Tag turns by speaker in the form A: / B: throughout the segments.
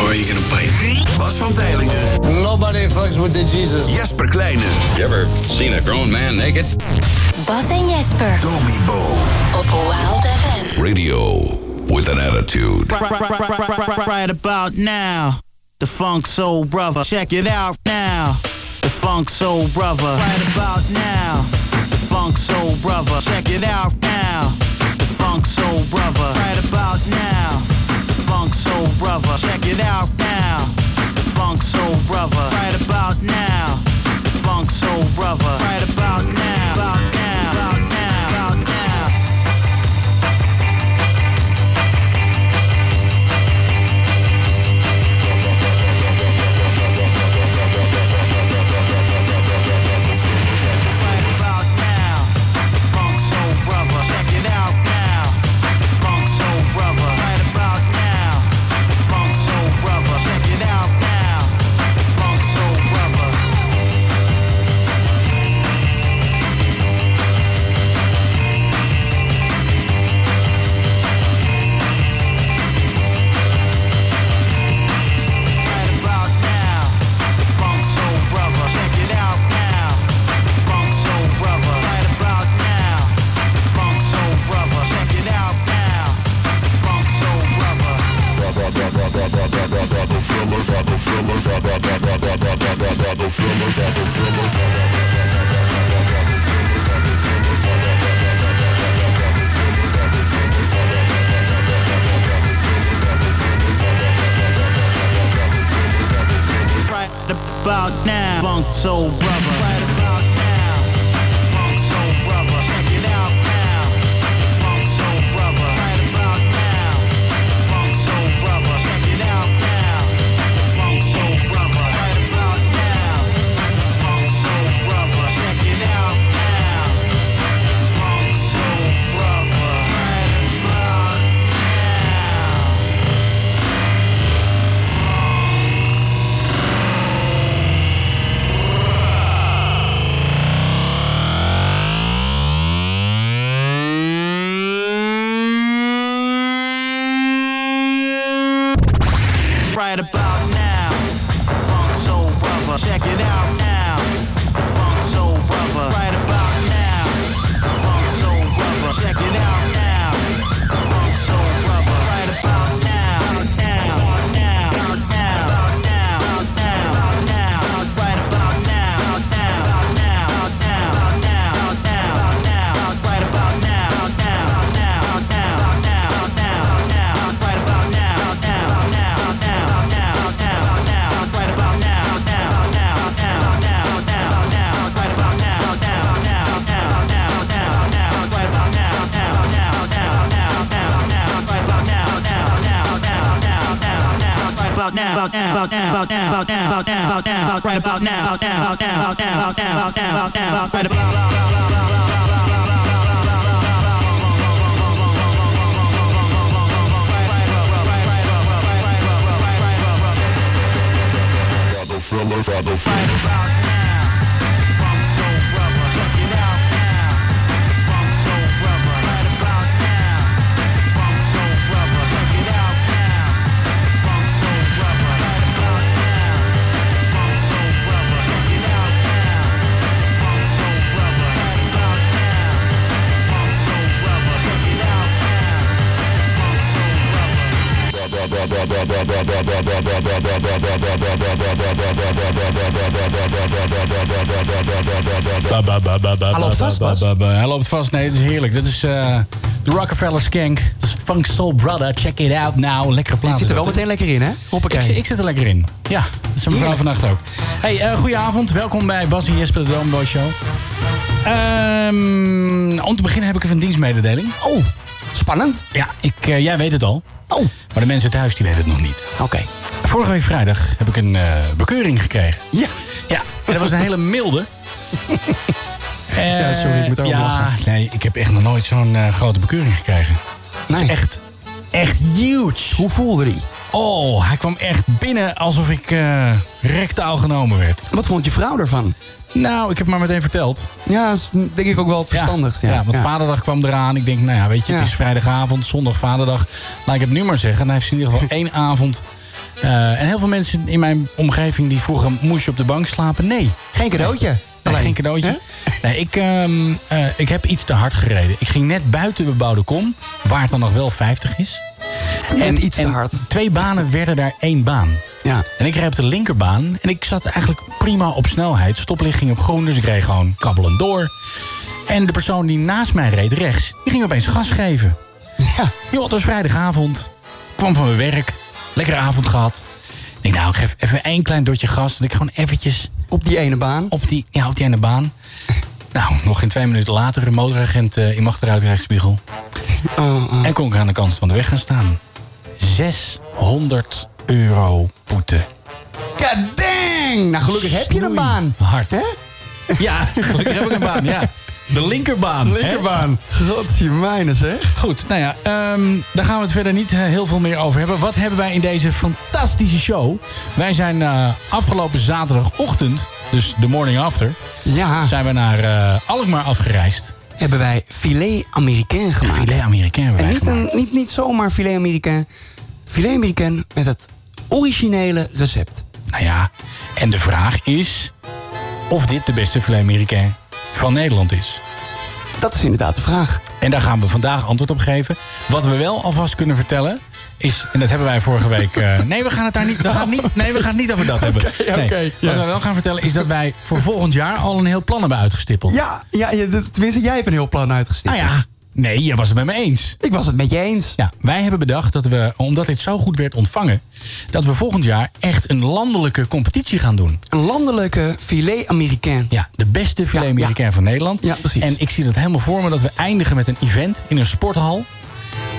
A: Or are you gonna bite?
B: Bas van Tijlingen,
C: Nobody fucks with the Jesus.
B: Jesper Kleine,
A: You ever seen a grown man naked?
D: Bas en Jesper
B: Domi Bo.
D: op Wild FM.
B: Radio with an attitude.
E: right, right, right, right, right, right, right about now. The Funk Soul Brother, check it out now. The Funk Soul Brother, right about now. The Funk Soul Brother, check it out now. The Funk Soul Brother, right about now. The Funk Soul Brother, check it out now. The Funk Soul Brother, right about now. The Funk Soul Brother, right about now. About now, about now, about now. Right about now, the Funk Soul Brother. Check it out now, the Funk Soul Brother. Right about now, the Funk Soul Brother. Check it out now, the Funk Soul Brother. Right about now, the Funk Soul Brother. Check it out now, the Funk Soul Brother. Right about now, the Funk Soul Brother. Check it out now, the Funk Soul Brother. Right about now, Funk Soul Brother. Right about now, the Funk Soul Brother. Check it out now, the Funk Soul Brother. Right about now, the Funk Soul Brother. Check it out now, the Funk Soul Brother. Right about now, the Funk Soul Brother. Check it out now, the Funk Soul Brother. Right about now. right about now. The Funk Soul Brother, check it out now. The Funk Soul Brother, right about now. The Funk Soul Brother, check it out now. The Funk Soul Brother, right about now. Now, now, now, now, now, now, now, right about now. Now, now, now, now, now, now, right about now. Now, now, now, now, now, now, right about now. Now, now, now, now, now, now, right about now. Now, now, now, now, now, now, right about now. Now, now, now, now, now, now, right about now. Now, now, now, now, now, now, right about now. Now, now, now, now, now, now, right about now. About now, about now, about now, about now, about now, about now, right about now. About now, about now, about now, about now, about now, about now, right about now.
F: Ba, ba, ba, ba, ba,
G: Hij loopt
F: ba,
G: vast,
F: ba,
G: Bas.
F: ba, ba. Hij loopt vast. Nee, het is heerlijk. Dit is eh, de Rockefeller Skank. Dat is Funk Soul Brother. Check it out now. Lekkere plaat.
G: Je zit er wel
F: is dat,
G: meteen lekker in, hè?
F: hè? Ik,
G: Hoppakee.
F: zit- ik zit er lekker in. Ja, dat is een mevrouw vannacht ook. Hey, eh, goedenavond. Welkom bij Bas en Jesper, de Dombo Show. Ehm, om te beginnen heb ik even een dienstmededeling.
G: Oh, spannend.
F: Ja, ik, eh, jij weet het al.
G: Oh,
F: Maar de mensen thuis die weten het nog niet.
G: oké.
F: Vorige week vrijdag heb ik een eh, bekeuring gekregen.
G: Ja.
F: Ja, en dat was een hele milde.
G: ja, sorry, ik moet daarom
F: Eh, ja,
G: lachen.
F: nee, ik heb echt nog nooit zo'n eh, grote bekeuring gekregen.
G: Nee.
F: Echt, echt huge.
G: Hoe voelde die?
F: Oh, hij kwam echt binnen alsof ik eh rectaal genomen werd.
G: Wat vond je vrouw daarvan?
F: Nou, ik heb maar meteen verteld.
G: Ja, is denk ik ook wel verstandig. Ja,
F: want
G: ja.
F: vaderdag kwam eraan. Ik denk, nou ja, weet je, het
G: Ja.
F: is vrijdagavond, zondag, vaderdag. Laat ik het nu maar zeggen. En hij heeft in ieder geval één avond. eh, en heel veel mensen in mijn omgeving die vroegen, moest je op de bank slapen? Nee.
G: Geen cadeautje.
F: Nee,
G: Alleen.
F: geen cadeautje.
G: Hè?
F: Nee, ik, ehm, eh, ik heb iets te hard gereden. Ik ging net buiten de bebouwde kom, waar het dan nog wel 50 is.
G: Net iets te hard.
F: Twee banen werden daar één baan.
G: Ja.
F: En ik reed op de linkerbaan en ik zat eigenlijk prima op snelheid. Stoplicht ging op groen, dus ik reed gewoon kabbelend door. En de persoon die naast mij reed rechts, die ging opeens gas geven.
G: Ja.
F: Joh, het was vrijdagavond. Kwam van mijn werk. Lekkere avond gehad. Ik denk, nou, ik geef even één klein dotje gas. Dat ik gewoon eventjes
G: Op die ene baan.
F: op die, ja, op die ene baan. Nou, nog geen twee minuten later, een motoragent eh, in achteruitrijspiegel.
G: Oh, oh.
F: En kon ik aan de kant van de weg gaan staan. 600 euro boete.
G: Kadang! Nou, gelukkig heb je een
F: Snoei.
G: baan.
F: Hard.
G: Hè?
F: Ja, gelukkig heb ik een baan, ja. De linkerbaan. hè?
G: Godsjemeine zeg.
F: Goed, nou ja, ehm, daar gaan we het verder niet eh, heel veel meer over hebben. Wat hebben wij in deze fantastische show? Wij zijn eh, afgelopen zaterdagochtend, dus de morning after...
G: Ja,
F: zijn we naar eh, Alkmaar afgereisd.
G: hebben wij filet Americain gemaakt.
F: Filet Amerikaan hebben
G: En
F: wij
G: niet,
F: gemaakt.
G: een, niet, niet zomaar filet Americain. Filet Americain met het originele recept.
F: Nou ja, en de vraag is of dit de beste filet Amerikaan van Nederland is.
G: Dat is inderdaad de vraag.
F: En daar gaan we vandaag antwoord op geven. Wat we wel alvast kunnen vertellen is, en dat hebben wij vorige week. eh, nee, we gaan het daar niet. We gaan het niet nee, we gaan het niet over dat hebben. Nee,
G: oké,
F: Wat
G: ja.
F: we wel gaan vertellen is dat wij voor volgend jaar al een heel plan hebben uitgestippeld.
G: Ja, ja, ja dat- tenminste, jij hebt een heel plan uitgestipt.
F: Nou ja, nee, jij was het met me eens.
G: Ik was het met je eens.
F: Ja, wij hebben bedacht dat we, omdat dit zo goed werd ontvangen, dat we volgend jaar echt een landelijke competitie gaan doen.
G: Een landelijke filet Americain.
F: Ja, de beste filet
G: Ja,
F: Amerikaan van Nederland.
G: Ja, precies.
F: En ik zie dat helemaal voor me dat we eindigen met een event in een sporthal.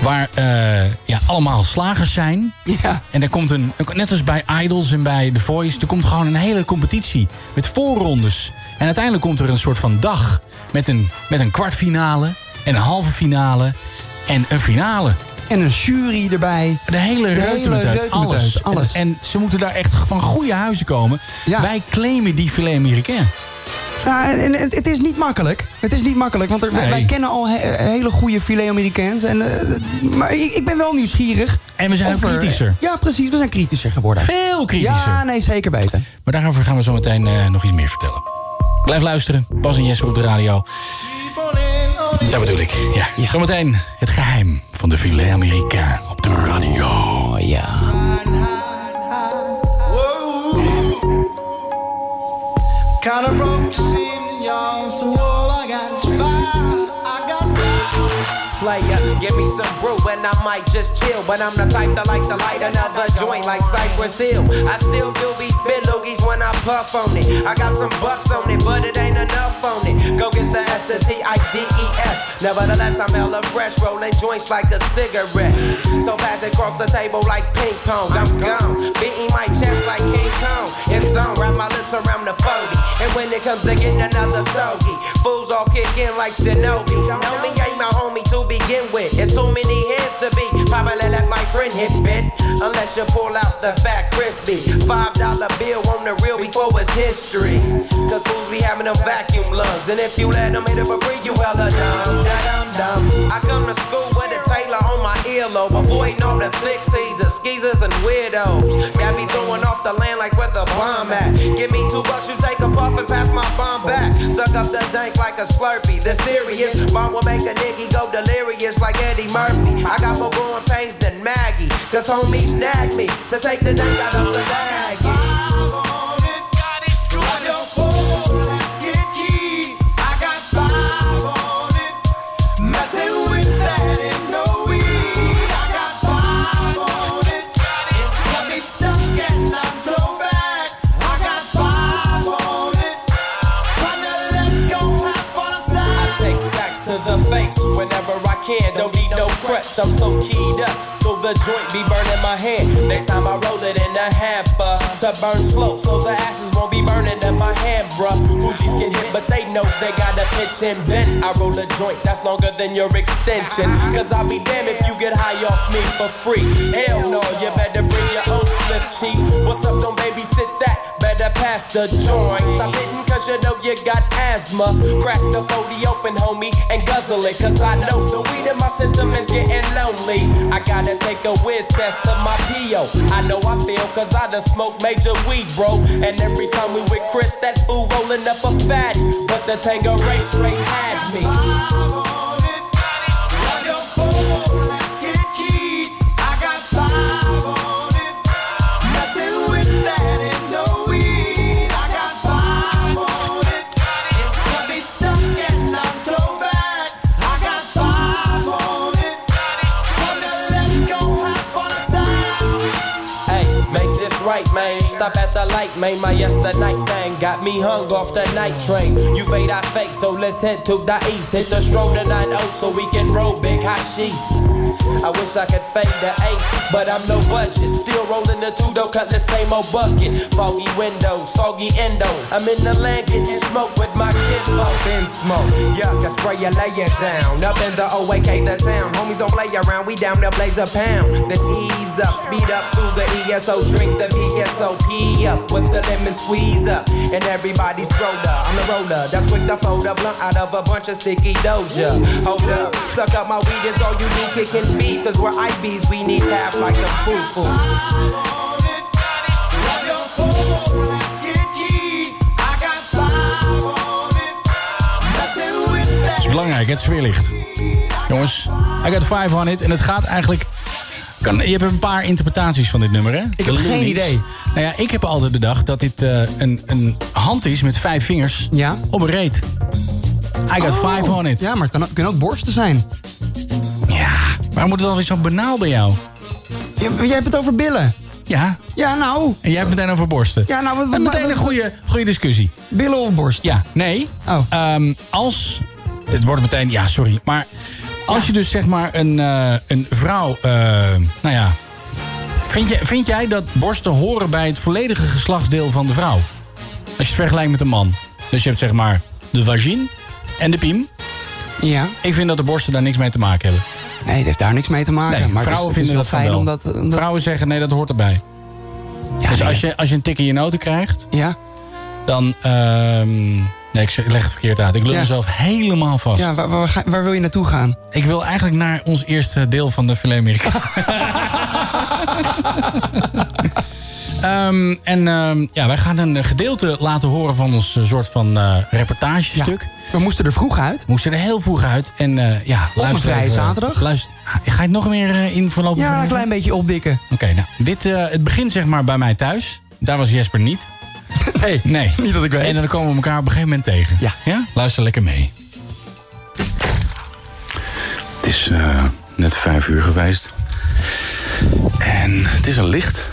F: Waar eh, ja, allemaal slagers zijn.
G: Ja.
F: En er komt een, net als bij Idols en bij The Voice, er komt gewoon een hele competitie met voorrondes. En uiteindelijk komt er een soort van dag met een, met een kwartfinale en een halve finale en een finale.
G: En een jury erbij.
F: De hele reutemeteut,
G: reutemeteut,
F: alles. En-
G: alles.
F: En, ze moeten daar echt van goede huizen komen.
G: Ja.
F: Wij claimen die filet Amerikaan.
G: Ja, Ah, en, en het, het is niet makkelijk. Het is niet makkelijk, want er, wij-
F: Nee.
G: wij kennen al he- hele goede filet Amerikaans. En, eh, maar ik, ik ben wel nieuwsgierig.
F: En we zijn
G: of
F: ook
G: er-
F: kritischer.
G: ja, precies. We zijn kritischer geworden.
F: Veel kritischer.
G: Ja, nee, zeker beter.
F: Maar daarover gaan we zo meteen eh, nog iets meer vertellen. Blijf luisteren. Bas en Jesper op de radio. Dat bedoel ik. Ja. Zometeen het geheim van de filet Amerikaan op de radio.
G: ja.
H: Kinda broke this evening, y'all, so all I got is fire. I got
I: player. Give me some brew and I might just chill. But I'm the type that like to light another joint like Cypress Hill. I still do these spit loogies when I puff on it. I got some bucks on it, but it ain't enough on it. Go get the S, the T, I, D, E, S. Nevertheless, I'm hella fresh, rolling joints like a cigarette. So pass it across the table like ping pong. I'm gone, beating my chest like King Kong. And zone, wrap my lips around the phony. And when it comes to getting another stogie, fools all kick in like Shinobi. Know me, ain't my homie to begin with. It's too many hands to be. Probably let my friend hit bit. Unless you pull out the fat crispy. Five dollar bill on the real before it's history. Cause fools be having them vacuum lungs. And if you let them hit it for free, you hella dumb. Da-dum dum. I come to school with a Taylor on my earlobe. Avoiding all the flick teasers, skeezers, and weirdos. Got me throwing off the land like where the bomb at. Give me two bucks, you take a puff and pass my bomb back. Suck up the dank like a slurpee. The serious bomb will make a nigga go delirious like Eddie Murphy. I got more growing pains than Maggie. Cause homie snagged me to take the dank out of the bag.
H: Let's go have fun
I: I take sacks to the face whenever I
J: can, don't need no crutch. I'm so keyed up, though the joint be burning my hand. Next time I roll it in a hamper to burn slow, so the ashes won't be burning in my hand, bruh. Hoogies get hit, but they know they got a pitch and bent. I roll a joint that's longer than your extension, cause I'll be damned if you get high off me for free. Hell no, you better bring your own slip cheap. What's up, don't babysit that? Better pass the joint. Stop hitting cause you know you got asthma. Crack the 40 open, homie, and guzzle it. Cause I know the weed in my system is getting lonely. I gotta take a whiz test to my PO. I know I feel cause I done smoked major weed, bro. And every time we with Chris, that fool rolling up a fat. But the Tango race straight had me. Hey, make this right, man. Stop at the light, man. My yesterday thing got me hung off the night train. You fade, I fake, so let's head to the east. Hit the stroll to 9 so we can roll big hot sheets. I wish I could fade the 8, but I'm no budget. Still rolling the 2 though, cut the same old bucket. Foggy window, soggy endo. I'm in the land getting smoke with my kid up in smoke. Yuck, I spray you, lay it down. Up in the OAK, the town. Homies don't play around, we down to blaze a pound. Then ease up, speed up through the ESO. Drink the VSOP up with the lemon squeeze up. And everybody's roller, I'm the roller. That's quick to fold a blunt out of a bunch of sticky doja. Hold up, suck up my weed, it's all you do, kicking feet. Cause we're IBs, we need tap like the foo-foo.
F: Het is belangrijk, het sfeerlicht. Jongens, I got five on it. En het gaat eigenlijk... Kan, je hebt een paar interpretaties van dit nummer, hè? Ik
G: heb geen idee.
F: Nou ja, ik heb altijd bedacht dat dit eh, een, een hand is met vijf vingers ja? op een reet. I got five on it. Ja, maar het kunnen ook borsten zijn. Ja, waarom moet het alweer zo banaal bij jou? jij hebt het over billen. Ja. Ja, nou. En jij hebt het meteen over borsten.
G: Ja, nou, wat-
F: En
G: wat-
F: meteen een goede, goede discussie. Billen of borsten? Ja, nee. Oh. als, het wordt meteen, ja, sorry. Maar als je dus zeg maar een, eh, een vrouw, eh, nou ja. Vind, je, vind jij dat borsten horen bij het volledige geslachtsdeel van de vrouw? Als je het vergelijkt met een man. Dus je hebt zeg maar de vagin en de piem. Ja. Ik vind dat de borsten daar niks mee te maken hebben. Nee, het heeft daar niks mee te
G: maken, maar het is-
F: vrouwen
G: het is
F: vinden
G: wel
F: dat van
G: fijn
F: wel.
G: omdat- omdat-
F: Vrouwen zeggen, nee, dat hoort erbij. dus als je, als je een tik in je noten krijgt... Ja. Dan... ehm, nee, ik zeg- ik leg het verkeerd uit. Ik lul
G: Ja.
F: mezelf helemaal vast.
G: Ja, waar, waar, ga- waar wil je naartoe gaan?
F: Ik wil eigenlijk naar ons eerste deel van de filet Amerika. Ehm, en ehm, ja, wij gaan een eh, gedeelte laten horen van ons eh, soort van eh, reportagestuk. We moesten er vroeg uit. moesten er heel vroeg uit. En eh, ja,
G: Op een vrije zaterdag.
F: Luister, Ah, ga je het nog meer eh, in voorlopig?
G: Ja,
F: verwerken?
G: een klein beetje opdikken.
F: Oké, nou, dit, eh, het begint zeg maar bij mij thuis. Daar was Jesper niet. Nee, nee, niet dat ik weet. En dan komen we elkaar op een gegeven moment tegen. Ja. ja? Luister lekker mee.
K: Het is eh, net vijf uur geweest. En het is al licht.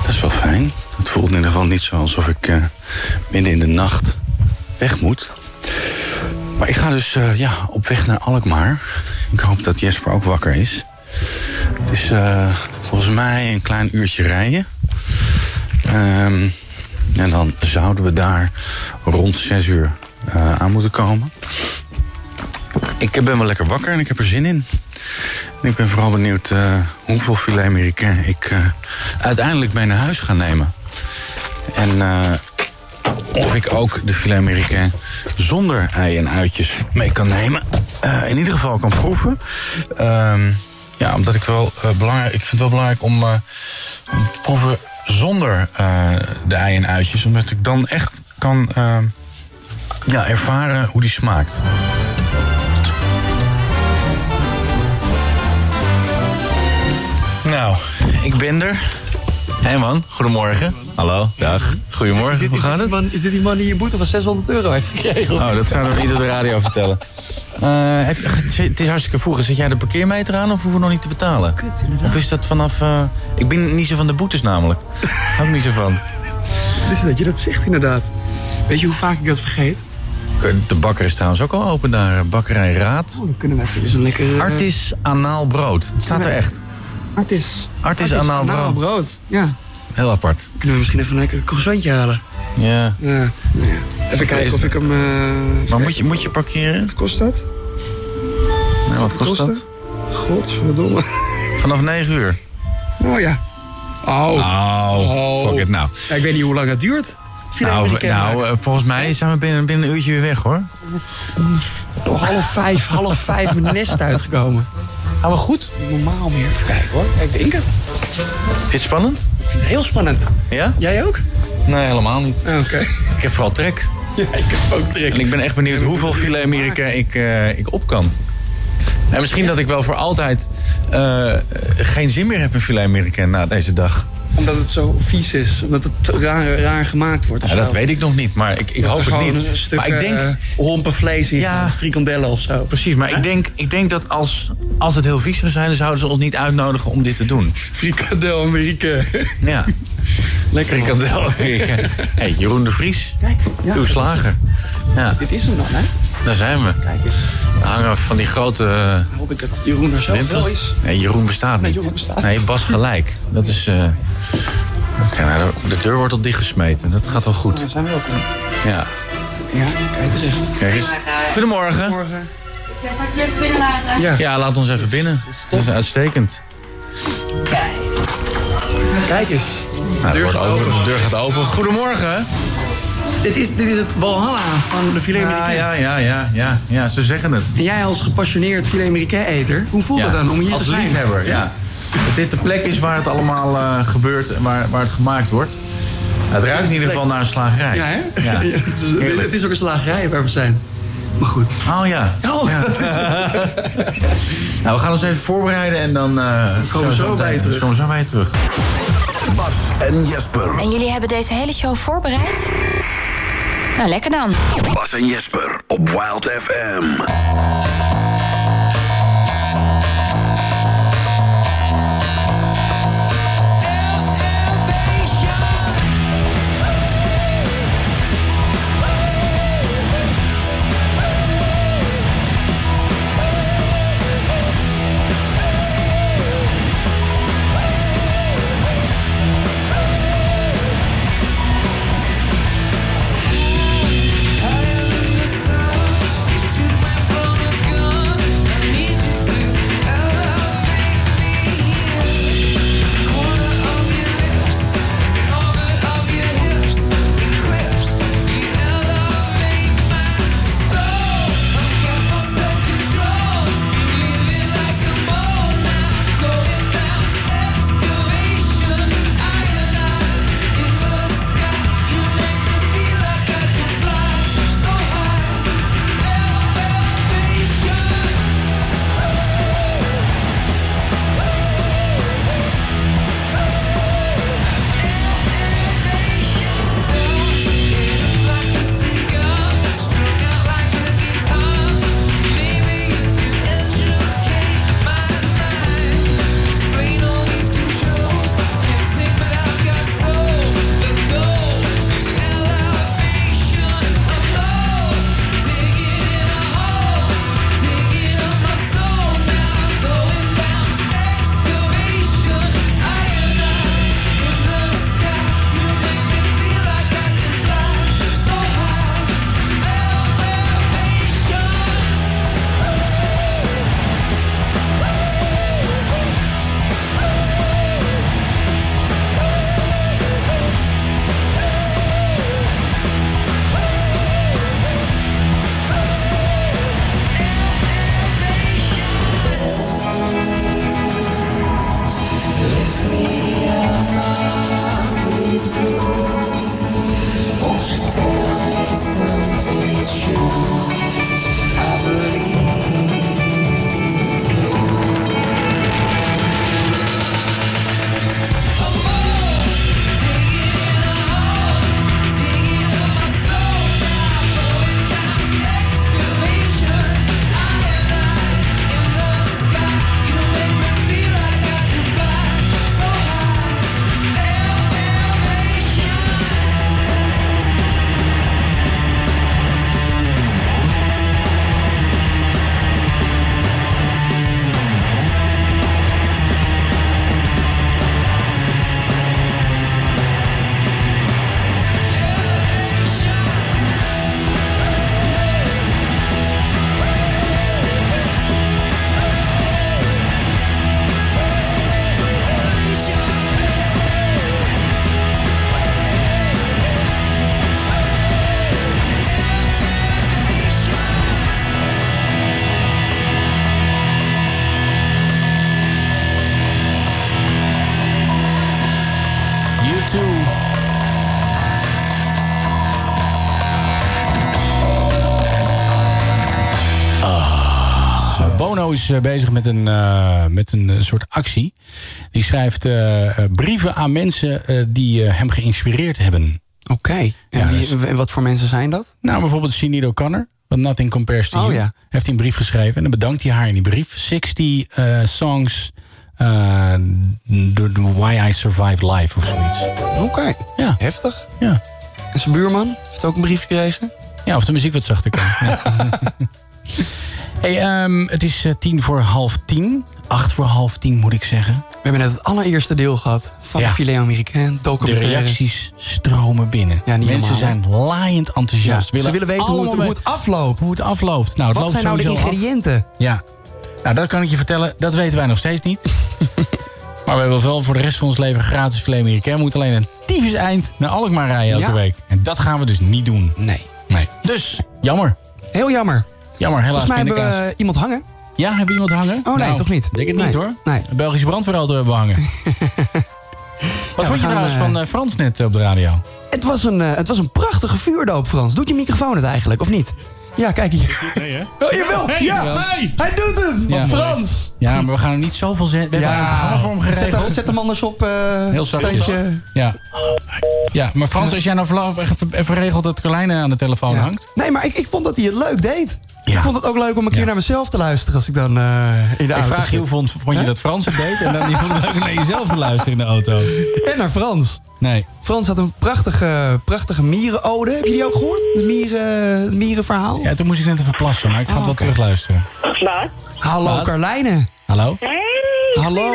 K: Dat is wel fijn. Het voelt in ieder geval niet zo alsof ik eh, midden in de nacht weg moet. Maar ik ga dus eh, ja, op weg naar Alkmaar. Ik hoop dat Jesper ook wakker is. Het is eh, volgens mij een klein uurtje rijden. Ehm, en dan zouden we daar rond zes uur eh, aan moeten komen. Ik ben wel lekker wakker en ik heb er zin in. En ik ben vooral benieuwd eh, hoeveel filet américain ik eh, uiteindelijk mee naar huis ga nemen. En eh, of ik ook de filet américain zonder ei en uitjes mee kan nemen. Eh, in ieder geval kan proeven. Ehm, ja, omdat ik wel eh, belangrijk... Ik vind het wel belangrijk om eh, om te proeven zonder eh, de ei en uitjes. Omdat ik dan echt kan eh, ja, ervaren hoe die smaakt. Nou, ik ben er. Hé hey man, goedemorgen. Hallo, dag. Goedemorgen, hoe gaat het?
G: Is dit die man die je boete van 600 euro heeft gekregen?
K: Oh, dat zouden we niet op de radio vertellen. Eh, heb- het is hartstikke vroeg. Zet jij de parkeermeter aan of hoeven we nog niet te betalen? Of is dat vanaf... eh, ik ben niet zo van de boetes namelijk. Hou ik niet zo van.
G: Het is dat je dat zegt inderdaad. Weet je hoe vaak ik dat vergeet?
K: Oké.
F: bakker, de bakker is trouwens ook al open daar. Bakkerij Raad.
G: Oh, dan kunnen we even dus een lekker... eh,
F: Artis anaal brood. Het staat er echt.
G: Artis.
F: Artis anaal brood.
G: Ja.
F: Heel apart.
G: Kunnen we misschien even een lekker croissantje halen?
F: Ja.
G: Ja. nou ja. Even kijken of ik hem... eh,
F: Maar moet je, moet je parkeren?
G: Wat kost dat?
F: Nou, wat kost dat?
G: Godverdomme.
F: Vanaf 9 uur.
G: Oh ja. Oh.
F: Oh, fuck it nou.
G: Ja, ik weet niet hoe lang het duurt. Filet
F: Nou,
G: Amerikaan
F: nou
G: maken.
F: eh, volgens mij zijn we binnen, binnen een uurtje weer weg hoor.
G: Door half vijf, half vijf mijn nest uitgekomen. Nou, maar goed. Normaal meer. Even kijken hoor. Ik denk het.
F: Vind je het spannend?
G: Ik vind het heel spannend.
F: Ja?
G: Jij ook? Ah,
F: Nee, helemaal niet.
G: Oké.
F: Ik heb vooral trek.
G: Ja, ik heb ook trek.
F: En ik ben echt benieuwd hoeveel filet Amerika ik, eh, ik op kan. En misschien dat ik wel voor altijd eh, geen zin meer heb in filet Amerika na deze dag.
G: Omdat het zo vies is. Omdat het raar, raar gemaakt wordt. of
F: Ja, dat
G: zo.
F: weet ik nog niet, maar ik, ik
G: Dat er
F: hoop het
G: gewoon
F: niet.
G: Een stuk,
F: maar ik denk,
G: eh, hompen vlees in.
F: Ja.
G: Ja. Frikandellen of zo.
F: Oh, precies, maar ik denk, ik denk dat als, als het heel vies zou zijn, dan zouden ze ons niet uitnodigen om dit te doen.
G: Frikandel Amerika.
F: Ja.
G: Lekker. man.
F: Frikandel Amerika. hey, Jeroen de Vries,
G: Kijk. Ja,
F: uw slager. Ja,
G: Dit is hem dan, hè?
F: daar zijn we.
G: Kijk eens.
F: Dan hangen we van die grote eh,
G: Hoop ik dat Jeroen er zelf wel is.
F: Winters? Nee, Jeroen bestaat
G: Nee,
F: niet.
G: Jeroen bestaat
F: Nee, Bas gelijk. Dat is. eh, Oké, nou, de- de deur wordt al dichtgesmeten. Dat gaat wel goed.
G: Daar zijn we ook in.
F: Ja.
G: Ja, kijk eens even.
F: Kijk eens. Goedemorgen.
G: Morgen.
L: Zal ik je even binnenlaten?
G: Ja,
F: Ja, laat ons even binnen. Dat is uitstekend.
G: kijk eens.
F: Nou, de, deur gaat open. de deur gaat open. Goedemorgen.
G: Dit is, dit is het Walhalla van de filet
F: Ja,
G: Amerikaan.
F: ja, ja, ja, ja, ja. Ze zeggen het.
G: En jij als gepassioneerd filet Amerikaan eter, hoe voelt
F: Ja.
G: dat dan om hier
F: Als
G: te zijn?
F: liefhebber, ja. Dat dit de plek is waar het allemaal eh, gebeurt en waar, waar het gemaakt wordt. Het ruikt in ieder geval naar een slagerij.
G: Ja, hè? Ja.
F: Ja.
G: het, is, het is ook een slagerij waar we zijn. Maar goed.
F: Oh ja.
G: Oh,
F: Ja.
G: dat is
F: Nou, we gaan ons even voorbereiden en dan eh,
G: komen we zo bij je
F: meteen-
G: terug.
F: Komen we zo bij je terug.
M: Bas en Jesper.
D: En jullie hebben deze hele show voorbereid? Nou, lekker dan.
M: Bas en Jesper op Wild FM.
F: Bono is eh, bezig met een, eh, met een eh, soort actie. Die schrijft eh, eh, brieven aan mensen eh, die eh, hem geïnspireerd hebben. dus-
G: Oké. En wie- en wat voor mensen zijn dat?
F: Nou, bijvoorbeeld Sinead O'Connor. Van Nothing Compares to
G: Oh,
F: You.
G: ja.
F: Heeft hij een brief geschreven. En dan bedankt hij haar in die brief. 60 eh, songs. eh, door door Why I Survive Life of zoiets.
G: Oké.
F: Ja.
G: Heftig.
F: Ja.
G: En zijn buurman heeft ook een brief gekregen.
F: Ja, of de muziek wat zachter kan. Ja. hey, ehm, het is eh, tien voor half tien. Acht voor half tien moet ik zeggen.
G: We hebben net het allereerste deel gehad van
F: Ja.
G: de Filet Americain
F: De
G: documentaire.
F: reacties stromen binnen.
G: Ja, niet
F: Mensen
G: normaal, hè?
F: zijn laaiend enthousiast.
G: Ja, ze willen weten hoe het-
F: allemaal
G: hoe het afloopt.
F: Hoe het afloopt. Nou, het
G: Wat
F: loopt
G: zijn nou de
F: sowieso af.
G: ingrediënten?
F: Ja. Nou, dat kan ik je vertellen. Dat weten wij nog steeds niet. maar we hebben wel voor de rest van ons leven gratis filet Amerikaan. We moeten alleen een tyfus eind naar Alkmaar rijden elke
G: Ja.
F: week. En dat gaan we dus niet doen.
G: Nee.
F: Nee. Dus, jammer.
G: Heel jammer.
F: Jammer, helaas.
G: Volgens mij hebben
F: pindakaas.
G: we eh, iemand hangen.
F: Ja, hebben we iemand hangen?
G: Oh nee,
F: Nou,
G: toch niet?
F: Denk het
G: Nee.
F: niet hoor.
G: Nee.
F: Een Belgische brandweerauto hebben we hangen. Wat
G: we
F: vond je
G: gaan,
F: trouwens
G: eh,
F: van eh, Frans net op de radio?
G: Het was, een, eh, het was een prachtige vuurdoop, Frans. Doet je microfoon het eigenlijk, of niet? Ja, kijk hier. Nee, hè? Oh, jawel.
F: Hey,
G: ja,
F: jawel.
G: hij doet het.
F: Ja.
G: Frans.
F: Ja, maar we gaan er niet zoveel zetten. We hebben een programma voor hem
G: zet, hem-
F: geregeld.
G: zet hem anders op. eh
F: Heel zacht.
G: steentje.
F: Ja. ja, maar Frans, als jij nou voorlopig even, even regelt dat Carlijne aan de telefoon hangt.
G: Nee, maar ik, ik vond dat hij het leuk deed. Ik vond het ook leuk om een keer naar mezelf te luisteren als ik dan eh, in de
F: Ik
G: auto
F: vraag je
G: zit.
F: hoe vond, vond je dat Frans het deed? En dan die vond het leuk om naar jezelf te luisteren in de auto.
G: En naar Frans.
F: Nee.
G: Frans had een prachtige, prachtige mierenode. Heb je die ook gehoord? Het mieren, het mierenverhaal? Ah,
F: Ja, toen moest ik net even plassen, maar ik ga het wel terugluisteren.
N: Wat?
G: Hallo
F: Wat?
G: Carlijne.
F: Hallo?
N: Hey,
G: Hallo.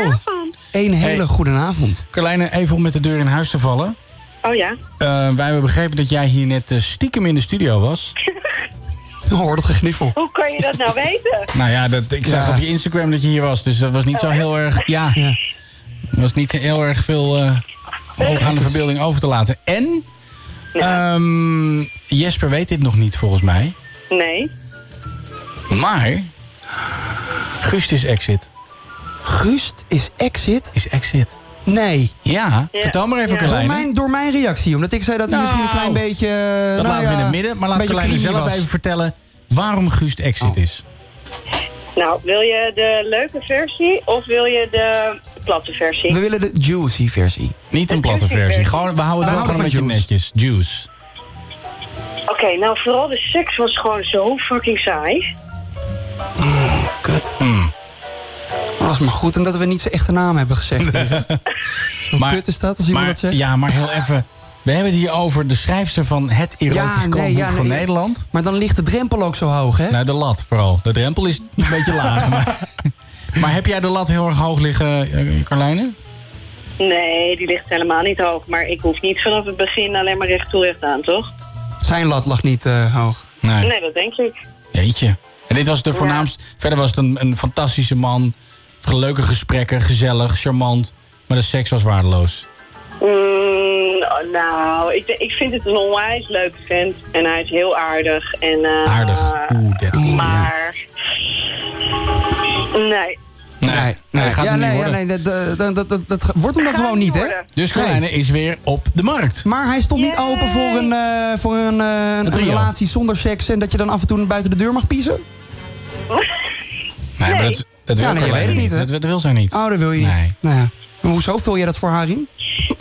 G: Een hele
F: Hey.
G: goede avond.
F: Carlijne, even om met de deur in huis te vallen.
N: Oh ja.
F: Eh, wij hebben begrepen dat jij hier net eh, stiekem in de studio was.
G: Oh, Hoor dat gegniffel.
N: Hoe kan je dat nou weten?
F: Nou ja, dat, ik zag
G: Ja.
F: op je Instagram dat je hier was, dus dat was niet zo heel erg... Ja,
G: Ja.
F: er was niet heel erg veel eh, hoog aan de verbeelding over te laten. En, ehm, Jesper weet dit nog niet volgens mij,
N: Nee.
F: maar Gust is exit.
G: Gust is exit?
F: Is exit.
G: Nee.
F: Ja,
N: Ja.
F: vertel maar even
N: Ja.
G: Door
F: Carlijn.
G: mijn, door mijn reactie, omdat ik zei dat hij
F: Nou,
G: misschien een klein beetje... eh,
F: Dat
G: nou
F: laten we in
G: ja,
F: het midden, maar laat
G: een beetje
F: Carlijn
G: creamy
F: zelf
G: was. Oh.
F: even vertellen waarom Gust exit is.
N: Nou, wil je de leuke versie of wil je de platte versie?
G: We willen de juicy versie.
F: Niet een platte
N: Juicy
F: versie,
N: versie.
F: gewoon, we houden
G: We
F: het wel
G: houden
F: gewoon een beetje
G: van
F: netjes. Juice.
N: Oké, nou vooral de seks was gewoon zo fucking saai.
G: Mm, Kut.
F: Mm.
G: Dat was maar goed en dat we niet zijn echte naam hebben gezegd. Hoe
F: Maar-
G: kut is dat als iemand
F: maar,
G: dat zegt?
F: Ja, maar heel even. We hebben het hier over de schrijfster van het erotisch
G: Ja, nee,
F: kookboek
G: ja,
F: van
G: nee.
F: Nederland.
G: Maar dan ligt de drempel ook zo hoog, hè?
F: Nou, de lat vooral. De drempel is een beetje laag. Maar, maar heb jij de lat heel erg hoog liggen, eh, Carlijne?
N: Nee, die ligt helemaal niet hoog. Maar ik hoef niet vanaf het begin alleen maar recht toe recht aan, toch?
G: Zijn lat lag niet eh, hoog.
F: Nee.
N: Nee, dat denk ik.
F: Jeetje. En dit was de voornaamst. Verder was het een, een fantastische man. Leuke gesprekken, gezellig, charmant. Maar de seks was waardeloos.
N: Mm, oh, nou, ik, ik vind het een onwijs leuke vent. En hij is heel aardig. En, eh,
F: Aardig. Oeh, dat
N: Maar... Nee.
F: Nee, nee, dat gaat
G: ja,
F: hem
G: nee,
F: niet
G: ja,
F: worden.
G: nee dat, dat, dat, dat, dat, dat wordt hem dan
N: Gaat
G: gewoon
N: niet
G: niet, hè?
N: worden.
F: Dus Carlijne is weer op de markt.
G: Maar hij stond niet
N: Yay.
G: open voor, een, eh, voor een, eh, een
F: trio.
G: relatie zonder seks... en dat je dan af en toe buiten de deur mag piezen?
F: Nee, maar dat, dat wil
G: Ja, nee, je
F: Carlijne
G: weet het niet, hè?
F: Dat, dat wil zij niet.
G: Oh, dat wil je niet.
F: Nee.
G: Nou ja. Maar hoezo vul je dat voor haar in? Mag ze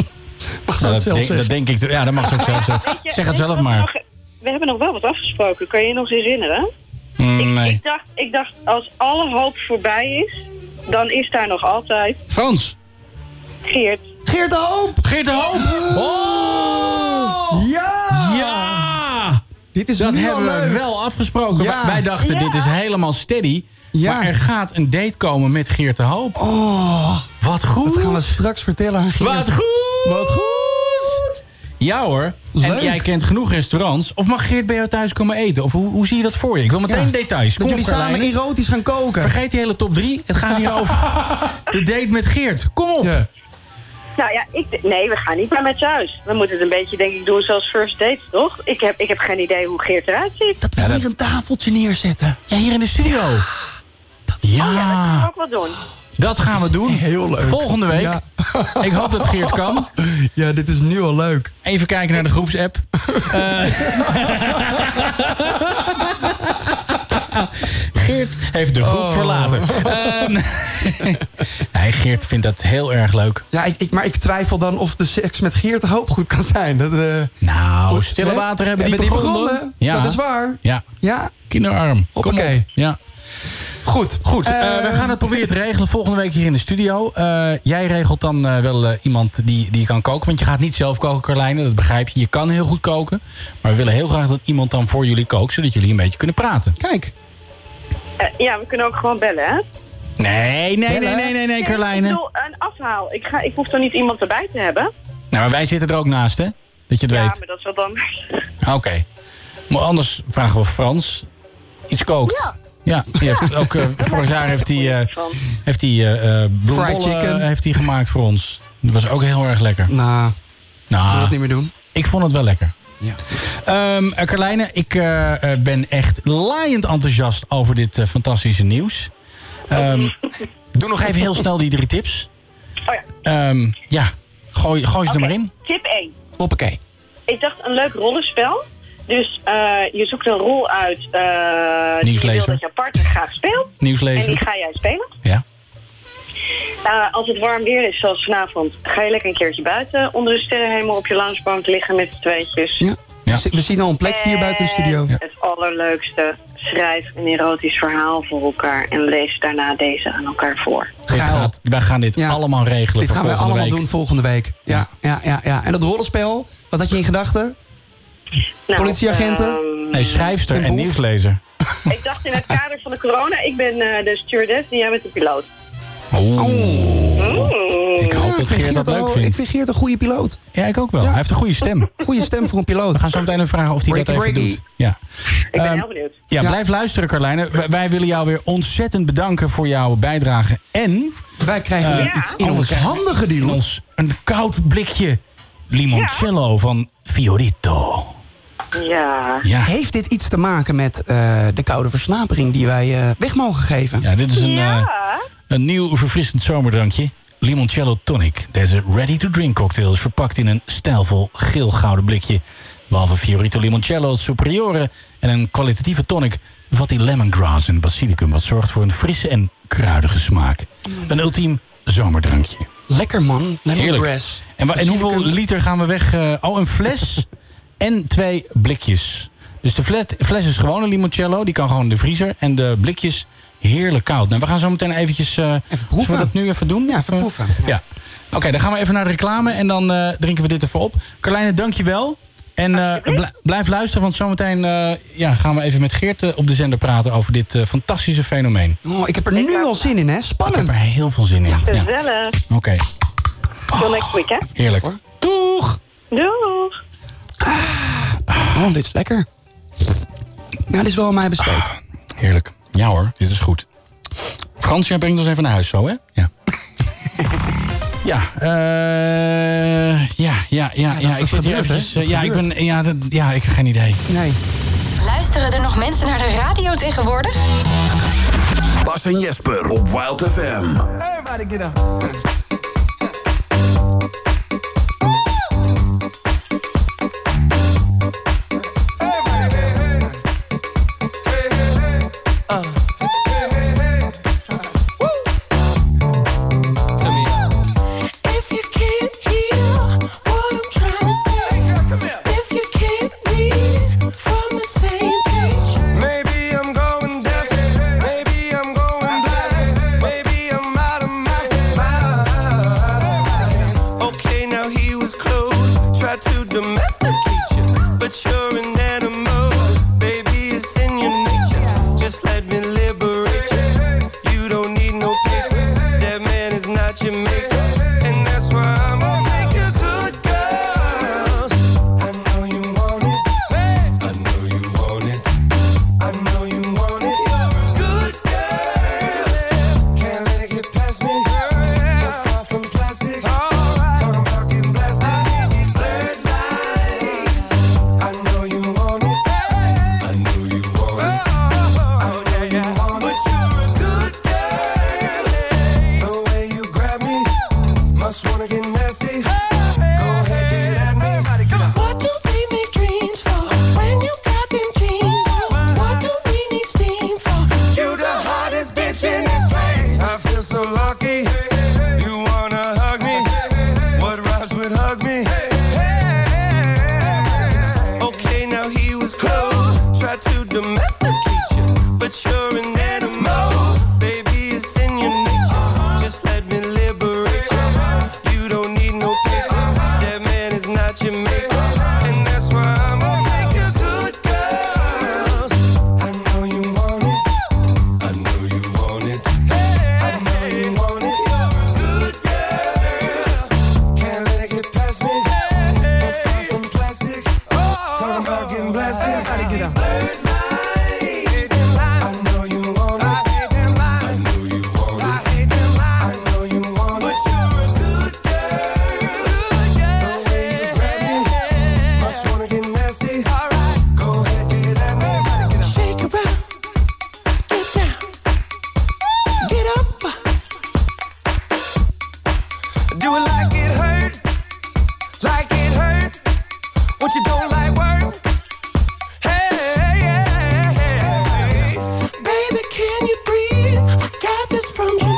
F: Nou,
G: dat
F: dat,
G: zelf
F: denk,
G: zeggen?
F: dat denk ik. Ja, dat mag ze ook zelf zeggen.
N: Ja,
F: Zeg het
N: weet je
F: zelf
N: wat we
F: maar.
N: nog- we hebben nog wel wat afgesproken. Kan je je nog herinneren?
F: Mm, nee.
N: Ik, dacht, ik dacht, als alle hoop voorbij is, dan is daar nog altijd
F: Frans.
N: Geert.
G: Geert de Hoop!
F: Geert de Hoop. Oh!
G: Ja!
F: Ja!
G: Ah, Dit is
F: Dat
G: nu al
F: hebben we
G: leuk.
F: wel afgesproken.
G: Ja.
F: Wij dachten, dit is helemaal steady.
G: Ja.
F: Maar er gaat een date komen met Geert de Hoop.
G: Oh,
F: Wat goed.
G: dat gaan we straks vertellen aan Geert.
F: Wat goed.
G: Wat goed!
F: Ja hoor. En
G: Leuk.
F: jij kent genoeg restaurants. Of mag Geert bij jou thuis komen eten? Of hoe, hoe zie je dat voor je? Ik wil meteen
G: Ja.
F: details.
G: Dat
F: Kom
G: jullie
F: op, Carlijne.
G: samen erotisch gaan koken.
F: Vergeet die hele top 3. Het gaat hier over de date met Geert. Kom op.
G: Ja.
N: Nou ja, ik, d- nee, we gaan niet naar met thuis. We moeten het een beetje, denk ik, doen zoals first dates, toch? Ik heb, ik heb geen idee hoe Geert eruit ziet.
G: Dat we hier een tafeltje neerzetten.
F: Ja, hier in de studio. Ja,
N: Oh ja, dat gaan we ook wel doen.
F: dat gaan we doen.
G: Heel leuk.
F: Volgende week.
G: Ja.
F: Ik hoop dat Geert kan.
G: Ja, dit is nu al leuk.
F: Even kijken naar de groepsapp. Eh, Geert Even de
G: Oh.
F: groep voor later. Ehm, nee, Geert vindt dat heel erg leuk.
G: Ja, ik, ik- maar ik twijfel dan of de seks met Geert Hoop goed kan zijn. Dat, eh,
F: nou, Stille water hebben die begonnen. Ja.
G: Dat is waar.
F: Ja.
G: ja.
F: Kinderarm.
G: Oké.
F: Ja.
G: Goed. Ehm.
F: Goed, eh, we gaan het proberen te regelen volgende week hier in de studio. Eh, jij regelt dan eh, wel eh, iemand die, die kan koken. Want je gaat niet zelf koken, Carlijne. Dat begrijp je. Je kan heel goed koken. Maar we willen heel graag dat iemand dan voor jullie kookt. Zodat jullie een beetje kunnen praten.
G: Kijk.
N: Eh, ja, we kunnen ook gewoon bellen, hè?
F: Nee, nee, nee, nee, nee, nee, Carlijne.
N: Ik
F: Nou,
N: bedoel, een afhaal. Ik, ga, ik hoef er niet iemand erbij te hebben.
F: Nou, maar wij zitten er ook naast, hè? Dat je het
N: ja,
F: weet.
N: maar dat is wat dan.
F: Ah, Oké. Maar anders vragen we Frans iets kookt. Ja. die heeft ook, eh, vorig jaar heeft hij, eh, heeft hij eh, eh, bloembollen
G: chicken.
F: eh, heeft hij gemaakt voor ons. Dat was ook heel erg lekker.
G: Nou,
F: nou
G: wil het niet meer doen.
F: Ik vond het wel lekker. Ehm, eh, Carlijne, ik eh, eh, ben echt laaiend enthousiast over dit eh, fantastische nieuws. Ehm, doe nog even heel snel die drie tips.
N: Oh ja.
F: Ehm, ja, gooi, gooi ze er maar in.
N: Tip 1.
F: Hoppakee.
N: Ik dacht een leuk rollenspel. Dus eh, je zoekt een rol uit eh die je wil
F: Nieuwslezer.
N: dat je partner graag speelt.
F: Nieuwslezer.
N: En die ga jij spelen.
F: Ja.
N: Eh, als het warm weer is, zoals vanavond, ga je lekker een keertje buiten onder de sterrenhemel op je loungebank liggen met z'n tweetjes.
G: Ja. We- We zien al een plek hier buiten de studio.
N: En Het allerleukste, schrijf een erotisch verhaal voor elkaar en lees daarna deze aan elkaar voor.
F: Dit gaat, wij gaan dit allemaal regelen
G: Dit
F: voor
G: gaan we
F: volgende
G: allemaal
F: week.
G: doen volgende week. Ja, ja, ja, ja. En dat rollenspel, wat had je in gedachten? Politieagenten?
F: Nee, schrijfster en, nieuwslezer.
N: Ik dacht in het kader van de corona, ik ben eh, de stewardess en jij bent de piloot. Mm.
F: Ik hoop dat Geert dat leuk
G: Ik
F: vindt.
G: vind Geert een goede piloot.
F: Ja, ik ook wel. Hij heeft een goede stem.
G: Goede stem voor een piloot. We
F: gaan zo meteen even vragen of hij dat even doet. Ja.
N: Ik ben
F: Ehm,
N: heel benieuwd.
F: Ja, blijf luisteren, Carlijne. Wij, wij willen jou weer ontzettend bedanken voor jouw bijdrage. En...
G: Wij krijgen
F: eh,
G: weer iets in
F: oh, we
G: ons
F: krijgen
G: handen geduwd.
F: in ons een koud blikje limoncello van Fiorito.
N: Ja.
F: Ja.
G: Heeft dit iets te maken met eh, de koude versnapering die wij eh, weg mogen geven?
F: Ja, dit is een, eh, een nieuw verfrissend zomerdrankje. Limoncello Tonic. Deze ready-to-drink cocktail is verpakt in een stijlvol geel-gouden blikje. Behalve Fiorito Limoncello Superiore en een kwalitatieve tonic... bevat die lemongrass en basilicum... wat zorgt voor een frisse en kruidige smaak. Een ultiem zomerdrankje.
G: Lekker man, lemongrass.
F: Heerlijk. En, wa- en hoeveel liter gaan we weg? eh, oh, een fles en twee blikjes. Dus de flat- fles is gewoon een limoncello. Die kan gewoon in de vriezer. En de blikjes heerlijk koud. Nou, we gaan zo meteen eventjes... eh, zullen we dat nu even doen? Eh, Ja, even proeven. Ja. Oké, dan gaan we even naar de reclame. En dan eh, drinken we dit even op. Carlijne, dank je wel. En eh, bl- blijf luisteren, want zometeen eh, ja, gaan we even met Geert eh, op de zender praten... over dit eh, fantastische fenomeen.
G: Oh, ik heb er nu al zin in, hè? Spannend.
F: Ik heb er heel veel zin in. Ja. Oké,
N: Gezellig. Tot next week, hè?
F: heerlijk.
G: Doeg!
N: Doeg!
G: Oh, dit is lekker. Ja, dit is wel aan mij besteed.
F: Ah, Heerlijk. Ja hoor, dit is goed. Frans, jij brengt ons even naar huis zo, hè? Ja. ja, eh, ja, ja, ja, ja.
G: dat-
F: Ik
G: dat
F: zit hier
G: gebeurt, hè?
F: eventjes...
G: Dat
F: eh, Ja, ik
G: gebeurt.
F: ben... Ja, dat, ja, ik heb geen idee.
G: Nee.
O: Luisteren er nog mensen naar de radio tegenwoordig?
P: Bas en Jesper op Wild FM.
G: Everybody get up.
H: If you can't hear what I'm trying to say, if you can't be from the same page, maybe I'm going deaf, maybe I'm going blind, maybe I'm out of my mind. Uh-huh.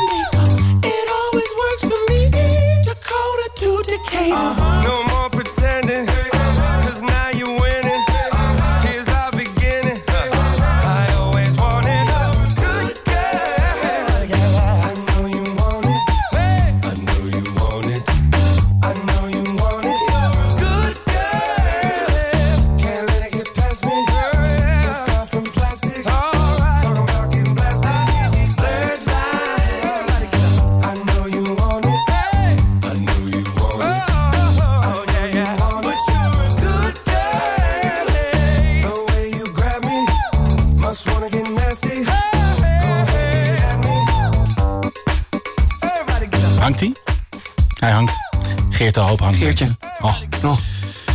H: just wanna get nasty. Go ahead at me. Everybody get up.
F: Hangt hij? Hij hangt. Geert de Hoop hangt.
G: Geertje.
F: Oh.
G: Oh, gaan we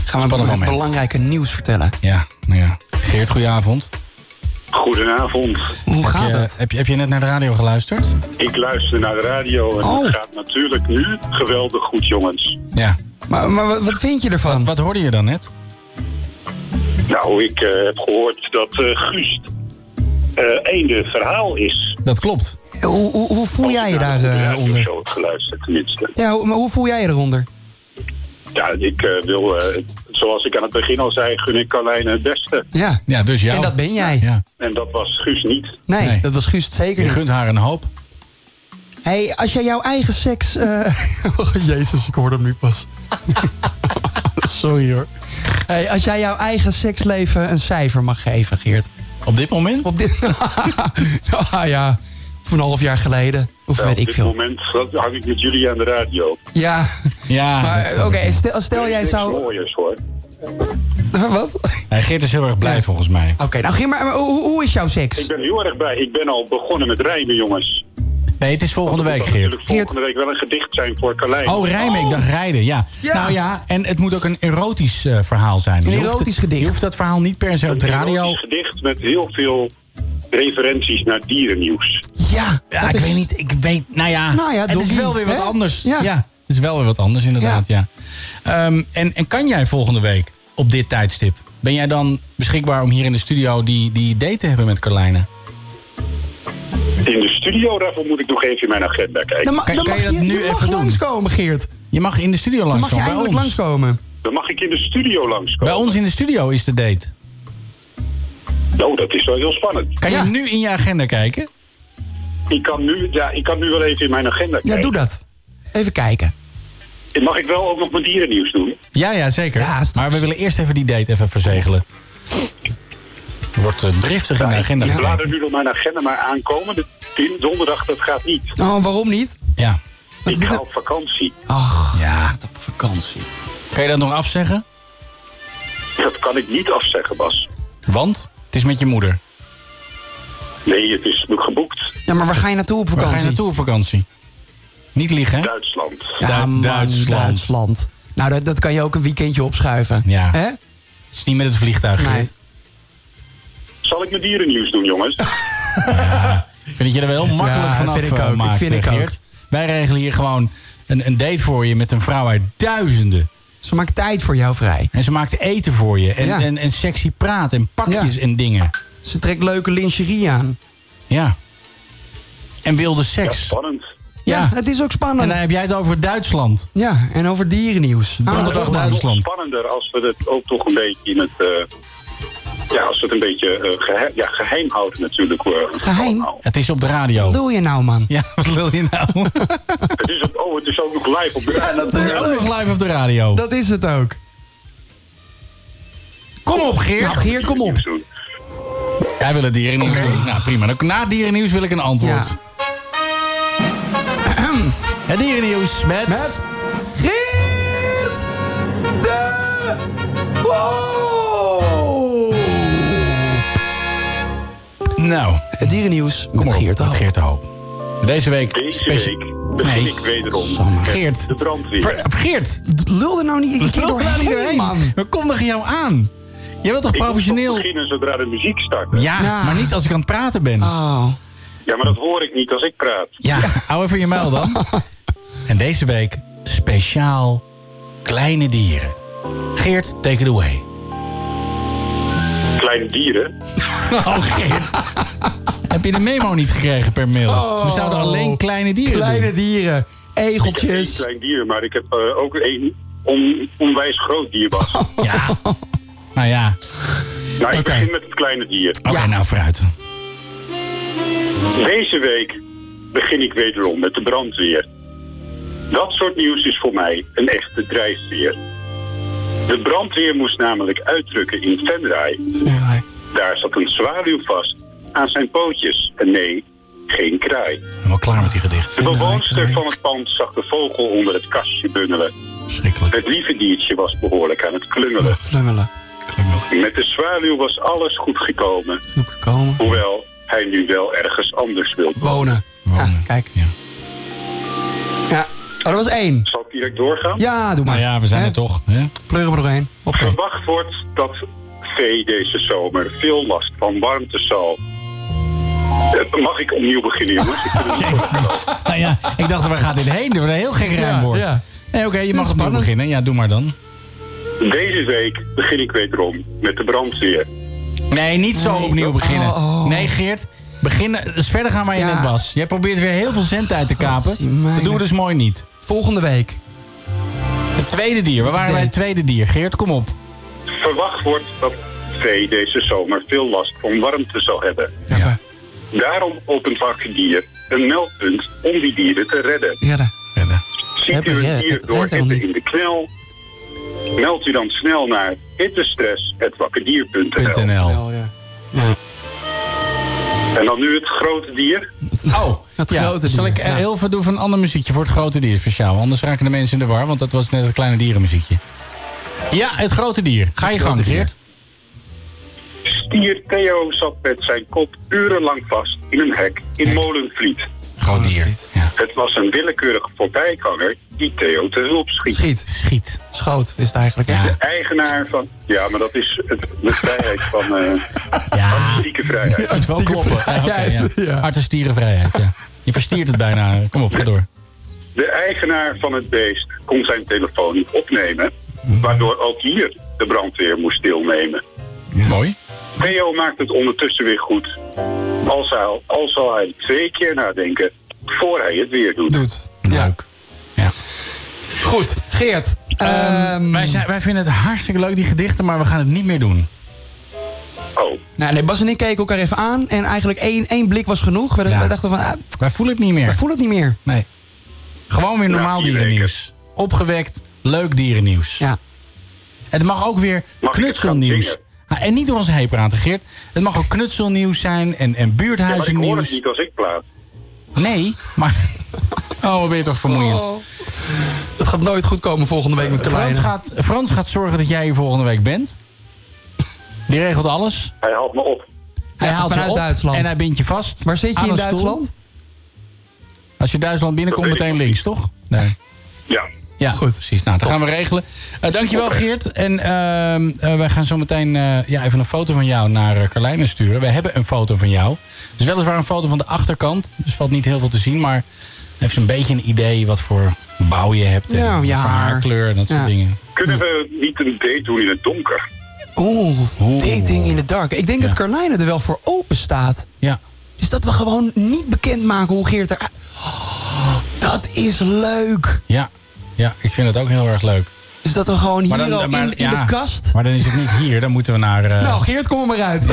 F: Spannend
G: het
F: moment.
G: belangrijke nieuws vertellen.
F: Ja, nou ja. Geert, goedenavond.
Q: Goedenavond.
G: Hoe gaat
F: heb je,
G: het?
F: Heb je, heb je net naar de radio geluisterd?
Q: Ik luister naar de radio en
G: Oh.
Q: het gaat natuurlijk nu geweldig goed, jongens.
F: Ja.
G: Maar, maar wat, wat vind je ervan? Wat,
F: wat hoorde je dan net?
Q: Nou, ik eh, heb gehoord dat eh Guus eh einde verhaal is.
F: Dat klopt.
G: Hoe, hoe, hoe voel jij je daar
Q: Ik
G: eh,
Q: heb
G: onder?
Q: zo geluisterd, tenminste.
G: Ja, hoe- maar hoe voel jij je eronder?
Q: Ja, ik eh, wil, eh, zoals ik aan het begin al zei, gun ik Carlijn het beste.
G: Ja.
F: ja, dus jou.
G: En dat ben jij.
Q: En dat was Guus niet.
G: Nee, dat was Guus het zeker
F: Je
G: niet.
F: gunt haar een hoop.
G: hey, als jij jouw eigen seks... eh, oh, jezus, ik hoor hem nu pas. Sorry hoor. Hey, als jij jouw eigen seksleven een cijfer mag geven, Geert.
F: Op dit moment?
G: Op dit... ah ja, of een half jaar geleden. Of
Q: Nou,
G: weet
Q: op
G: ik
Q: dit
G: veel.
Q: moment hang ik met jullie aan de radio.
F: Ah,
G: Ja.
F: Ja.
G: Maar eh, oké, stel, stel jij
Q: Niks
G: zou...
Q: mooiers, hoor.
G: Wat?
F: Hij Geert is heel erg blij volgens mij. Oké,
G: nou Geert, maar, maar hoe, hoe is jouw seks?
Q: Ik ben heel erg bij. Ik ben al begonnen met rijmen, jongens.
F: Nee, het is volgende week, Geert.
Q: Volgende week wel een gedicht zijn voor Carlijn.
F: Oh, rijmen. Ik dacht rijden, ja. Nou ja, en het moet ook een erotisch eh, verhaal zijn.
Q: Een
F: Je hoeft het-
Q: erotisch gedicht.
F: Je hoeft dat verhaal niet per se op de radio.
Q: Een gedicht met heel veel referenties naar dierennieuws.
G: Ja,
F: ja ik weet niet. Ik weet, nou ja,
Q: Nou ja,
F: het is
Q: doggy,
F: wel weer wat
Q: hè?
F: anders.
Q: Ja.
F: Ja. het is wel weer wat anders inderdaad, ja. Ehm, en, en kan jij volgende week op dit tijdstip? Ben jij dan beschikbaar om hier in de studio die, die date te hebben met Carlijne?
Q: In de studio, daarvoor moet ik nog even in mijn agenda kijken.
G: Dan, ma- dan mag je, nu mag langskomen, Geert.
F: Je mag in de studio
G: Dan mag je
F: langskomen, bij
G: eindelijk
F: ons.
G: langskomen.
Q: Dan mag ik in de studio langskomen.
F: Bij ons in de studio is de date.
Q: Nou, dat is wel heel spannend.
F: Kan je nu in je agenda kijken?
Q: Ik kan, nu, ja, ik kan nu wel even in mijn agenda kijken.
G: Ja, doe dat. Even kijken.
Q: Mag ik wel ook nog mijn dierennieuws doen?
F: Ja, ja, zeker. maar we willen eerst even die date even verzegelen. Wordt eh, driftig in de agenda
Q: Ik
F: gekeken.
Q: laat er nu nog mijn agenda maar aankomen. De- din- donderdag, dat gaat niet.
G: Oh, waarom niet?
F: Ja.
Q: Ik ga op vakantie.
G: Ach,
F: ja, gaat op vakantie. Kan je dat nog afzeggen?
Q: Dat kan ik niet afzeggen, Bas.
F: Want het is met je moeder.
Q: Nee, het is geboekt.
G: Ja, maar waar ga je naartoe op
F: Waar
G: vakantie?
F: ga je naartoe op vakantie? Niet liegen, hè?
Q: Duitsland.
G: Ja, man, Duitsland. Nou, dat, dat kan je ook een weekendje opschuiven.
F: Ja.
G: Hè?
F: Het is niet met het vliegtuig.
G: Nee.
F: Geert.
Q: Zal ik mijn dierennieuws doen, jongens?
F: Ik vind dat je er wel heel makkelijk
Q: Ja,
F: vanaf
Q: vind ik
F: eh,
Q: ook. Ik
F: maakt,
Q: vind
F: eh,
Q: ik ook.
F: Geert. Wij regelen hier gewoon een, een date voor je met een vrouw uit duizenden.
G: Ze maakt tijd voor jou vrij.
F: En ze maakt eten voor je. En,
G: Ja.
F: en, en sexy praat en pakjes en dingen.
G: Ze trekt leuke lingerie aan.
F: Ja. En wilde seks.
Q: spannend.
G: Ja, het is ook spannend.
F: En dan heb jij het over Duitsland.
G: Ja, en over dierennieuws. Nou,
Q: het Nog spannender als we het ook toch een beetje in het... eh, ja, als we het een beetje eh, gehe- ja, geheim houden natuurlijk. eh. hoor.
G: Geheim?
F: Het is op de radio.
G: Wat wil je nou, man?
F: Ja, wat wil je nou?
Q: Het is op, oh, het is ook nog live op de radio.
F: Ook nog live op de radio.
G: Dat is het ook.
F: Kom op, Geert.
G: Nou, Geert, kom op.
F: Jij wil het dierennieuws doen. Nou, prima. Dan- Na dierennieuws wil ik een antwoord. Het dierennieuws met...
G: Met Geert de
F: Nou.
G: Het dierennieuws met Geert de Hoop.
F: Geert de Hoop. Deze week...
Q: Deze
F: specia-
Q: week begin
F: Nee.
Q: ik wederom met
F: Geert.
Q: de brandweer.
F: Ver- Eh, Geert.
G: Lul er nou niet een keer
F: Loop daar
G: doorheen,
F: niet doorheen.
G: man.
F: We kondigen jou aan. Jij wilt toch
Q: Ik moet
F: professioneel...
Q: toch beginnen zodra de muziek start.
F: Ja, maar niet als ik aan het praten ben.
G: Oh.
Q: Ja, maar dat hoor ik niet als ik praat.
F: Ja, hou even je muil dan. En deze week speciaal kleine dieren. Geert, take it away.
Q: Kleine dieren.
F: Oh, Geert. Heb je de memo niet gekregen per mail? We zouden alleen kleine dieren
G: Kleine
F: doen.
G: dieren.
Q: Ik heb één
G: Egeltjes.
Q: klein dier, maar ik heb eh, ook één on- onwijs groot dier, Bas.
F: Ja. Nou ja.
Q: Nou, ik begin met het kleine dier.
F: Oké, nou vooruit.
Q: Deze week begin ik wederom met de brandweer. Dat soort nieuws is voor mij een echte drijfveer. De brandweer moest namelijk uitdrukken in Venray. Daar zat een zwaluw vast aan zijn pootjes. En nee, geen kraai.
F: Helemaal klaar met die gedicht.
Q: De bewoonster van het pand zag de vogel onder het kastje bungelen. Het lieve diertje was behoorlijk aan het klungelen.
G: Klungelen.
Q: Met de zwaluw was alles goed gekomen.
G: Moet gekomen.
Q: Hoewel hij nu wel ergens anders wil
G: Wonen. Ja, kijk. Ja. ja. Oh, dat was één.
Q: Zal ik direct doorgaan?
G: Ja, doe maar.
F: Nou ja, we zijn
G: Hè?
F: er toch. Hè?
G: Pleuren we er doorheen. Oké.
Q: Verwacht wordt dat vee deze zomer veel last van warmte zal. Eh, Mag ik opnieuw beginnen, jongens? Ik vind het niet goed.
F: Nou ja, ik dacht, waar gaat dit heen? Door een heel gek rijmwoord.
Q: ja.
F: Nee, oké, je mag opnieuw beginnen. Ja, doe maar dan.
Q: Deze week begin ik wederom met de brandweer.
F: Nee, niet zo opnieuw beginnen. Nee, Geert. Begin, dus verder gaan waar je net was. Jij probeert weer heel veel cent uit te kapen. Dat doen we dus mooi niet.
G: Volgende week.
F: Het tweede dier. We waren bij het tweede dier. Geert, kom op.
Q: Verwacht wordt dat vee deze zomer veel last van warmte zal hebben. Daarom opent Wakkerdier een meldpunt om die dieren te redden.
G: Redden.
Q: Ziet u
G: Redden,
Q: een
G: ja,
Q: dier
G: het
Q: door
G: redt helemaal
Q: hitte in de knel? Meld u dan snel naar hittestress.wakkerdier.nl
F: NL.
Q: En dan nu het grote dier.
F: Oh, ja. Zal ik eh, heel veel doen van een ander muziekje voor het grote dier speciaal? Anders raken de mensen in de war, want dat was net het kleine dierenmuziekje. Ja, het grote dier. Ga je gang, Geert.
Q: Stier Theo zat met zijn kop urenlang vast in een hek in Molenvliet.
F: Groot dier.
Q: Het was een willekeurige voorbijganger die Theo te hulp schiet.
G: Schiet. Schiet. Schoot is het eigenlijk. hè?
Q: De eigenaar van... Ja, maar dat is het, de vrijheid van... eh Artistieke vrijheid.
F: Het wel kloppen. Ja, oké, ja. Hart- en stierenvrijheid, ja. Je verstiert het bijna. Kom op, ga door.
Q: De eigenaar van het beest kon zijn telefoon niet opnemen... waardoor ook hier de brandweer moest deelnemen.
F: Mooi.
Q: Theo maakt het ondertussen weer goed. Al zal, al zal hij twee keer nadenken voor hij het weer doet.
G: Doet. Leuk. Goed, Geert.
F: Ehm, wij, zijn, wij vinden het hartstikke leuk, die gedichten, maar we gaan het niet meer doen.
Q: Oh.
G: Nou, nee, Bas en ik keken elkaar even aan. En eigenlijk één, één blik was genoeg. We we dachten van, ah,
F: Wij voelen het niet meer.
G: we voelen het niet meer.
F: Nee. Gewoon weer normaal dierennieuws. Opgewekt, leuk dierennieuws.
G: Ja.
F: Het mag ook weer knutselnieuws. Ah, En niet door ons heen praten, Geert. Het mag ook knutselnieuws zijn
Q: Ja,
F: en, en
Q: maar ik hoor het
F: buurthuizennieuws.
Q: niet als ik plaat.
F: Nee, maar... Oh, wat ben je toch vermoeiend.
G: Het gaat nooit goed komen volgende week met
F: Frans
G: Kleine.
F: gaat, Frans gaat zorgen dat jij hier volgende week bent. Die regelt alles.
Q: Hij haalt me op.
F: Hij haalt je
G: vanuit
F: op
G: Duitsland.
F: en hij bindt je vast.
G: Waar zit je
F: aan
G: in
F: een stoel.
G: Duitsland?
F: Als je Duitsland binnenkomt,
Q: Dat weet
F: meteen
Q: ik
F: links, toch? Nee.
Q: Ja.
F: Ja, goed. Precies. Nou, dat gaan we regelen. Eh, dankjewel, Geert. En ehm, eh, wij gaan zo meteen eh, ja, even een foto van jou naar eh, Carlijnen sturen. We hebben een foto van jou. Het is weliswaar een foto van de achterkant. Dus valt niet heel veel te zien. Maar heeft een beetje een idee wat voor bouw je hebt. En
G: Ja,
F: wat
G: je
F: voor
G: haar.
F: haarkleur en dat soort
G: Ja.
F: dingen.
Q: Kunnen we niet een date doen in het donker?
G: Oeh, dating in the dark. Ik denk dat Carlijne er wel voor open staat.
F: Ja.
G: Dus dat we gewoon niet bekendmaken hoe Geert er... Oh, dat is leuk.
F: Ja. ja, ik vind dat ook heel erg leuk.
G: Dus dat we gewoon hier al in, in
F: ja,
G: de kast...
F: Maar dan is het niet hier. Dan moeten we naar... eh,
G: Nou, Geert, kom er maar uit.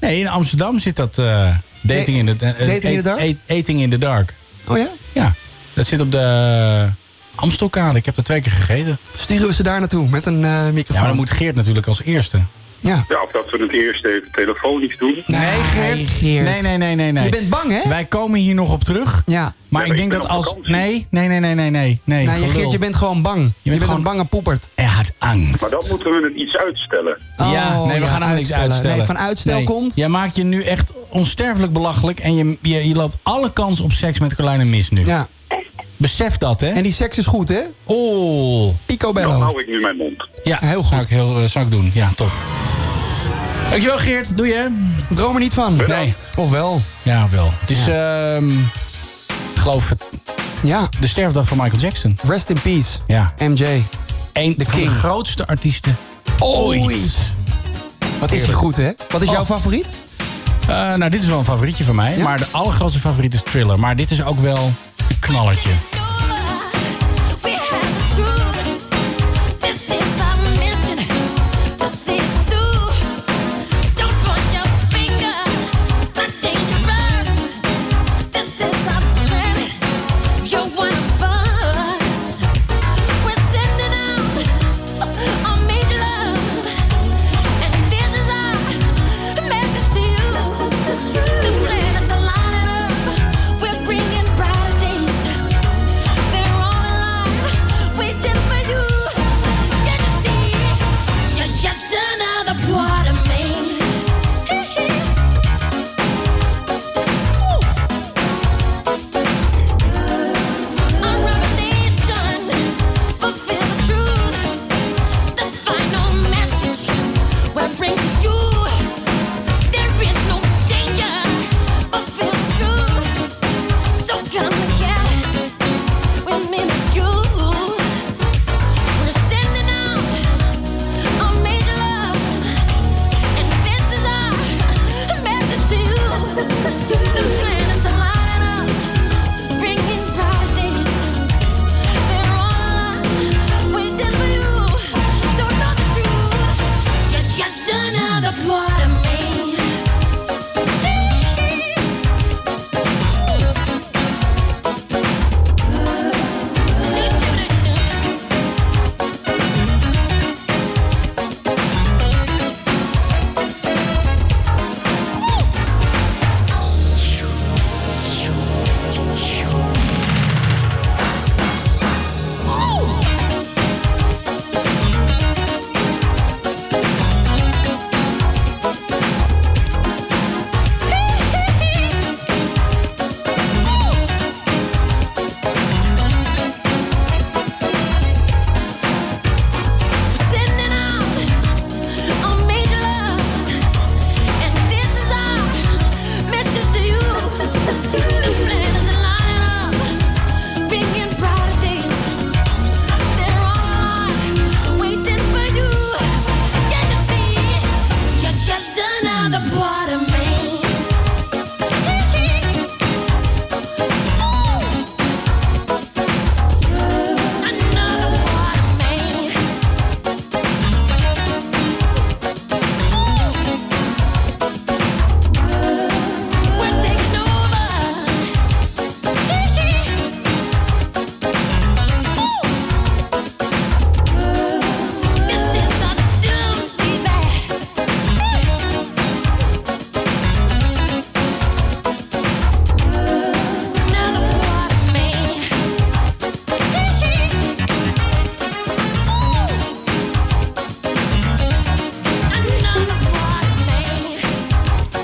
F: Nee, in Amsterdam zit dat eh, dating, in the, eh, eh,
G: Dating in the Dark?
F: eat- eat- Eating in the Dark.
G: Oh ja?
F: Ja, dat zit op de eh, Amstelkade. Ik heb er twee keer gegeten.
G: Sturen we ze daar naartoe met een eh, microfoon.
F: Ja, maar dan moet Geert natuurlijk als eerste.
Q: Ja, of dat we het eerst even telefonisch doen.
G: Nee, Geert. Geert.
F: Nee, nee, nee, nee. nee.
G: Je bent bang, hè?
F: Wij komen hier nog op terug.
G: Ja.
F: Maar
Q: Ja,
F: ik
Q: maar
F: denk
Q: ik ben
F: dat
Q: op
F: als...
Q: vakantie.
F: Nee, nee, nee, nee, nee, nee. Nee,
G: Nee,
F: gelul.
G: Geert, je bent gewoon bang. Je bent,
F: gewoon-
G: een bange poepert.
F: Hij had angst.
Q: Maar dan moeten we het iets uitstellen.
F: ja,
G: Oh,
F: nee, we
G: ja,
F: gaan hem niks
G: uitstellen.
F: uitstellen.
G: Nee, van uitstel komt-
F: Jij maakt je nu echt onsterfelijk belachelijk... en je, je, je loopt alle kans op seks met Carlijne mis nu.
G: Ja.
F: Besef dat, hè?
G: En die seks is goed, hè?
F: Oh...
G: Pico
Q: Dan
G: Bello.
Q: hou ik nu mijn mond.
F: Ja,
G: Heel goed.
F: Zou ik, heel, eh, zou ik doen. Ja, top. Dankjewel Geert, doe je.
G: Droom er niet van.
F: Nee.
G: Of wel.
F: Ja, wel. Het is, ehm, ik geloof het,
G: Ja.
F: de sterfdag van Michael Jackson.
G: Rest in peace.
F: Ja.
G: MJ.
F: Eén van de
G: De king.
F: grootste artiesten ooit.
G: Wat is hij goed, hè? Wat
R: Oh.
G: is jouw favoriet?
F: Eh, nou, dit is wel een favorietje van mij. Maar de allergrootste favoriet is Thriller. Maar dit is ook wel een knallertje.
H: The plan is a line up. We're bringing brighter days.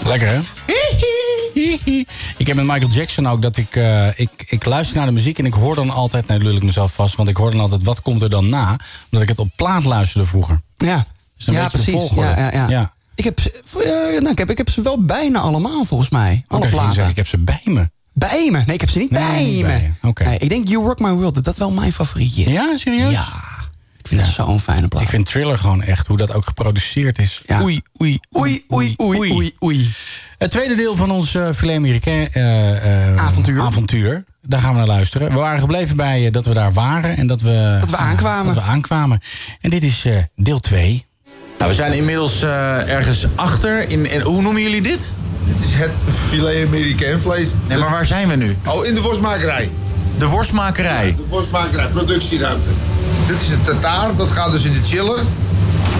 R: Lekker, hè? Ik heb met Michael Jackson ook dat ik, eh, ik... Ik luister naar de muziek en ik hoor dan altijd... Nee, lul ik mezelf vast, want ik hoor dan altijd... Wat komt er dan na? Omdat ik het op plaat luisterde vroeger.
G: Ja,
R: Dus dan
G: ja
R: weet je de
G: precies.
R: volgorde.
G: Ja, ja, ja.
R: Ja.
G: Ik, heb, ze- eh, nou, ik, heb, ik heb ze wel bijna allemaal, volgens mij. Alle
R: Oké, ging
G: platen.
R: zeggen, ik heb ze bij me.
G: Bij me? Nee, ik heb ze niet
R: Nee,
G: bij
R: niet
G: me.
R: bij
G: Nee, ik denk You Rock My World, dat dat wel mijn favorietje is.
R: Ja, serieus?
G: Ja. Ik vind het zo'n fijne plaat.
R: Ik vind Thriller gewoon echt, hoe dat ook geproduceerd is. Oei, oei, oei, oei, oei, oei, Het tweede deel van ons eh filet Americain eh, eh, avontuur. Daar gaan we naar luisteren. We waren gebleven bij eh, dat we daar waren en dat we, dat we aankwamen. dat we aankwamen. En dit is eh, deel 2.
F: Nou, we zijn inmiddels eh, ergens achter. In, in- hoe noemen jullie dit?
S: Dit is het filet Amerikaan vlees.
F: Nee, maar waar zijn we nu?
S: Oh, in de worstmakerij.
F: De worstmakerij?
S: de worstmakerij, productieruimte. Dit is het tartaar, dat gaat dus in de chiller.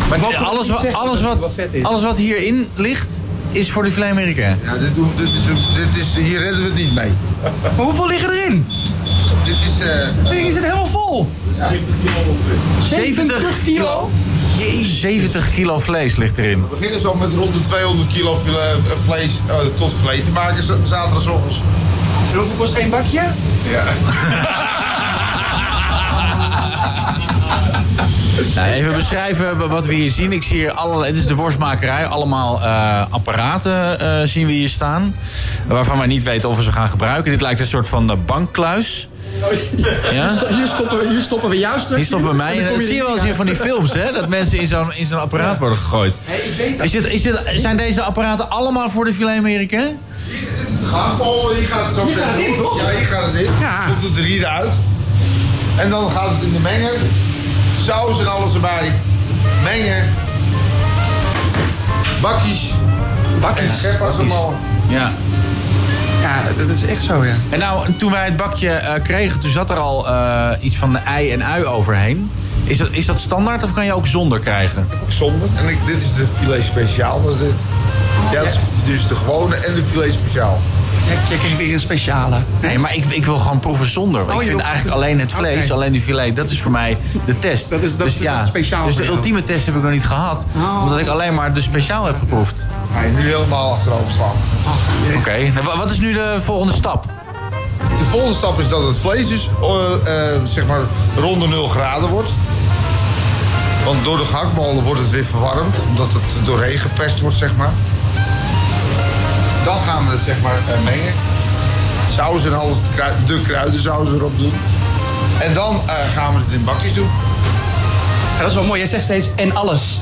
F: Maar alles, wa- alles, wat, alles wat hierin ligt, is voor de filet Amerika.
S: Ja, dit, doen, dit, is, dit is... Hier redden we het niet mee.
F: Maar hoeveel liggen erin?
S: Dit is... eh
F: Ding is het helemaal vol. 70 kilo? Jezus. 70 kilo vlees ligt erin.
S: We beginnen zo met rond de 200 kilo filet- eh, vlees eh, tot vlees te maken z- zaterdagochtends. En hoeveel kost één bakje? Ja.
F: Nou, even beschrijven wa- wat we hier zien. Ik zie hier allerlei. Dit is de worstmakerij. Allemaal eh, apparaten eh, zien we hier staan. Waarvan wij niet weten of we ze gaan gebruiken. Dit lijkt een soort van eh, bankkluis. Ja?
T: Hier, stoppen we, hier stoppen we jou straks.
F: Hier stoppen we mij.
T: En dan
F: En
T: kom
F: dat
T: je
F: zie je
T: er
F: wel eens
T: niet
F: in van die
T: uit.
F: films, hè? Dat mensen in zo'n in zo'n apparaat worden gegooid. Is dit, is dit, zijn deze apparaten allemaal voor de filet Amerika?
S: Gaanpol, hier gaat het zo
F: Hier gaat het in, toch?
S: Ja, hier gaat het in. Komt het er hier uit. En dan gaat het in de menger. Saus en alles erbij. Mengen. Bakjes. Bakjes. En schep als allemaal.
F: Ja.
G: Ja, dat is echt zo, ja.
F: En nou, toen wij het bakje eh, kregen, toen zat er al eh, iets van de ei en ui overheen. Is dat, is dat standaard of kan je ook zonder krijgen?
S: Ook zonder. En ik, dit is de filet speciaal, was dit. Ja, dat is dus de gewone en de filet speciaal.
G: Je kreeg weer een speciale.
F: Nee, maar ik, ik wil gewoon proeven zonder.
S: Oh,
F: ik
S: je
F: vind
S: wil-
F: eigenlijk alleen het vlees,
S: Oké.
F: alleen die filet, dat is voor mij de test. Dat is, dat dus, ja,
S: speciaal
F: Dus
S: voor
F: de
S: jou.
F: ultieme test heb ik nog niet gehad.
S: Oh.
F: Omdat ik alleen maar de speciaal heb geproefd.
S: Ga je nu helemaal achterover slaan.
F: Oké, nou, wa- wat is nu de volgende stap?
S: De volgende stap is dat het vlees dus eh, eh, zeg maar rond de 0 graden wordt. Want door de gehaktmolen wordt het weer verwarmd, omdat het er doorheen gepest wordt, zeg maar. Dan gaan we het zeg maar eh, mengen. Saus en alles, de krui- de kruidensaus erop doen. En dan eh, gaan we het in bakjes doen.
T: dat is wel mooi. Jij zegt steeds en alles.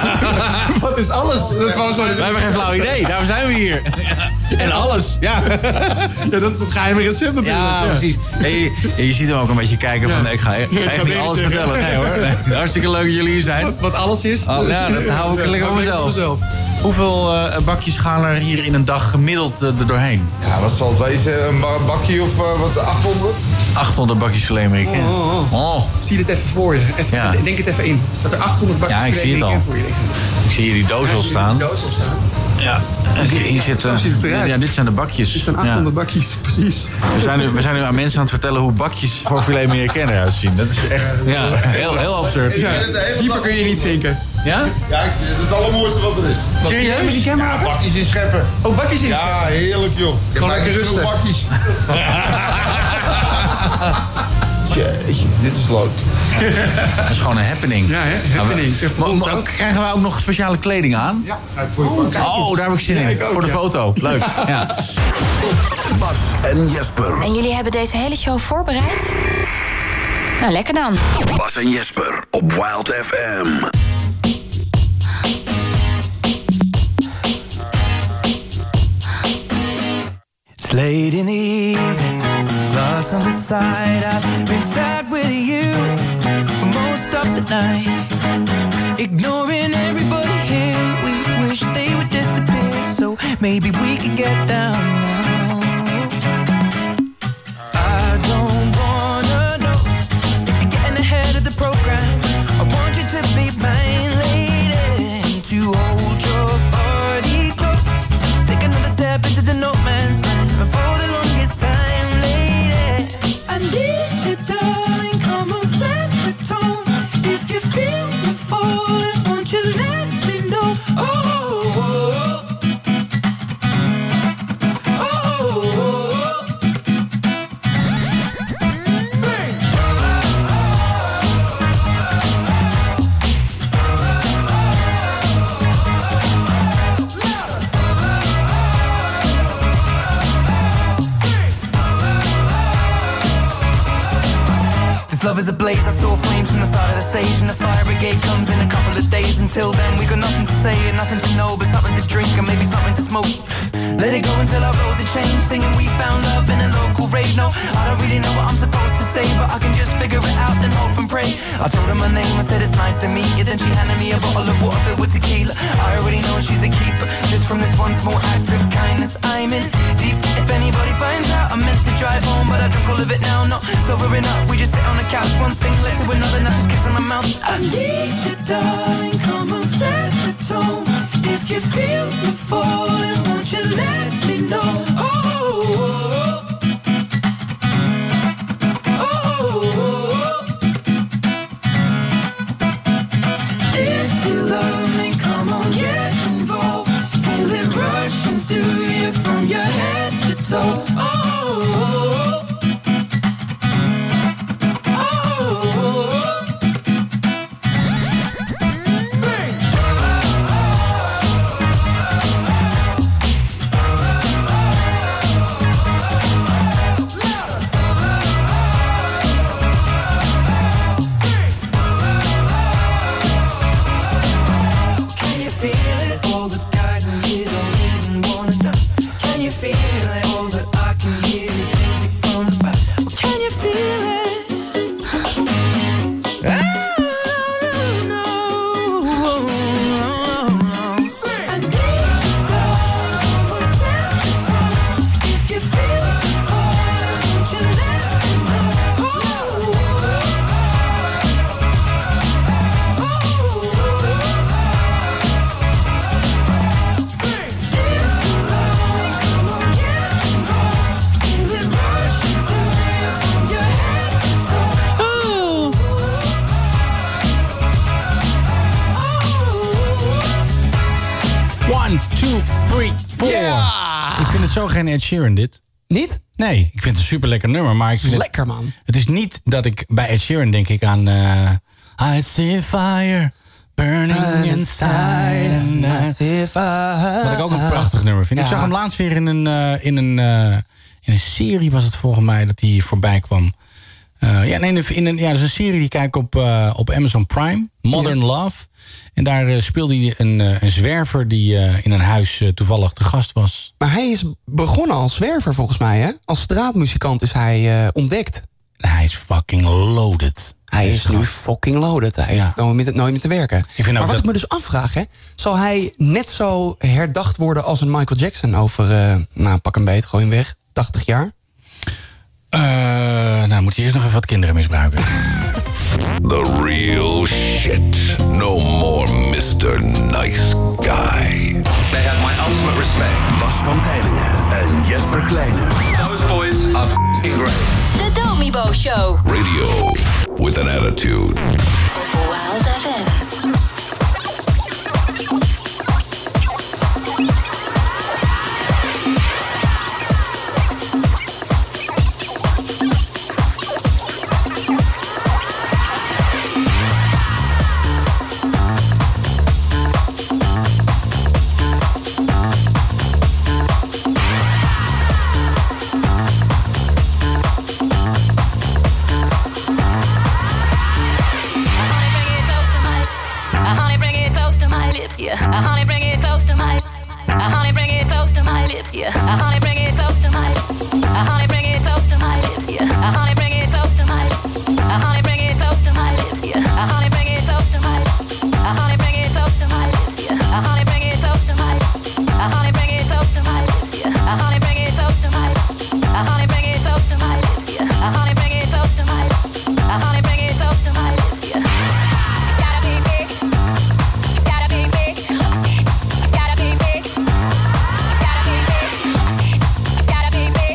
T: Wat is alles? Dat was gewoon...
F: We hebben geen flauw idee, daarom zijn we hier. En alles, ja.
T: Ja, dat is het geheime recept natuurlijk.
F: Ja, precies. En je, en je ziet hem ook een beetje kijken van, ik ga echt
T: ik ga
F: niet
T: niks
F: alles
T: zeggen.
F: vertellen. Nee hoor, Nee, hartstikke leuk dat jullie hier zijn.
T: Wat, wat alles is.
F: Oh, ja, dat hou ik
T: Ja,
F: lekker voor
T: hou ik
F: mezelf. Hoeveel eh, bakjes gaan er hier in een dag gemiddeld eh, er doorheen?
S: Ja, wat zal het wezen? Een ba- bakje of eh, wat, 800?
F: 800 bakjes filet Amerikaan. Oh,
T: Zie dit even voor je. Even,
F: Ja.
T: Denk het even in. Dat er 800 bakjes
F: Ja, ik
T: filet
F: zie het al.
T: bacon voor je liggen.
F: Ik zie hier die doos al staan. Ja, en hier zit, eh,
T: ziet het eruit.
F: ja, dit zijn de bakjes. Dit
T: zijn 800 bakjes, precies.
F: We zijn, nu, we zijn nu aan mensen aan het vertellen hoe bakjes voor filet Amerikaan eruit zien. Dat is echt ja, heel, heel absurd.
S: Ja, dieper kun
T: je niet zinken.
F: Ja?
S: Ja, ik vind het het allermooiste wat er is.
F: Serieus?
S: die ja, bakjes in scheppen.
T: Oh, bakjes in
S: Ja, heerlijk joh. Ik heb
T: Gewoon lekker
S: eigenlijk
T: rusten.
S: genoeg bakjes. Jeetje, dit is leuk.
F: Dat is gewoon een happening. Nou, Ja,
T: happening.
F: Maar, maar krijgen wij ook nog speciale kleding aan?
S: Ja, ga ik voor je pakken.
F: Oh, daar heb ik zin in. voor de foto. Leuk. Ja.
P: Bas en Jesper.
D: En jullie hebben deze hele show voorbereid? Nou, lekker dan.
P: Bas en Jesper op Wild FM.
M: It's late in the evening, lost on the side. I've been sad with you for most of the night. Ignoring everybody here, we wish they would disappear. So maybe we could get down now. I don't wanna know if you're getting ahead of the program. I want you to be mine, lady, and to hold your body close. Take another step into the no man's land. But for the longest time, lady, I need you, darling. Come on, set the tone. If you feel me falling, won't you let me know? Oh, oh, oh.
U: is ablaze. I saw flames from the side of the stage, and the fire brigade comes in a couple of days. Until then, we got nothing to say and nothing to know, but something to drink and maybe something to smoke. Let it go until our roads are changed. Singing, we found love in a local rave. No, I don't really know what I'm supposed to say, but I can just figure it out, then hope and pray. I told her my name, I said it's nice to meet you. Then she handed me a bottle of water filled with tequila. I already know she's a keeper, just from this one small act of kindness. I'm in deep. If anybody finds out, I'm meant to drive home, but I drink all of it now. Not sobering up, we just sit on the couch. One thing led to another, now just kiss on my mouth.
M: I need you, darling, come on, set the tone. If you feel the falling, won't you let me know? Oh, oh, oh. Oh. If you love me, come on, get involved. Feel it rushing through you from your head to toe. Oh, oh, oh. Sing. Can you feel it? All the guys in here don't even wanna dance. Can you feel it? All that I can hear is music from the back. Oh, can you feel it?
F: One, two, three, four. Ik vind het zo geen Ed Sheeran, dit. Niet? Nee, ik vind het een super lekker nummer. Maar ik vind lekker, man. Het is niet dat ik bij Ed Sheeran denk ik aan... eh, I see fire burning inside. and I see fire. Wat ik ook een prachtig nummer vind. Ik
G: Eh, Ja.
F: zag hem laatst weer in een, eh, in, een, eh, in een serie, was het volgens mij, dat hij voorbij kwam. Eh, ja, nee, in een, in een, ja, dat is een serie die kijk ik op, eh, op Amazon Prime. Modern Love. En daar eh, speelde hij een, eh, een zwerver die eh, in een huis eh, toevallig te gast was.
G: Maar hij is begonnen als zwerver volgens mij, hè? Als straatmuzikant is hij eh, ontdekt.
F: Hij is fucking loaded.
G: Hij is nu fucking loaded. Hij heeft nooit meer, te- nooit meer te werken. maar wat
F: dat-
G: ik me dus afvraag, hè, zal hij net zo herdacht worden als een Michael Jackson over, eh, nou pak een beet, gooi hem weg, 80 jaar?
F: nou, moet je eerst nog even wat kinderen misbruiken.
B: The real shit. No more Mr. Nice Guy. They have my ultimate respect.
P: Bas van Tijlingen en Jesper Kleine. Those boys are f***ing great.
O: De Domibo Show.
B: Radio with an attitude.
O: Wild FM.
V: I honey bring it close to my I Uh, honey bring it close to my lips, yeah. I honey bring it close to my I honey bring it close to my lips, yeah. I honey bring it close to my I honey bring it close to my lips, yeah. I honey bring it close to my I honey bring it close to my lips, yeah. I honey bring it close to my I honey bring it close to my lips, yeah. I honey bring it close to my I honey bring it close to my lips, yeah. I honey bring it close to my I honey bring it close to my lips, yeah. I honey bring it close to my I honey bring it close to my lips, yeah. Gotta be big. Gotta be big. Gotta be big.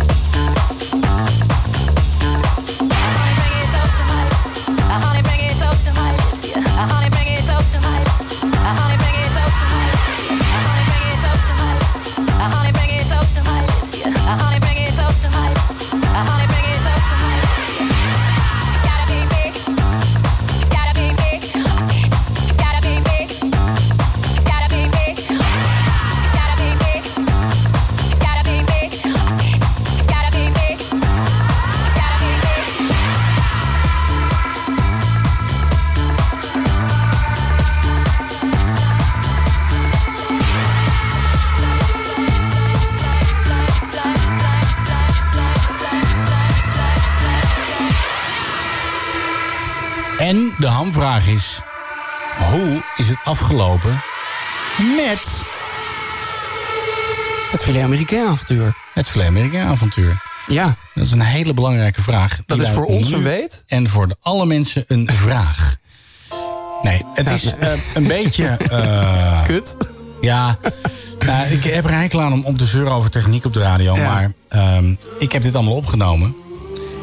V: Uh, Uh, Uh, Uh,
F: En de hamvraag is: hoe is het afgelopen met.
G: Het filet-Amerikaan-avontuur.
F: Het filet-Amerikaan-avontuur.
G: Ja.
F: Dat is een hele belangrijke vraag.
G: Dat
F: Die
G: is voor
F: luidt
G: ons
F: nu
G: een weet?
F: En voor de alle mensen een vraag. Nee, het is eh, een beetje... eh,
G: Kut.
F: Ja, nou, ik heb er hekel aan om, om te zeuren over techniek op de radio. Maar ehm, ik heb dit allemaal opgenomen.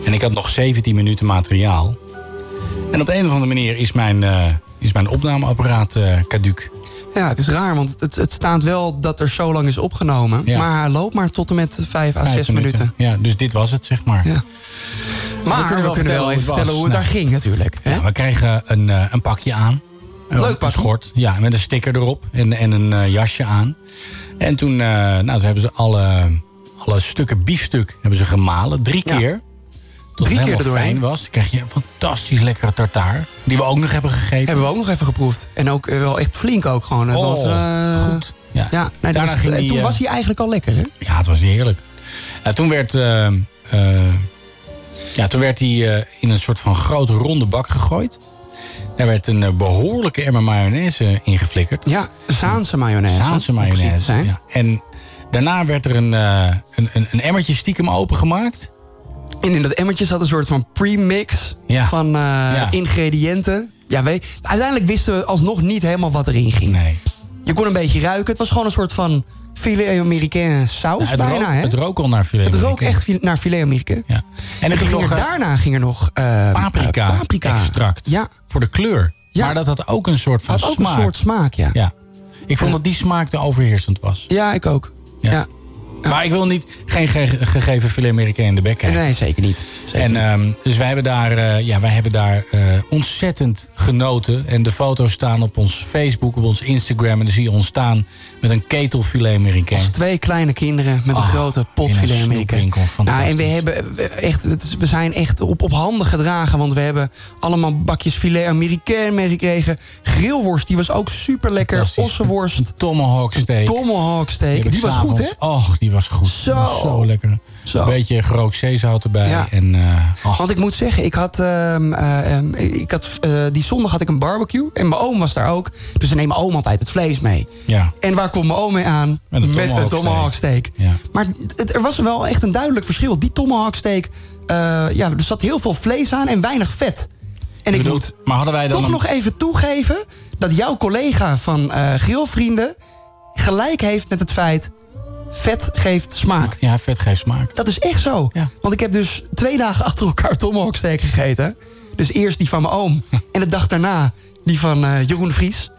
F: En ik had nog 17 minuten materiaal. En op de een of andere manier is mijn, eh, is mijn opnameapparaat eh caduc.
G: Ja, het is raar, want het, het staat wel dat er zo lang is opgenomen.
F: Ja.
G: Maar hij loopt maar tot en met vijf à
F: Vijf
G: zes minuten.
F: Ja, dus dit was het, zeg maar.
G: Maar we kunnen wel vertellen hoe
F: was.
G: het, vertellen hoe het
F: Nou,
G: daar ging, natuurlijk. hè?
F: Ja, we kregen een, eh, een pakje aan. Een-
G: Leuk
F: Een schort, ja, met een sticker erop en, en een eh, jasje aan. En toen, eh, nou, ze hebben ze alle, alle stukken biefstuk hebben ze gemalen. Drie
G: Ja.
F: keer. Tot
G: Drie
F: het helemaal
G: keer erdoorheen.
F: fijn was. Dan kreeg je een fantastisch lekkere tartaar. Die we ook nog hebben gegeten.
G: Hebben we ook nog even geproefd. En ook eh, wel echt flink ook gewoon. eh, wel
F: Nou, Oh,
G: even, eh,
F: goed. Ja.
G: Ja, nee, dat
F: Daarna
G: was-
F: ging
G: en
F: die,
G: toen
F: eh,
G: was hij eigenlijk al lekker, hè?
F: Ja, het was heerlijk. Nou, toen werd, eh, eh, ja, toen werd hij eh, in een soort van grote ronde bak gegooid. Daar werd een eh, behoorlijke emmer mayonaise ingeflikkerd.
G: Ja, Zaanse mayonaise.
F: Zaanse
G: om precies te
F: mayonaise.
G: zijn.
F: ja. En daarna werd er een, eh, een, een, een emmertje stiekem opengemaakt.
G: En in dat emmertje zat een soort van premix van eh, ingrediënten. Ja, we, uiteindelijk wisten we alsnog niet helemaal wat erin ging. Je kon een beetje ruiken. Het was gewoon een soort van filet américain saus
F: Nou, het,
G: bijna,
F: rook,
G: hè?
F: het rook al naar filet.
G: Het rook
F: Amerikaan.
G: echt fil- naar filet américain.
F: Ja. En
G: En
F: er ging
G: ging
F: nog
G: er,
F: een
G: daarna ging er nog eh,
F: paprika,
G: eh, paprika.
F: extract. Voor de kleur. Maar dat had ook een soort van
G: Had ook
F: smaak.
G: een soort smaak, ja.
F: Ja. Ik vond dat die smaak te overheersend was.
G: Ja, ik ook. Ja.
F: Maar ik wil niet geen ge- gegeven filet Amerikaan in de bek hebben.
G: Nee, zeker niet.
F: en, ehm, dus wij hebben daar, eh, ja, wij hebben daar eh, ontzettend genoten. En de foto's staan op ons Facebook, op ons Instagram. En dan zie je ons staan met een ketel filet Amerikaan.
G: Als Dus twee kleine kinderen met een
F: Ah,
G: grote pot
F: in een
G: filet Amerikaan.
F: snoepwinkel,
G: Nou, en we,
F: fantastisch.
G: hebben we- echt, het is- we zijn echt op, op handen gedragen. Want we hebben allemaal bakjes filet Amerikaan meegekregen. Grillworst, die was ook super lekker. Ossenworst.
F: Tomahawk steak.
G: Tomahawk
F: Die
G: steak.
F: heb
G: Die
F: ik
G: was goed, hè?
F: s'avonds- Och, die was goed. Zo, zo lekker. Een beetje gerookt zeezout erbij.
G: Ja.
F: En, eh, och.
G: Want ik moet zeggen, ik had, ehm, eh, ehm, ik had eh, die zondag had ik een barbecue. En mijn oom was daar ook. Dus ze nemen mijn oom altijd het vlees mee.
F: Ja.
G: En waar komt mijn oom mee aan?
F: Met een
G: Met een
F: tomahawk
G: tomahawk steak. Maar het, er was wel echt een duidelijk verschil. Die tomahawk steak, eh, ja, er zat heel veel vlees aan en weinig vet. En
F: Je
G: ik
F: bedoelt,
G: moet
F: maar hadden wij dan
G: toch
F: een-
G: nog even toegeven... dat jouw collega van eh Grillvrienden gelijk heeft met het feit... vet geeft smaak.
F: Ja, vet geeft smaak.
G: Dat is echt zo. Want ik heb dus twee dagen achter elkaar tomahawk steak gegeten. Dus eerst die van mijn oom. en de dag daarna die van eh, Jeroen Vries.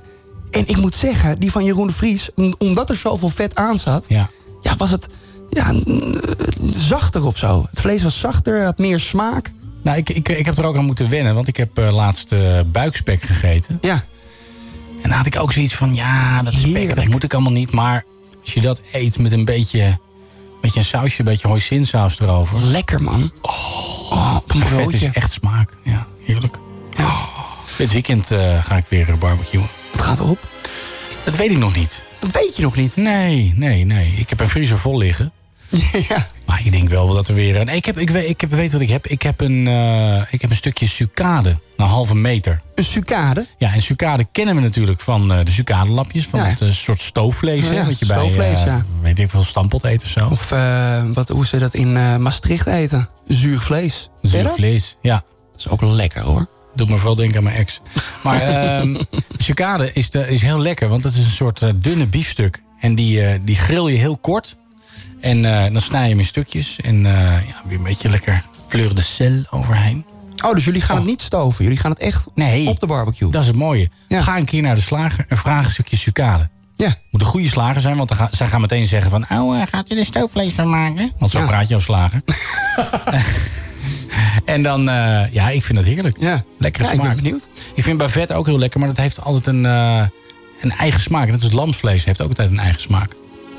G: En ik moet zeggen, die van Jeroen Vries... om- omdat er zoveel vet aan zat...
F: Ja.
G: ja was het ja, n- zachter of zo. Het vlees was zachter, had meer smaak.
F: Nou, ik, ik, ik heb er ook aan moeten wennen, want ik heb eh, laatst eh, buikspek gegeten.
G: Ja.
F: En dan had ik ook zoiets van, ja, dat spek, dat moet ik allemaal niet. Maar als je dat eet met een beetje, beetje een sausje, een beetje hoisinsaus erover.
G: Lekker, man.
F: Oh,
G: een
F: vet is
G: broodje.
F: echt smaak. Ja, heerlijk. Dit weekend eh, ga ik weer barbecuen.
G: Het gaat op.
F: Dat weet ik nog niet.
G: Dat weet je nog niet?
F: Nee, nee, nee. Ik heb een vriezer vol liggen.
G: ja.
F: Maar ik denk wel dat er weer... een- Ik, heb, ik, weet, ik heb, weet wat ik heb. Ik heb een, eh, ik heb een stukje sucade. Een halve meter.
G: Een sucade.
F: Ja, en sucade kennen we natuurlijk van eh, de sucadelapjes. Van het eh, soort stoofvlees.
G: Ja,
F: hè, wat je bij,
G: stoofvlees,
F: eh,
G: ja.
F: weet ik veel, stampot eet of zo.
G: Of eh, wat, hoe ze dat in eh, Maastricht eten. Zuur vlees. Ken je
F: Zuur
G: dat?
F: vlees, ja.
G: Dat is ook lekker hoor.
F: Doet me vooral denken aan mijn ex. Maar ehm sucade is, de, is heel lekker, want het is een soort eh, dunne biefstuk. En die, eh, die grill je heel kort. En eh, dan snij je hem in stukjes. En eh, ja, weer een beetje lekker fleur de sel overheen.
G: Oh, dus jullie gaan het niet stoven. Jullie gaan het echt op de barbecue.
F: Dat is het mooie. Ga een keer naar de slager en vraag een stukje sucade.
G: Ja.
F: Moet een goede slager zijn, want dan ga- zij gaan meteen zeggen van... Oh, eh, gaat u er stoofvlees van maken? Want zo praat je als slager. en dan, eh, ja, ik vind dat heerlijk.
G: Ja.
F: Lekkere
G: Ja, ik
F: smaak.
G: ben benieuwd.
F: Ik vind bavet ook heel lekker, maar dat heeft altijd een, eh, een eigen smaak. Dat is lamsvlees, heeft ook altijd een eigen smaak.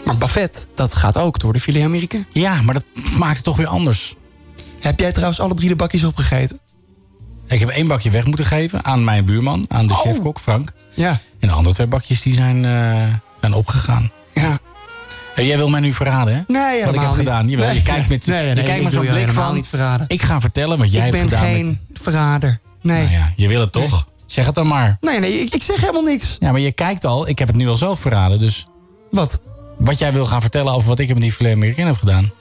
G: Maar bavet, dat gaat ook door de filet Amerika.
F: Ja, maar dat smaakt het toch weer anders.
G: Heb jij trouwens alle drie de bakjes opgegeten?
F: Ik heb één bakje weg moeten geven aan mijn buurman, aan de chefkok Frank.
G: Oh. Ja.
F: En de andere twee bakjes die zijn, eh, zijn opgegaan. Eh,
G: Ja.
F: jij wil mij nu verraden, hè?
G: Nee,
F: Wat ik heb
G: helemaal niet.
F: gedaan. Jawel,
G: Nee.
F: je kijkt met,
G: Nee, nee,
F: je
G: nee,
F: kijkt
G: ik
F: met
G: wil
F: zo'n
G: je
F: blik
G: helemaal
F: van...
G: niet verraden.
F: Ik ga vertellen wat jij
G: ik
F: hebt
G: ben
F: gedaan met
G: geen verrader.
F: Nee. Nou ja, je wil het toch? Zeg het dan maar.
G: Nee, nee, ik, ik zeg helemaal niks.
F: Ja, maar je kijkt al. Ik heb het nu al zelf verraden, dus...
G: Wat?
F: Wat jij wil gaan vertellen over wat ik met die filet americain heb gedaan.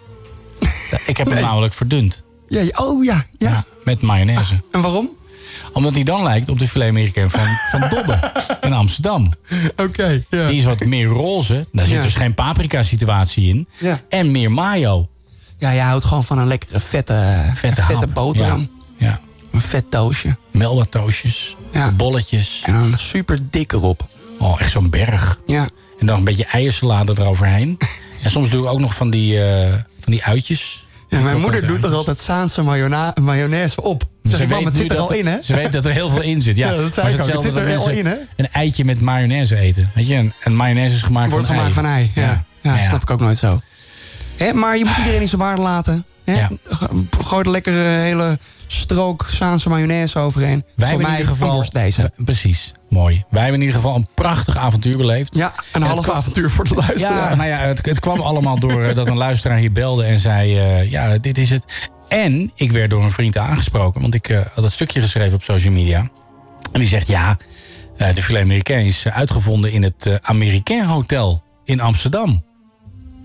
F: Ja, ik heb hem namelijk verdund.
G: Ja, ja, oh ja, ja.
F: Met mayonaise.
G: Ah, En waarom?
F: Omdat hij dan lijkt op de filet americain van, van Dobbe in Amsterdam.
G: Oké, ja.
F: Die is wat meer roze. Daar zit
G: Ja.
F: dus geen paprika situatie in.
G: Ja.
F: En meer mayo.
G: Ja, jij houdt gewoon van een lekkere vette, vette, vette
F: ham.
G: boterham.
F: Ja. ja.
G: Een vet toosje.
F: Melbatoosjes, bolletjes.
G: En dan super dik erop.
F: Oh, echt zo'n berg.
G: Ja.
F: En dan een beetje eiersalade eroverheen. en soms doe ik ook nog van die, eh, van die uitjes.
G: Ja,
F: Die
G: mijn moeder
F: krokante
G: doet er
F: uitjes.
G: altijd Saanse mayona- mayonaise op. Zeg ik, mam, het
F: nu
G: zit er
F: dat
G: al in, hè?
F: Ze weet dat er heel veel in zit. Ja,
G: Ja, dat zei
F: Maar
G: ik ook. Het
F: hetzelfde
G: zit er
F: dat
G: al
F: mensen
G: in, hè?
F: Een eitje met mayonaise eten. Weet je, een, een mayonaise is gemaakt
G: Wordt
F: van
G: gemaakt van ei. Ja, ja,
F: Ja, ja.
G: snap ik ook nooit zo. Hè, maar je moet iedereen in zijn waarde laten. Hè? Gooi er lekker een hele strook Saanse mayonaise overheen.
F: Wij
G: Voor
F: hebben in
G: mij
F: ieder
G: een
F: geval...
G: worst deze.
F: w- Precies, mooi. Wij hebben in ieder geval een prachtig avontuur beleefd.
G: Ja, een
F: En het
G: half
F: kwam-
G: avontuur voor de luisteraar.
F: Ja, nou ja, het, het kwam allemaal door eh, dat een luisteraar hier belde en zei... eh, ja, dit is het. En ik werd door een vriend aangesproken. Want ik eh, had dat stukje geschreven op social media. En die zegt, ja, eh, de filet américain is eh, uitgevonden in het eh, Americain Hotel in Amsterdam.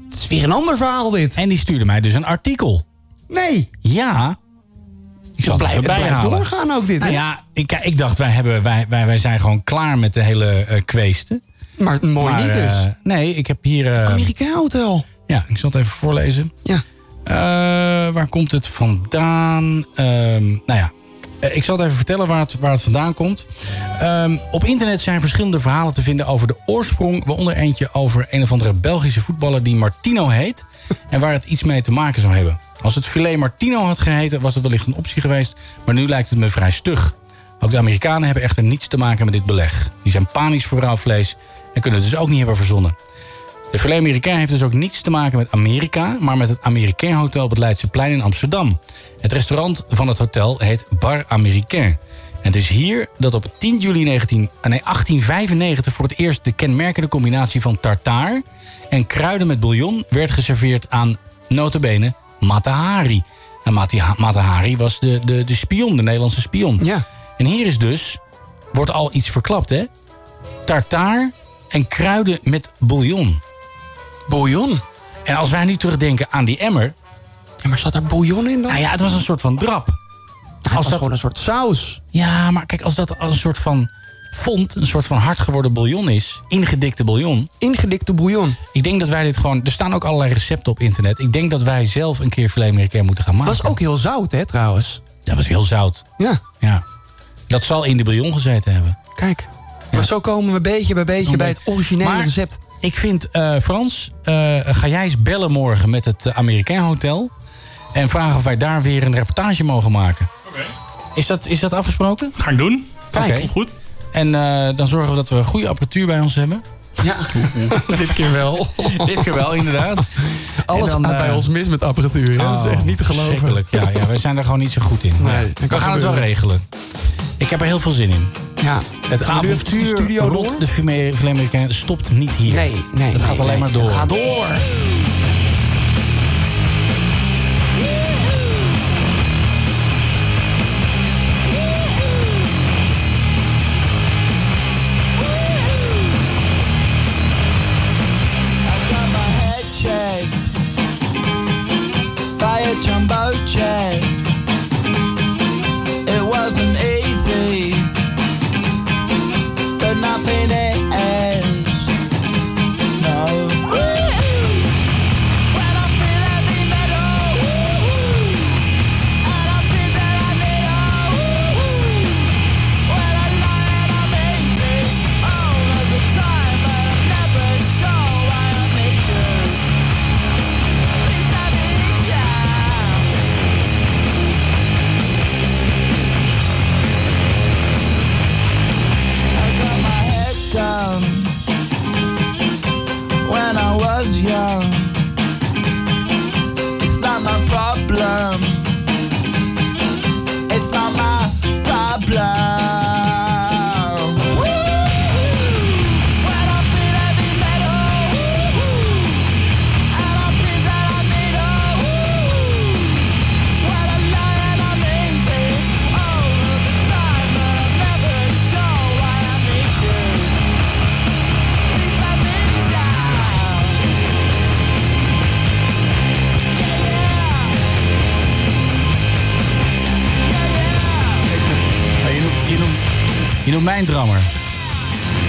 G: Het is weer een ander verhaal, dit.
F: En die stuurde mij dus een artikel.
G: Nee,
F: Ja. Ik zal
G: het blijft,
F: het
G: het
F: erbij
G: blijft
F: halen.
G: doorgaan ook dit.
F: Nou
G: hè?
F: ja, ik, ik dacht, wij, hebben, wij, wij, wij zijn gewoon klaar met de hele eh kweesten.
G: Maar mooi niet dus.
F: eh, nee, ik heb hier... eh,
G: Amerika Hotel.
F: ja, ik zal het even voorlezen.
G: Ja.
F: Eh, waar komt het vandaan? Ehm, nou ja, eh, ik zal het even vertellen waar het, waar het vandaan komt. Ehm, op internet zijn verschillende verhalen te vinden over de oorsprong. Waaronder eentje over een of andere Belgische voetballer die Martino heet. En waar het iets mee te maken zou hebben. Als het filet Martino had geheten, was het wellicht een optie geweest. Maar nu lijkt het me vrij stug. Ook de Amerikanen hebben echter niets te maken met dit beleg. Die zijn panisch voor rauw vlees en kunnen het dus ook niet hebben verzonnen. De filet Amerikaan heeft dus ook niets te maken met Amerika... maar met het Americain Hotel op het Leidseplein in Amsterdam. Het restaurant van het hotel heet Bar Americain. En het is hier dat op 10 juli 19, nee, 1895 voor het eerst... de kenmerkende combinatie van tartaar en kruiden met bouillon... werd geserveerd aan notabene Matahari. En Mati- Matahari was de, de, de spion, de Nederlandse spion.
G: Ja.
F: En hier is dus, wordt al iets verklapt, hè? tartaar en kruiden met bouillon.
G: Bouillon?
F: En als wij nu terugdenken aan die emmer...
G: Ja, maar zat er bouillon in dan?
F: Nou ja, het was een soort van drap.
G: Ja, het was gewoon een soort saus.
F: Ja, maar kijk, als dat al een soort van fond... een soort van hard geworden bouillon is, ingedikte bouillon...
G: Ingedikte bouillon.
F: Ik denk dat wij dit gewoon... Er staan ook allerlei recepten op internet. Ik denk dat wij zelf een keer filet Amerikaan moeten gaan maken.
G: Was ook heel zout, hè, trouwens.
F: Dat was heel zout.
G: Ja,
F: Ja. Dat zal in de bouillon gezeten hebben.
G: kijk. Maar zo komen we beetje bij beetje bij het originele
F: Maar-
G: recept.
F: Ik vind, eh, Frans, eh, ga jij eens bellen morgen met het eh, Amerikaan Hotel... en vragen of wij daar weer een reportage mogen maken. Is dat, is dat afgesproken?
W: Ga ik doen.
F: Kijk.
W: Komt goed.
F: En eh, dan zorgen we dat we goede apparatuur bij ons hebben.
G: Ja, dit keer wel.
F: Dit keer wel, inderdaad.
G: Alles
F: En dan,
G: gaat
F: eh, Oh,
G: bij ons mis met apparatuur. hè. dat is echt niet te geloven.
F: verschrikkelijk. Ja, ja, wij zijn er gewoon niet zo goed in.
G: Nee,
F: Ja.
G: dat kan
F: we gaan het wel
G: gebeuren.
F: regelen. Ik heb er heel veel zin in.
G: Ja.
F: Het
G: Gaan we nu even de
F: avontuur
G: studio
F: rond
G: door?
F: de Fume- Vlamerikaan stopt niet hier.
G: Nee, nee.
F: Het gaat
G: nee,
F: alleen
G: nee.
F: maar door.
G: Het gaat door.
C: got my head shaved by a jumbo jet. It wasn't easy, but nothing is. No. When I feel heavy metal, and I feel that I need a- When I lie and I'm easy all of the time, but I'm never sure why I need you. Please, I need ya. I got my head down when I was young. It's not my problem. It's not my problem. Woo! When I feel heavy metal, and I feel that I need a woo. When I lie and I'm easy all of the time.
F: mij een drammer.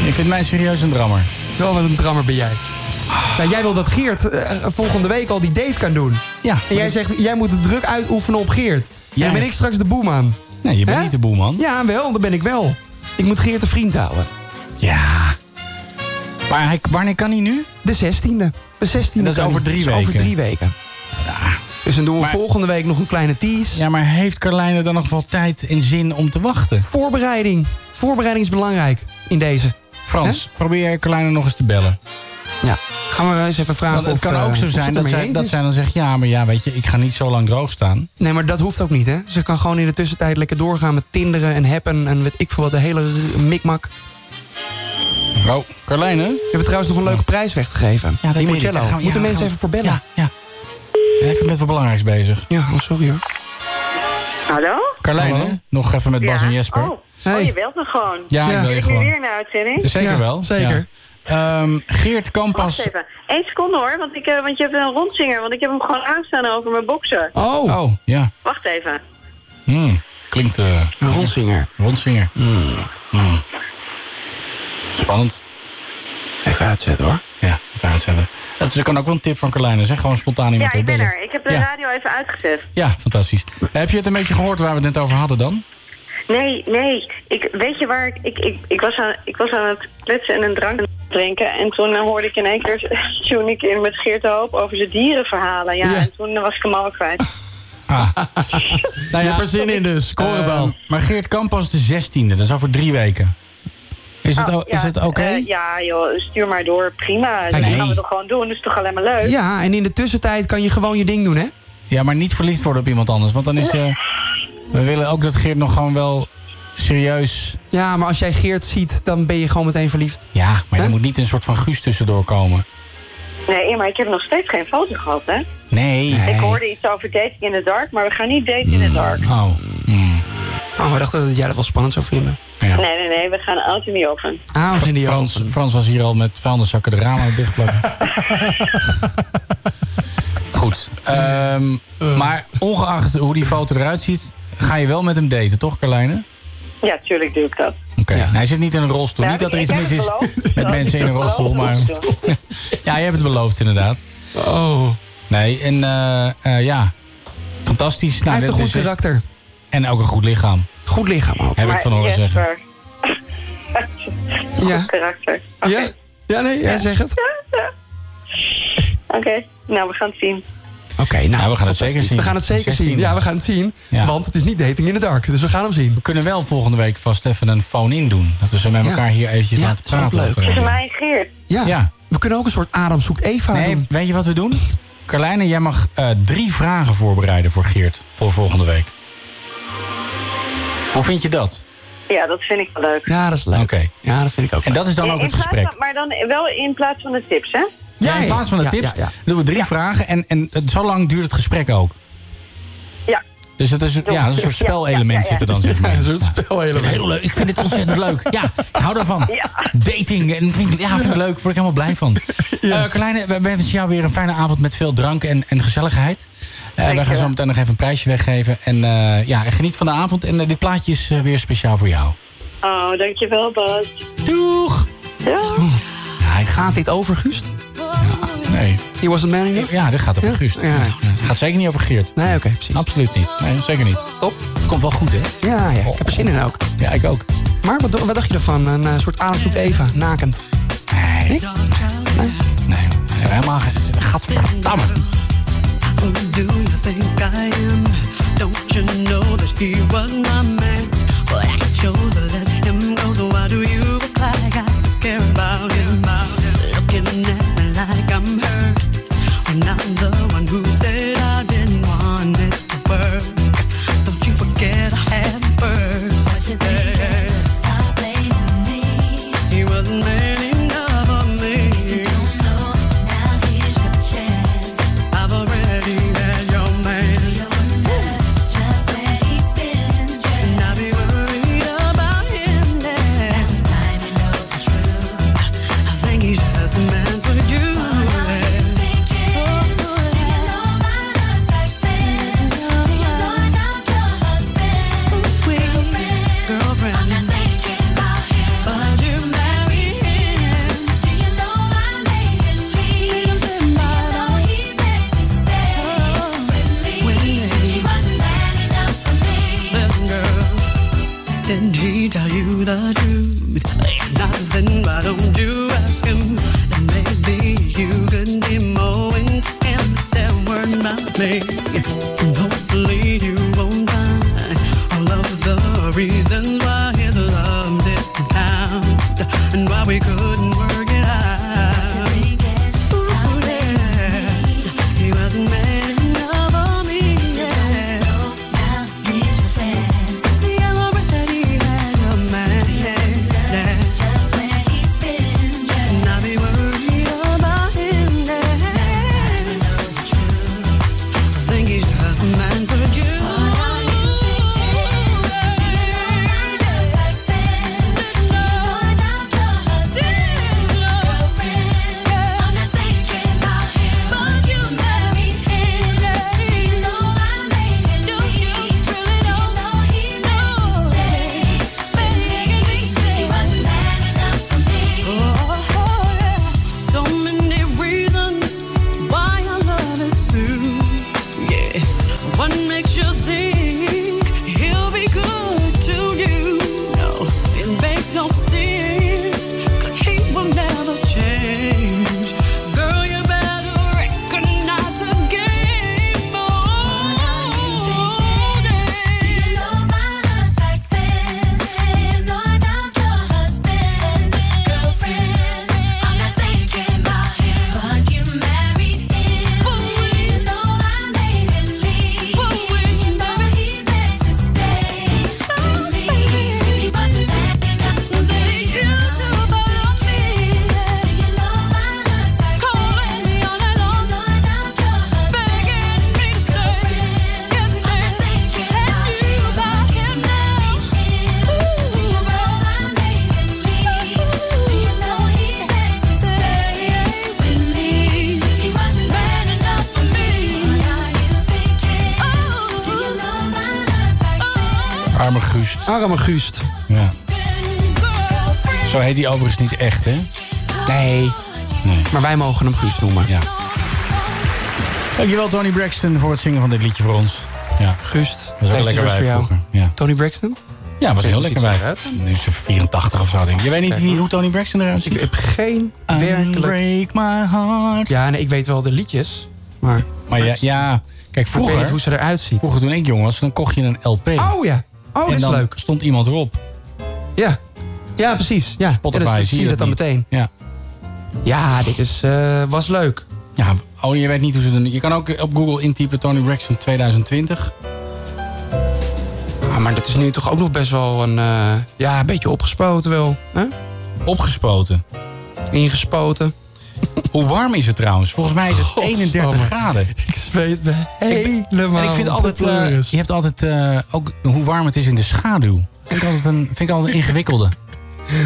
F: Ik vind mij serieus een drammer.
G: Oh, wat een drammer ben jij. Nou, jij wil dat Geert eh, volgende week al die date kan doen.
F: Ja.
G: En jij zegt, jij moet de druk uitoefenen op Geert.
F: Jij-
G: Jij... En dan ben ik straks de boeman.
F: Nee, je bent niet de boeman.
G: Ja, wel, dat ben ik wel. Ik moet Geert een vriend houden.
F: Ja. Maar hij, wanneer kan hij nu?
G: De 16e. De 16e.
F: Dat is
G: kan
F: over
G: hij.
F: drie
G: Dat is
F: weken.
G: Over drie weken. Dus dan doen we volgende week nog een kleine tease.
F: Ja, maar heeft Carlijne dan nog wel tijd en zin om te wachten?
G: Voorbereiding. Voorbereiding is belangrijk in deze.
F: Frans, probeer Carlijne nog eens te bellen.
G: Ja. Gaan we eens even vragen
F: Want het
G: of,
F: kan
G: eh,
F: ook zo
G: of ze
F: zijn
G: het
F: dat
G: ermee
F: zij,
G: eens
F: dat
G: is.
F: zij dan zegt... ja, maar ja, weet je, ik ga niet zo lang droog staan.
G: Nee, maar dat hoeft ook niet, hè? Ze kan gewoon in de tussentijd lekker doorgaan met tinderen en happen en weet ik veel wat, de hele r- mikmak.
F: Oh, Carlijne? Je
G: hebt trouwens nog een leuke prijs weggegeven.
F: Ja, dat
G: Die
F: weet ik.
G: Mugello.
F: Daar gaan we-
G: Moeten
F: ja,
G: mensen
F: gaan we-
G: even voor bellen?
F: Ja, ja. Even met wat belangrijks bezig.
G: Ja, oh, sorry hoor.
N: Hallo?
F: Carlijne, nog even met Bas en Jesper.
N: Oh, oh, je belt me gewoon.
F: Ja, ik bel je
N: Jullie
F: gewoon.
N: weer in de uitzending?
F: Zeker wel. ja. Ehm, Geert kan pas...
N: Wacht even. Eén seconde hoor, want, ik, eh, want je hebt een rondzinger. Want ik heb hem gewoon aanstaan over mijn boxer.
G: Oh.
F: ja.
N: Wacht even.
F: Hmm, Klinkt... eh
G: een rondzinger.
F: Rondzinger. Hmm. Spannend.
G: Even uitzetten hoor.
F: Ja, even uitzetten. Dat is, dat kan ook wel een tip van Carlijne. Zeg gewoon spontaan iemand
N: Ja, ik ben
F: opbellen.
N: er. Ik heb de
F: Ja.
N: radio even uitgezet.
F: Ja, fantastisch. Heb je het een beetje gehoord waar we het net over hadden dan?
N: Nee, nee. Ik, weet je waar ik... Ik, ik, ik, was aan, ik was aan het kletsen en een drank drinken. En toen eh, hoorde ik in één keer tune ik in met Geert de Hoop over zijn dierenverhalen. Ja, en toen eh, was ik hem al kwijt.
F: Nou
G: Je hebt er zin in dus, ik hoor het al.
F: Ehm, Maar Geert kan pas de 16e, dat is over drie weken. Is het,
N: Oh,
F: o- is
N: ja,
F: het oké?
N: eh, ja, joh. Stuur maar door. Prima. Dat gaan we toch gewoon doen. Dat is toch alleen maar leuk?
G: Ja, en in de tussentijd kan je gewoon je ding doen, hè?
F: Ja, maar niet verliefd worden op iemand anders. Want dan is. eh, we willen ook dat Geert nog gewoon wel serieus.
G: Ja, maar als jij Geert ziet, dan ben je gewoon meteen verliefd.
F: Ja, maar er moet niet een soort van guus tussendoor komen.
N: Nee, maar ik heb nog steeds geen foto gehad, hè?
F: Nee.
N: Ik hoorde iets over dating in the dark, maar we gaan niet daten in the dark.
F: Oh.
G: Oh, we dachten dat jij dat wel spannend zou vinden.
N: Nee, nee, nee, we gaan auto niet open.
G: Ah, we zijn die
F: Frans, Frans was hier al met vuilniszakken de ramen dichtplakken. Goed. ehm, Maar ongeacht hoe die foto eruit ziet, ga je wel met hem daten, toch, Carlijne?
N: Ja, tuurlijk doe ik dat.
F: Oké. Hij zit niet in een rolstoel.
N: Nou,
F: niet dat er
N: ik
F: iets
N: heb
F: mis
N: het
F: is
N: beloofd.
F: met
N: Ja,
F: mensen in een
N: ik heb het
F: rolstoel, maar...
N: beloofd,
F: ja, je hebt het beloofd, inderdaad.
G: Oh.
F: Nee, en eh, eh, ja, fantastisch. Nou,
G: Hij heeft een goed karakter.
F: En ook een goed lichaam.
G: Goed lichaam ook.
F: Heb ik van horen zeggen.
N: ja. karakter.
G: Ja? Ja, nee, jij zegt het.
N: Oké, nou, we gaan het zien.
G: Oké, nou,
F: we gaan het zeker zien.
G: We gaan het zeker
F: 16e.
G: zien. Ja, we gaan het zien.
F: Ja.
G: Want het is niet dating in the dark, dus we gaan hem zien.
F: We kunnen wel volgende week vast even een phone-in doen. Dat we ze met
G: Ja.
F: elkaar hier eventjes
G: Ja,
F: laten
G: dat is ook
F: praten.
G: leuk.
F: op de
N: Tussen
F: radio.
N: mij en Geert.
G: Ja.
F: Ja.
G: We kunnen ook een soort Adam zoekt Eva
F: Nee,
G: doen.
F: weet je wat we doen? Carlijne, jij mag eh, drie vragen voorbereiden voor Geert voor volgende week. Hoe vind je dat?
N: Ja, dat vind ik wel leuk.
G: Ja, dat is leuk.
F: Oké.
G: Ja, dat vind ik ook
F: En dat is dan
N: Ja,
F: ook
N: in
F: het
N: plaats
F: gesprek.
N: van- maar dan wel in plaats van de tips, hè?
F: Ja, in plaats van de
G: ja,
F: tips
G: ja, ja.
F: doen we drie vragen. En, en het- zo lang duurt het gesprek ook.
N: Ja.
F: Dus het is, een- ja, een soort spelelement zit er dan, zeg maar.
G: Ja, zo'n spelelement.
F: Heel leuk. Eh, Ik vind het ontzettend leuk. Ja, ik hou daarvan. Dating. En vind, ik- ja, vind ik leuk. Word ik helemaal blij van. Eh Carlijne, we we wensen jou weer een fijne avond met veel drank en, en gezelligheid. Eh, wij gaan zo meteen nog even een prijsje weggeven. En eh, ja, geniet van de avond. En eh, dit plaatje is eh, weer speciaal voor jou.
N: Oh, dankjewel, Bas.
F: Doeg!
G: Ja, gaat dit over, Guust?
F: Nee.
G: He was a man enough?
F: Ja, dit gaat over Guust.
G: Ja.
F: Het gaat zeker niet over Geert.
G: Nee, oké, precies.
F: Absoluut niet. Nee, zeker niet.
G: Top.
F: Komt wel goed, hè?
G: Ja, ja, ik heb er zin in ook.
F: Ja, ik ook.
G: Maar wat, wat dacht je ervan? Een eh, soort Adam zoekt Eva, nakend.
F: Nee.
G: Nee?
F: Nee, helemaal geen... Gadverdamme.
M: Who do you think I am? Don't you know that he was my man? Well, I chose to let him go, so why do you act like I still care about him? Looking at me like I'm hurt when I'm the one who said I didn't want it to work. Don't you forget I had him first. Stop blaming me. He wasn't man enough for me. You don't know now. Here's your chance. I've already had your man. Just where he's been. And I'll be worried about him now. time you know the truth. I think he's just the man for you. Girlfriend. I'm not thinking about him. make. And hopefully you won't find all of the reasons why his love didn't count and why we couldn't work it out. Ooh, yeah. He wasn't man enough for me. Yeah. See, I'm a breath that he had a man. Yeah. And I'll be worried about him. Yeah. I think he's just a man for you. So many reasons why our love is through. Yeah. What makes you think he'll be good to you? No, it makes no sense. Cause he will never change. Girl, you better recognize the game. Oh,
F: Arme Guust.
G: Arme Guust.
F: Ja. Zo heet hij overigens niet echt, hè?
G: Nee. Maar wij mogen hem Guust noemen.
F: Ja. Dankjewel, Tony Braxton, voor het zingen van dit liedje voor ons. Ja.
G: Guust.
F: Dat is ook
G: Deze
F: lekker
G: was
F: bij
G: voor jou.
F: vroeger. Ja.
G: Tony Braxton? dus
F: Ja, was een heel lekker wijf. Nu is ze 84 of zo, denk ik. Je weet niet
G: Kijk.
F: wie- hoe Tony Braxton eruit ziet?
G: Ik heb geen werkelijk...
F: Break my heart.
G: Ja, nee, ik weet wel de liedjes. Maar,
F: Maar ja, ja kijk,
G: Ik weet
F: vroeger...
G: niet hoe ze eruit ziet.
F: Vroeger toen ik jong was, dan kocht je een LP.
G: Oh ja. Oh, dat
F: en
G: is
F: dan
G: leuk.
F: stond iemand erop.
G: Ja. Ja, precies. Ja.
F: Spotify,
G: ja, dat,
F: zie
G: zie
F: je
G: je dat
F: dat
G: dan
F: niet.
G: meteen.
F: Ja.
G: Ja, dit is, eh, was leuk.
F: Ja, oh, je weet niet hoe ze er nu... Je kan ook op Google intypen Tony Braxton 2020.
G: Ah, maar dat is nu toch ook nog best wel een... eh, ja, een beetje opgespoten wel. Hè?
F: Opgespoten?
G: Ingespoten.
F: Hoe warm is het trouwens? Volgens mij is het
G: oh
F: 31 graden.
G: Ik zweet me helemaal
F: En ik vind
G: de
F: altijd, eh,
G: pleuris.
F: je hebt altijd eh, ook hoe warm het is in de schaduw. Dat vind ik altijd een, vind ik altijd een ingewikkelde.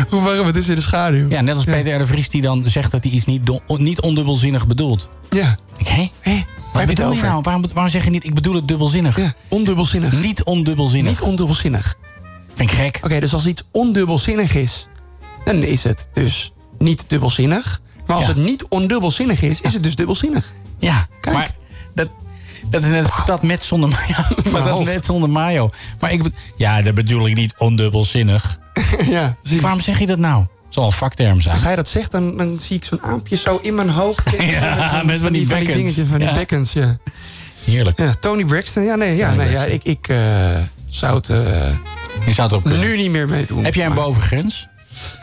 G: Hoe warm het is in de schaduw.
F: Ja, net als Peter R. de Vries die dan zegt dat hij iets niet, do- niet ondubbelzinnig bedoelt.
G: Ja.
F: Ik, hé? Waar
G: heb je het
F: bedoel je
G: over?
F: nou? Waarom, waarom zeg je niet, ik bedoel het dubbelzinnig?
G: ondubbelzinnig.
F: Niet ondubbelzinnig.
G: Niet ondubbelzinnig.
F: Vind ik gek.
G: Oké, dus als iets ondubbelzinnig is, dan is het dus niet dubbelzinnig. Maar als
F: Ja.
G: het niet ondubbelzinnig is, is het dus dubbelzinnig.
F: Ja,
G: Kijk.
F: maar dat, dat is net dat met zonder mayo. Maar dat
G: hoofd.
F: net zonder mayo. Maar ik, be- ja, dat bedoel ik niet ondubbelzinnig.
G: ja,
F: Waarom zeg je dat nou? Het zal een vakterm zijn.
G: Als hij dat zegt, dan, dan zie ik zo'n aampje zo in mijn hoofd. zitten.
F: Ja,
G: zo'n-
F: met van die
G: van
F: bekkens.
G: dingetjes, van die
F: Ja.
G: bekkens, ja.
F: Heerlijk.
G: Ja, Tony Braxton, ja, nee, ja,
F: Tony
G: nee, ja ik, ik eh, zou het eh,
F: Je zou het erop kunnen.
G: nu niet meer meedoen.
F: Heb jij een
G: Maar-
F: bovengrens?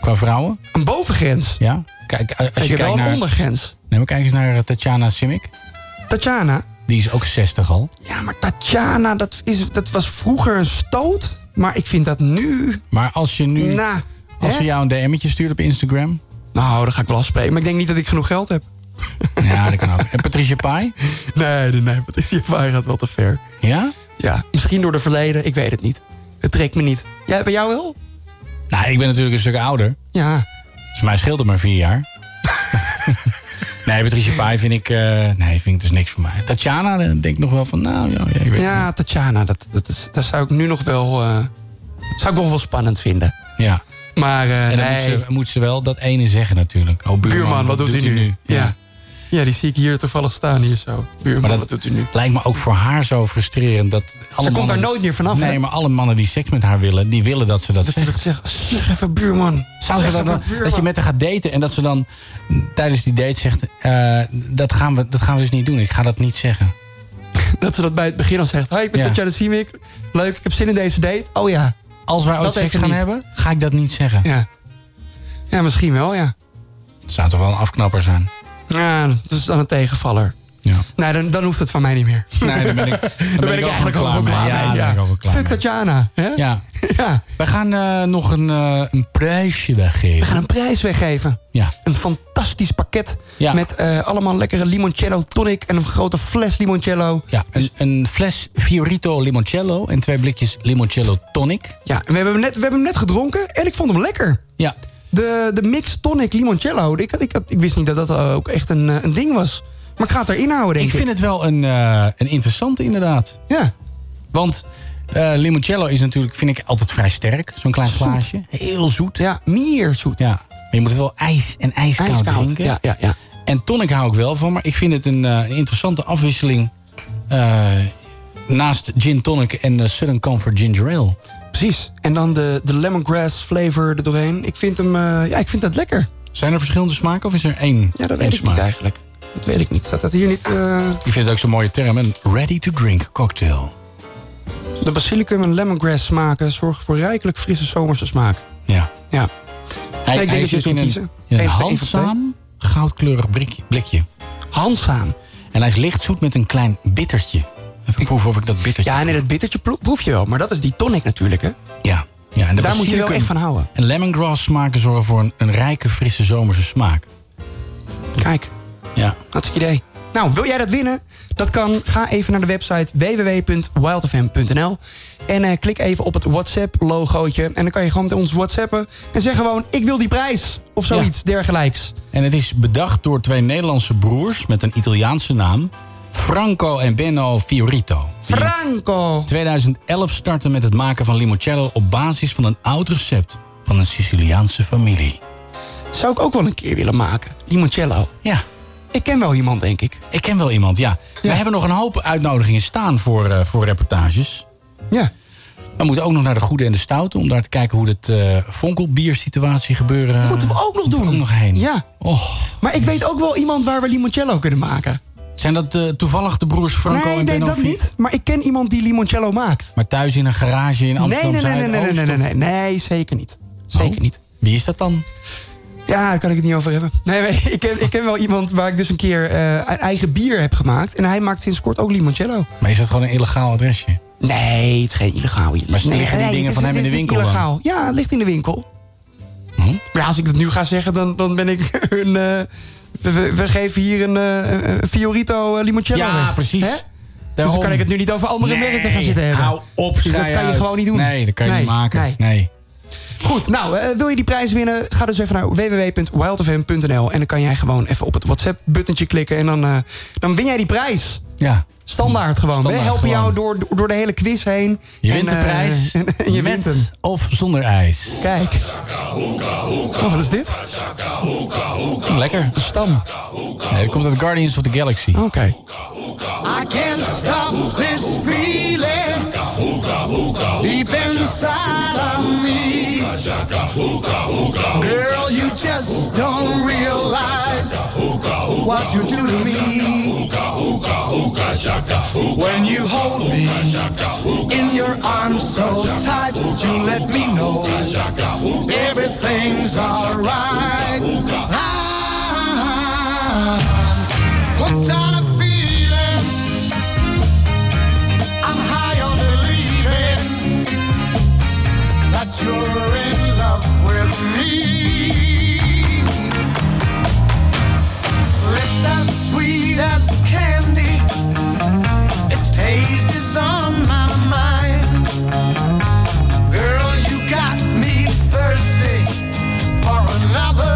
F: Qua vrouwen?
G: Een bovengrens?
F: Ja. Kijk, als je
G: ik heb
F: kijkt
G: wel
F: naar...
G: een ondergrens.
F: Nee, maar kijk eens naar eh, Tatjana Simic.
G: Tatjana.
F: Die is ook 60 al.
G: Ja, maar Tatjana, dat, is, dat was vroeger een stoot. Maar ik vind dat nu...
F: Maar als je nu...
G: Nou,
F: als
G: hè?
F: ze jou een DM'tje stuurt op Instagram...
G: Nou, dan ga ik wel afspreken. Maar ik denk niet dat ik genoeg geld heb.
F: Ja, dat kan ook. En Patricia Pai?
G: Nee, nee, nee. Wat is je waar gaat wel te ver.
F: Ja?
G: Ja, misschien door de verleden. Ik weet het niet. Het trekt me niet. Jij, bij jou wel?
F: Nou, ik ben natuurlijk een stuk ouder.
G: Ja.
F: Dus mij scheelt het maar vier jaar. nee, Patricia Pai vind ik... eh, nee, vind ik dus niks voor mij. Tatjana eh, denk ik nog wel van... Nou, ja, ja, ik weet het
G: Ja, Tatjana, dat, dat, is, dat zou ik nu nog wel... eh, zou ik nog wel spannend vinden.
F: niet. Ja.
G: Maar eh,
F: En dan
G: nee.
F: moet, ze, moet ze wel dat ene zeggen natuurlijk. Oh, buurman,
G: Buurman, wat doet, u nu? Ja. ja, die zie ik hier toevallig staan hier zo. Buurman,
F: Maar dat-
G: wat doet u nu?
F: Lijkt me ook voor haar zo frustrerend. Dat alle
G: komt
F: mannen-
G: daar nooit meer vanaf,
F: Nee,
G: hè?
F: maar alle mannen die seks met haar willen, die willen dat ze dat,
G: Dat ze
F: zegt.
G: dat zeggen. Zeg even buurman.
F: Zou ze
G: Zeg
F: dat,
G: even
F: dan-
G: buurman.
F: dat je met haar gaat daten en dat ze dan tijdens die date zegt... eh, dat, gaan we, dat gaan we dus niet doen, ik ga dat niet zeggen.
G: dat ze dat bij het begin al zegt. Hoi, ik ben
F: Ja.
G: Tatjana Simic. Leuk, ik heb zin in deze date. Oh ja.
F: Als wij ooit
G: Dat
F: seks
G: even
F: gaan
G: niet.
F: hebben, ga ik dat niet zeggen.
G: Ja. Ja, misschien wel, ja.
F: Het zou toch wel een afknapper zijn?
G: Ja, dat is dan een tegenvaller. Nee, dan, dan hoeft het van mij niet meer.
F: Nee, dan ben ik, dan ben ik eigenlijk al klaar mee. Ja, daar ben ik ook wel klaar
G: Fuck Tatjana. Hè?
F: Ja.
G: ja.
F: We gaan eh, nog een, eh, een prijsje
G: We
F: weggeven.
G: gaan een prijs weggeven.
F: Ja.
G: Een fantastisch pakket
F: Ja.
G: met eh, allemaal lekkere limoncello tonic en een grote fles limoncello.
F: Ja, een, een fles Fiorito Limoncello en twee blikjes Limoncello Tonic.
G: Ja, en we hebben, hem net, we hebben hem net gedronken en ik vond hem lekker.
F: Ja.
G: De, de mix tonic limoncello, ik, had- ik, had- ik wist niet dat dat eh, ook echt een, eh, een ding was. Maar ik ga het erin houden, denk
F: Ik
G: ik.
F: vind het wel een, eh, een interessante inderdaad.
G: Ja.
F: Want eh, limoncello is natuurlijk, vind ik altijd vrij sterk. Zo'n klein
G: Zoet.
F: glaasje. Heel zoet.
G: Ja, meer zoet.
F: Ja. Maar je moet het wel ijs en ijskoud,
G: Ijskoud,
F: drinken.
G: ja, ja, ja.
F: En tonic hou ik wel van. Maar ik vind het een, eh, een interessante afwisseling. eh, naast gin tonic en eh, Southern Comfort Ginger Ale.
G: Precies. En dan de, de lemongrass flavor er doorheen. Ik vind hem, eh, ja, ik vind dat lekker.
F: Zijn er verschillende smaken of is Ah. er één?
G: Ja, dat
F: één
G: weet ik
F: smaak?
G: niet eigenlijk. Dat weet ik niet. Staat dat hier niet? eh,
F: Ik vind het ook zo'n mooie term. Een ready-to-drink cocktail.
G: De basilicum en lemongrass smaken zorgen voor rijkelijk frisse zomerse smaak.
F: Ja.
G: Ja.
F: Hij,
G: Nee, ik denk
F: hij
G: dat je
F: zit
G: het
F: in
G: moet
F: een,
G: kiezen.
F: in een
G: Eén van de- één van de twee.
F: handzaam goudkleurig brik- blikje.
G: Handzaam?
F: En hij is licht zoet met een klein bittertje. Even proeven of ik dat bittertje...
G: Ja, nee, dat bittertje pro- proef je wel. Maar dat is die tonic natuurlijk, hè?
F: Ja. ja en de
G: Daar moet je wel
F: basilicum
G: echt van houden.
F: En lemongrass smaken zorgen voor een, een rijke, frisse zomerse smaak.
G: Kijk,
F: Ja.
G: dat is het idee. Nou, wil jij dat winnen? Dat kan. Ga even naar de website www.wildfm.nl en eh, klik even op het WhatsApp-logootje. En dan kan je gewoon met ons whatsappen en zeg gewoon... ik wil die prijs, of zoiets dergelijks.
F: En het is bedacht door twee Nederlandse broers met een Italiaanse naam. Franco en Benno Fiorito. Die in
G: Franco!
F: 2011 starten met het maken van limoncello op basis van een oud recept van een Siciliaanse familie.
G: Zou ik ook wel een keer willen maken. Limoncello.
F: Ja.
G: Ik ken wel iemand, denk ik.
F: Ik ken wel iemand, ja. We hebben nog een hoop uitnodigingen staan voor, eh, voor reportages.
G: Ja.
F: We moeten ook nog naar de Goede en de Stoute... om daar te kijken hoe dat eh vonkelbiersituatie gebeuren...
G: Moeten we ook nog doen.
F: ook nog heen.
G: Ja.
F: Och.
G: Maar ik weet ook wel iemand waar we limoncello kunnen maken.
F: Zijn dat eh, toevallig de broers Franco
G: nee,
F: en
G: nee,
F: Benno
G: dat
F: Fi-
G: niet. Maar ik ken iemand die limoncello maakt.
F: Maar thuis in een garage in
G: Nee,
F: Amsterdam
G: nee, nee, nee, nee,
F: Zuidoost,
G: nee, nee,
F: of-
G: nee, nee, zeker niet. Zeker
F: Oh,
G: niet.
F: Wie is dat dan?
G: Ja, daar kan ik het niet over hebben. Nee, nee, ik, ken, ik ken wel iemand waar ik dus een keer eh, een eigen bier heb gemaakt. En hij maakt sinds kort ook limoncello.
F: Maar is dat gewoon een illegaal adresje?
G: Nee, het is geen illegaal. hier.
F: Maar ze
G: nee,
F: liggen die
G: nee,
F: dingen
G: dit
F: van
G: is-
F: hem in
G: dit
F: de
G: is niet
F: winkel dan?
G: illegaal. Ja, het ligt in de winkel.
F: Hm?
G: Maar ja, als ik dat nu ga zeggen, dan, dan ben ik hun... eh, we, we geven hier een eh, een Fiorito eh, limoncello
F: Ja,
G: weg.
F: precies.
G: Hè? Dus
F: Daarom.
G: dan kan ik het nu niet over andere
F: Nee,
G: merken gaan zitten hebben.
F: hou op,
G: Dus dat
F: schei
G: kan je
F: uit.
G: gewoon niet doen.
F: Nee, dat kan je niet maken.
G: nee.
F: nee.
G: Goed, nou, eh, wil je die prijs winnen? Ga dus even naar www.wildfm.nl en dan kan jij gewoon even op het WhatsApp-buttentje klikken en dan, eh, dan win jij die prijs.
F: Ja.
G: Standaard gewoon.
F: Standaard
G: We helpen jou
F: gewoon.
G: door, door de hele quiz heen.
F: Je
G: En,
F: wint de
G: eh,
F: prijs.
G: en, en je
F: met
G: wint hem.
F: of zonder ijs.
G: Kijk. Oh, wat is dit?
F: Hm, Lekker.
G: Een stam.
F: Nee, dat komt uit Guardians of the Galaxy.
G: Oké.
H: I can't stop this feeling deep inside of me. Girl, you just don't realize what you do to me. When you hold me in your arms so tight, you let me know everything's alright. Ah, I'm hooked on a feeling. I'm high on believing that you're in love with me. Lips as sweet as candy, its taste is on my mind. Girl, you got me thirsty for another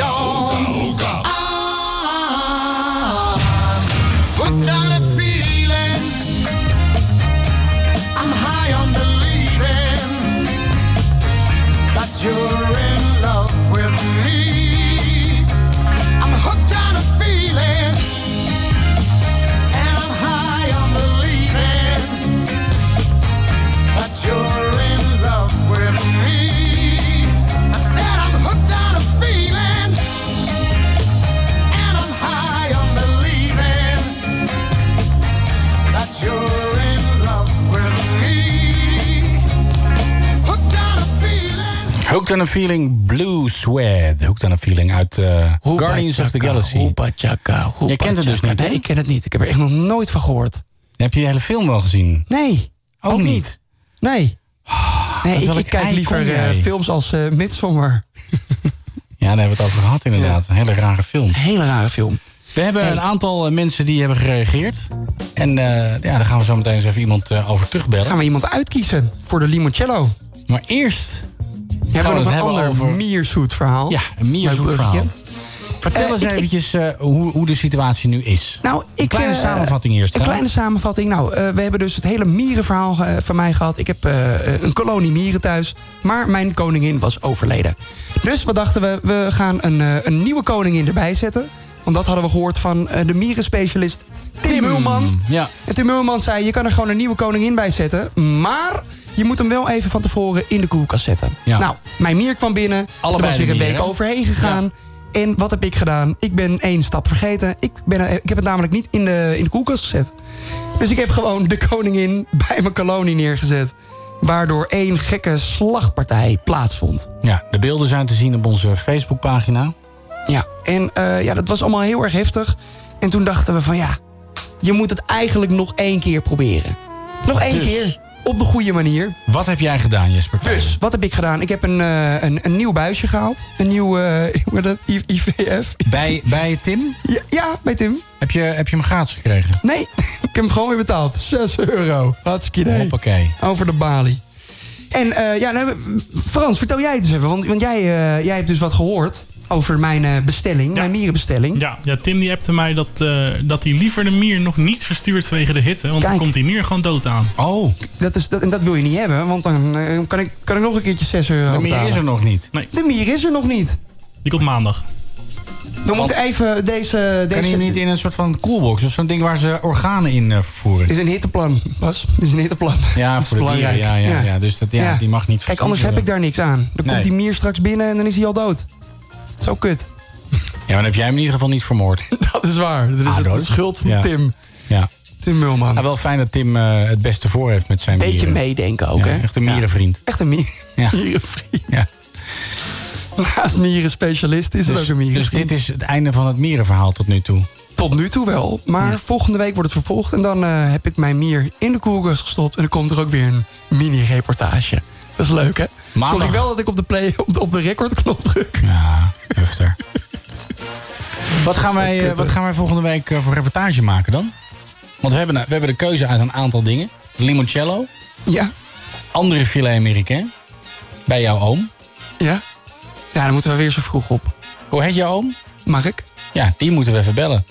C: on. I'm hooked on a feeling. I'm high on believing that you're in love with me. I'm hooked on a feeling. And I'm high on believing that you're in love with me. I said I'm hooked on a feeling. And I'm high on believing that you're in love with me. Hooked on a feeling.
F: Hooked on a Feeling Blue Sweat. Hooked on a Feeling uit eh, Guardians of the Galaxy. Je kent het dus niet,
G: Nee, ik ken het niet. Ik heb er echt nog nooit van gehoord.
F: Heb je de hele film wel gezien?
G: Nee.
F: Ook, niet.
G: Nee. Nee,
F: Met
G: ik,
F: welk
G: Ah, ik kijk
F: ei
G: liever
F: kom jij?
G: eh, films als eh Midsommar.
F: Ja, daar hebben we het over gehad inderdaad. Een hele rare film.
G: hele rare film.
F: We hebben een aantal eh, mensen die hebben gereageerd. En eh, ja, daar gaan we zo meteen eens even iemand eh, over terugbellen.
G: Gaan we iemand uitkiezen voor de limoncello.
F: Maar eerst
G: hebben we nog een ander
F: Mierzoet
G: verhaal.
F: Ja, een Mierzoet
G: Leuk bruggetje.
F: verhaal. Vertel
G: Eh,
F: eens
G: ik- ik-
F: eventjes eh, hoe, hoe de situatie nu is.
G: Nou, ik,
F: een kleine
G: eh,
F: samenvatting eerst.
G: Een
F: hè?
G: kleine samenvatting. Nou, eh, we hebben dus het hele mierenverhaal eh, van mij gehad. Ik heb eh, een kolonie mieren thuis. Maar mijn koningin was overleden. Dus wat dachten we? We gaan een, eh, een nieuwe koningin erbij zetten. Want dat hadden we gehoord van eh, de mierenspecialist Tim,
P: Mm,
G: Mulman.
F: Ja.
G: En Tim Mulman zei, je kan er gewoon een nieuwe koningin bij zetten. Maar je moet hem wel even van tevoren in de koelkast zetten.
F: Ja.
G: Nou, mijn mier kwam binnen.
F: Allebei
G: er was weer
F: de
G: een
F: mieren,
G: week
F: hè?
G: overheen gegaan. En wat heb ik gedaan? Ik ben één stap vergeten. Ik, ben, eh, ik heb het namelijk niet in de, in de koelkast gezet. Dus ik heb gewoon de koningin bij mijn kolonie neergezet. Waardoor één gekke slachtpartij plaatsvond.
F: Ja, de beelden zijn te zien op onze Facebookpagina.
G: Ja, en eh, ja, dat was allemaal heel erg heftig. En toen dachten we van ja, je moet het eigenlijk nog één keer proberen. Nog één
F: Dus?
G: keer, op de goede manier.
F: Wat heb jij gedaan, Jesper?
G: Dus, wat heb ik gedaan? Ik heb een, eh, een, een nieuw buisje gehaald. Een nieuw, eh, hoe heet dat? I- IVF.
F: Bij, bij Tim?
G: Ja, ja, bij Tim.
F: Heb je, heb je hem gratis gekregen?
G: Nee, ik heb hem gewoon weer betaald. 6 euro. Hartstikke idee.
F: Hoppakee.
G: Over de balie. En eh, ja, nou, Frans, vertel jij het eens even. Want, want jij, eh, jij hebt dus wat gehoord over mijn eh, bestelling, mijn mierenbestelling.
W: Ja, ja, Tim die appte mij dat, eh, dat hij liever de mier nog niet verstuurt vanwege de hitte. Want dan komt die mier gewoon dood aan.
F: Oh.
G: Dat is, dat, en dat wil je niet hebben, want dan eh, kan, ik, kan ik nog een keertje 6 euro
W: De mier
G: betalen.
W: is er nog
F: niet.
W: Nee.
G: De mier is er nog niet.
W: Die komt maandag.
G: We moeten even deze... deze
F: Kan je hem niet in een soort van koelbox? Dus zo'n ding waar ze organen in eh, vervoeren.
G: Dit is een hitteplan, Bas. Dit is een hitteplan.
F: Ja,
G: Dat is
F: voor de
G: belangrijk.
F: dieren, ja, ja, ja. Dus dat- ja, die mag niet
G: Kijk, anders
F: verstuurd
G: heb ik daar niks aan. Dan
F: Nee.
G: komt die mier straks binnen en dan is hij al dood. Zo kut.
F: Ja, maar dan heb jij hem in ieder geval niet vermoord.
G: Dat is waar. Dat is het
F: de
G: schuld van Tim.
F: Ja.
G: Tim Mulman.
F: Nou, wel fijn dat Tim eh, het beste voor heeft met zijn
G: Beetje
F: mieren.
G: meedenken ook,
F: Ja,
G: hè?
F: Echt een mierenvriend.
G: Echt een mier.
F: Ja.
G: mierenvriend.
F: Ja.
G: Naast mierenspecialist is het
F: Dus,
G: ook een
F: dus
G: mierenvriend.
F: dit is het einde van het mierenverhaal tot nu toe.
G: Tot nu toe wel, maar volgende week wordt het vervolgd. En dan eh, heb ik mijn mier in de koelkast gestopt. En dan komt er ook weer een mini-reportage. Dat is leuk, hè?
F: Maandag.
G: Sorry wel dat ik op de, play, op de, op de recordknop druk.
F: Ja, heftig. Wat gaan, wij, eh, wat gaan wij volgende week eh, voor reportage maken dan? Want we hebben, nou, we hebben de keuze uit een aantal dingen. Limoncello.
G: Ja.
F: Andere filet américain. Bij jouw oom.
G: Ja. Ja, dan moeten we weer zo vroeg op.
F: Hoe heet jouw oom?
G: Mark.
F: Ja, die moeten we even bellen.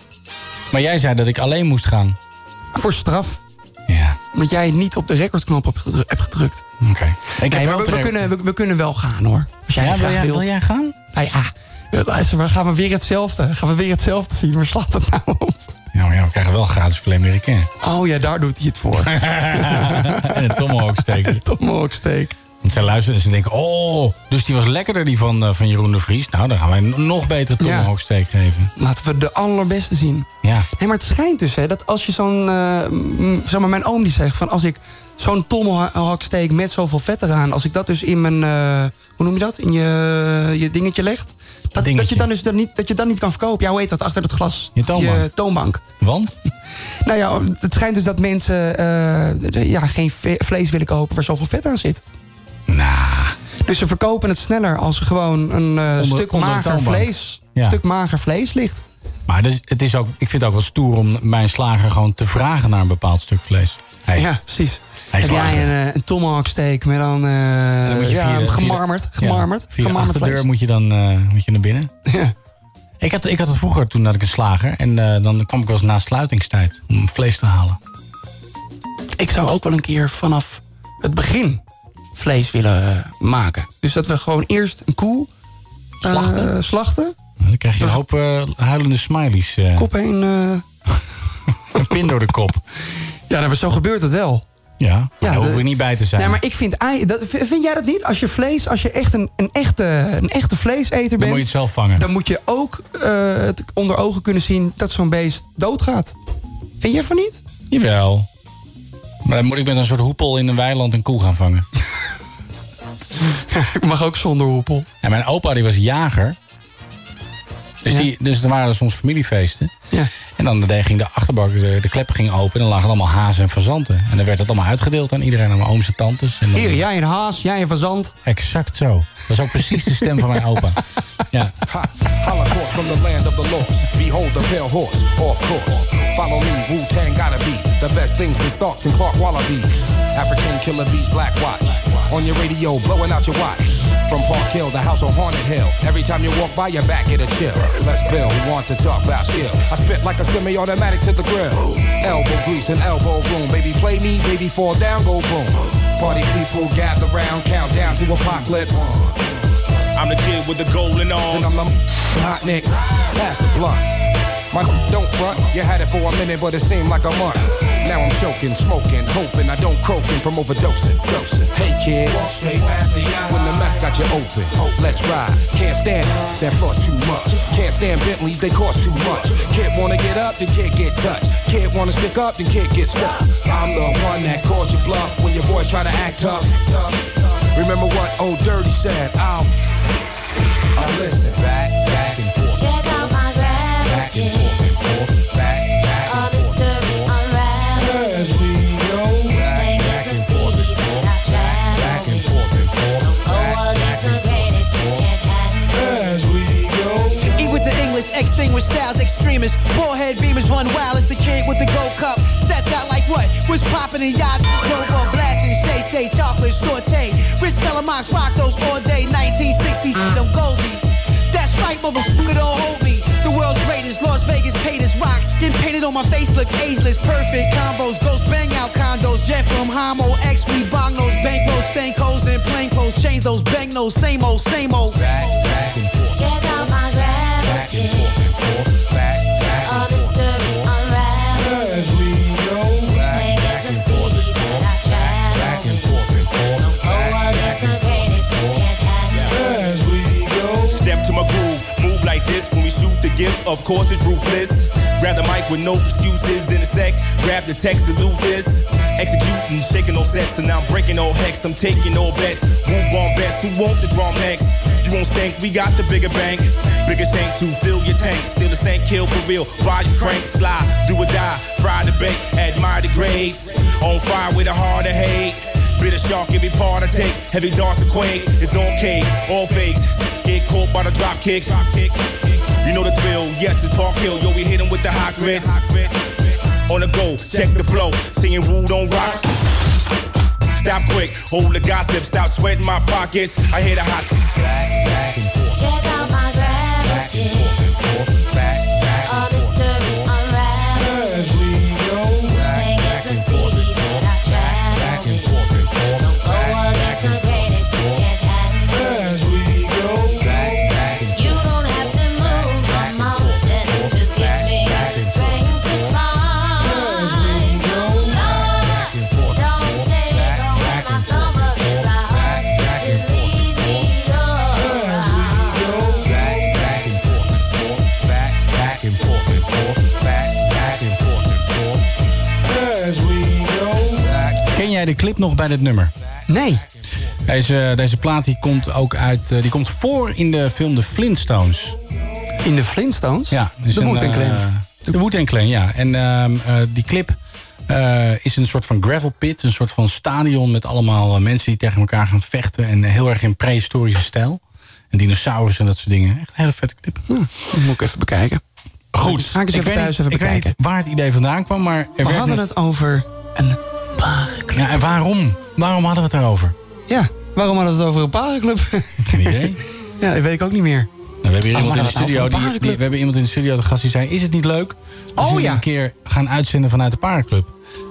F: Maar jij zei dat ik alleen moest gaan.
G: Voor straf.
F: Ja.
G: Omdat jij niet op de recordknop hebt gedru- hebt gedrukt.
F: Oké.
G: Nee,
F: Ik heb wel
G: maar we, we
F: terecht-
G: kunnen, we, we kunnen wel gaan hoor. Als jij
F: Ja, wil
G: graag
F: jij-
G: wilt.
F: wil jij gaan?
G: Nou ja, eh, luister, maar gaan we weer hetzelfde. Gaan we weer hetzelfde zien. Waar slaat dat nou op?
F: Ja, maar ja, we krijgen wel gratis filet américain.
G: Oh ja, daar doet hij het voor.
F: en een tomahawksteek. Een
G: tomahawksteek.
F: Want zij luisteren en ze denken, oh, dus die was lekkerder die van, eh, van Jeroen de Vries. Nou, dan gaan wij een nog betere tomahawksteek geven.
G: Laten we de allerbeste zien.
F: Ja.
G: Nee, maar het schijnt dus hè, dat als je zo'n... eh, m, zeg maar, mijn oom die zegt van als ik zo'n tomahawksteak met zoveel vet eraan... als ik dat dus in mijn... eh, hoe noem je dat? In je, je dingetje legt. Dat, dat je dan dus dan niet, dat je dan niet kan verkopen. Ja, hoe heet dat? Achter het glas.
F: Je toonbank.
G: Je toonbank.
F: Want?
G: Nou ja, het schijnt dus dat mensen eh, de- ja, geen ve- vlees willen kopen waar zoveel vet aan zit. Nou. Dus ze verkopen het sneller als er gewoon een eh,
F: Onder-
G: stuk
F: onder de
G: mager
F: toonbank.
G: vlees,
F: Ja.
G: stuk mager vlees ligt.
F: Maar dus, het is ook, ik vind het ook wel stoer om mijn slager gewoon te vragen naar een bepaald stuk vlees. Hey,
G: Ja, precies.
F: Hij is
G: Heb jij
F: slager.
G: een, eh, een tomahawk steak met dan, eh,
F: Dan moet je
G: ja,
F: via de-
G: gemarmerd,
F: via-
G: gemarmerd,
F: ja, via de
G: gemarmerd
F: achterdeur
G: vlees?
F: moet je dan eh, moet je naar binnen. Ik, had, ik had het vroeger, toen had ik een slager. En eh, dan kwam ik wel eens na sluitingstijd om vlees te halen.
G: Ik zou ook wel een keer vanaf het begin vlees willen eh, maken. Dus dat we gewoon eerst een koe eh,
F: Slachten?
G: slachten.
F: Nou, dan krijg je een hoop eh, huilende smileys. eh.
G: Dus- Kop heen.
F: een pin door de kop.
G: Ja, nou, maar zo gebeurt het wel.
F: Ja, daar
G: dat-
F: hoeven we niet bij te zijn.
G: Nee, maar ik vind, ei- dat, vind jij dat niet? Als je vlees, als je echt een, een, echte, een echte vleeseter bent...
F: Dan moet je het zelf vangen.
G: Dan moet je ook eh, het onder ogen kunnen zien dat zo'n beest doodgaat. Vind jij van niet?
F: Jawel. Maar dan moet ik met een soort hoepel in een weiland een koe gaan vangen.
G: ik mag ook zonder hoepel.
F: En mijn opa die was jager. Dus, die, dus er waren soms familiefeesten. En dan de, ging de achterbak, de, de klep ging open... en dan lagen allemaal hazen en fazanten. En dan werd dat allemaal uitgedeeld aan iedereen, aan mijn ooms en tantes. En dan-
G: Hier, jij een haas, jij een fazant.
F: Exact zo. Nou, Dat is ook precies de stem van mijn opa. Ja.
X: Holocaust from the land of the lost. Behold the pale horse, of course. Follow me, Wu Tang gotta be the best thing since Starks and Clark Wallabies. African killer bees, black watch. On your radio, blowing out your watch. From Park Hill, the house on Haunted Hill. Every time you walk by, your back get a chill. Let's build, we want to talk about skill. I spit like a semi automatic to the grill. Elbow grease and elbow room. Baby, play me, baby, fall down, go boom. Party people gather round, count down to apocalypse. I'm the kid with the golden arms. And I'm the hot nicks. Pass the blunt. My don't front. You had it for a minute, but it seemed like a month. Now I'm choking, smoking, hoping I don't croaking from overdosing. Dosing. Hey kid, when the mouth got you open, let's ride. Can't stand that floss too much. Can't stand Bentleys, they cost too much. Kid wanna get up, then kid get touched. Kid wanna stick up, then kid get stuck. I'm the one that calls you bluff when your boys try to act tough. Remember what old Dirty said? I'll I listen back, back and forth.
C: Check out my
X: Back and forth and forth, back, back and forth. As we go back, back and forth and forth, back, back and forth and forth, back, back and forth and forth. As we go.
I: Eat with the English, extinguished styles, extremists. Forehead beamers run wild as the kid with the gold cup. Stepped out like what? Was popping in yacht. Robo blasting, shay shay, chocolate saute. Rich Kellamox rock those all day. 1960s, I'm Goldie. That's right, motherfucker, don't hold me. The world's greatest, Las Vegas paid his rock. Skin painted on my face, look ageless. Perfect combos, ghost bang out condos. Jet from Homo, X, we bong those bankrolls, stank hoes, and plain clothes. Change those bang those, same old, same old.
X: Back, back and forth.
I: Check out my
X: Back and forth and forth, back, back and forth and forth. As we go back, back and forth and forth, back, back and forth and forth, back, back and forth and forth. As we
Y: Step to my groove, move like this when we shoot the gift. Of course, it's ruthless. Grab the mic with no excuses in a sec. Grab the text, salute this. Executing, shaking no sets, and I'm breaking all hex. I'm taking all bets. Move on bets. Who want the drum next? You won't stink, we got the bigger bank. Bigger shank to fill your tank. Still the same kill for real. Ride your crank, slide, do or die. Fry the bait, admire the grades. On fire with a heart of hate. Bit of shark, every part I take. Heavy darts to quake. It's on cake, all fakes. Get caught by the drop kicks. You know the drill. Yes, it's Park Hill. Yo, we hit 'em with the hot grits. On the go, check the flow. Singing woo don't rock. Stop quick, hold the gossip. Stop sweating my pockets. I hear the hot.
X: back, back and forth. Check out my Back and forth and forth, back, back and forth. As we go back, back and forth and forth, back, back and forth and forth, back, back and forth and forth. As we go back, back and forth and forth, back, back and forth and forth, back, back and forth and forth. As we go back and forth and forth, back, back and forth and forth, back, back and forth and forth. As we go back, back and forth and forth, back, back and forth and forth, back, back and forth and forth. As we go back.
F: Ken jij de clip nog bij dit nummer?
G: Nee.
F: Deze, deze plaat die komt ook uit. eh, Die komt voor in de film The Flintstones.
G: In de Flintstones?
F: Ja.
G: De Wu-Tang Clan.
F: en eh, de Wu-Tang Clan, ja. En ehm, eh, die clip eh, is een soort van gravel pit. Een soort van stadion met allemaal eh, mensen die tegen elkaar gaan vechten. En eh, heel erg in
G: Nou,
F: prehistorische stijl. En dinosaurussen en dat soort dingen. Echt een hele vette clip.
G: moet ik even bekijken. Goed. Ga ik eens even
F: weet
G: thuis
F: niet,
G: even
F: Ik weet
G: bekijken.
F: niet waar het idee vandaan kwam, maar... Er
G: We
F: werd
G: hadden
F: net-
G: het over
F: Ja, en waarom? Waarom hadden we het erover?
G: Ja, waarom hadden we het over een parenclub?
F: Geen idee.
G: ja, dat weet ik ook niet meer.
F: Nou, we hebben hier
G: Oh,
F: iemand in de
G: maar dat
F: studio.
G: nou voor
F: Die,
G: een
F: die- we hebben iemand in de studio de gast die zei: Is het niet leuk? Als
G: Oh,
F: jullie
G: ja.
F: een keer gaan uitzenden vanuit de paarclub.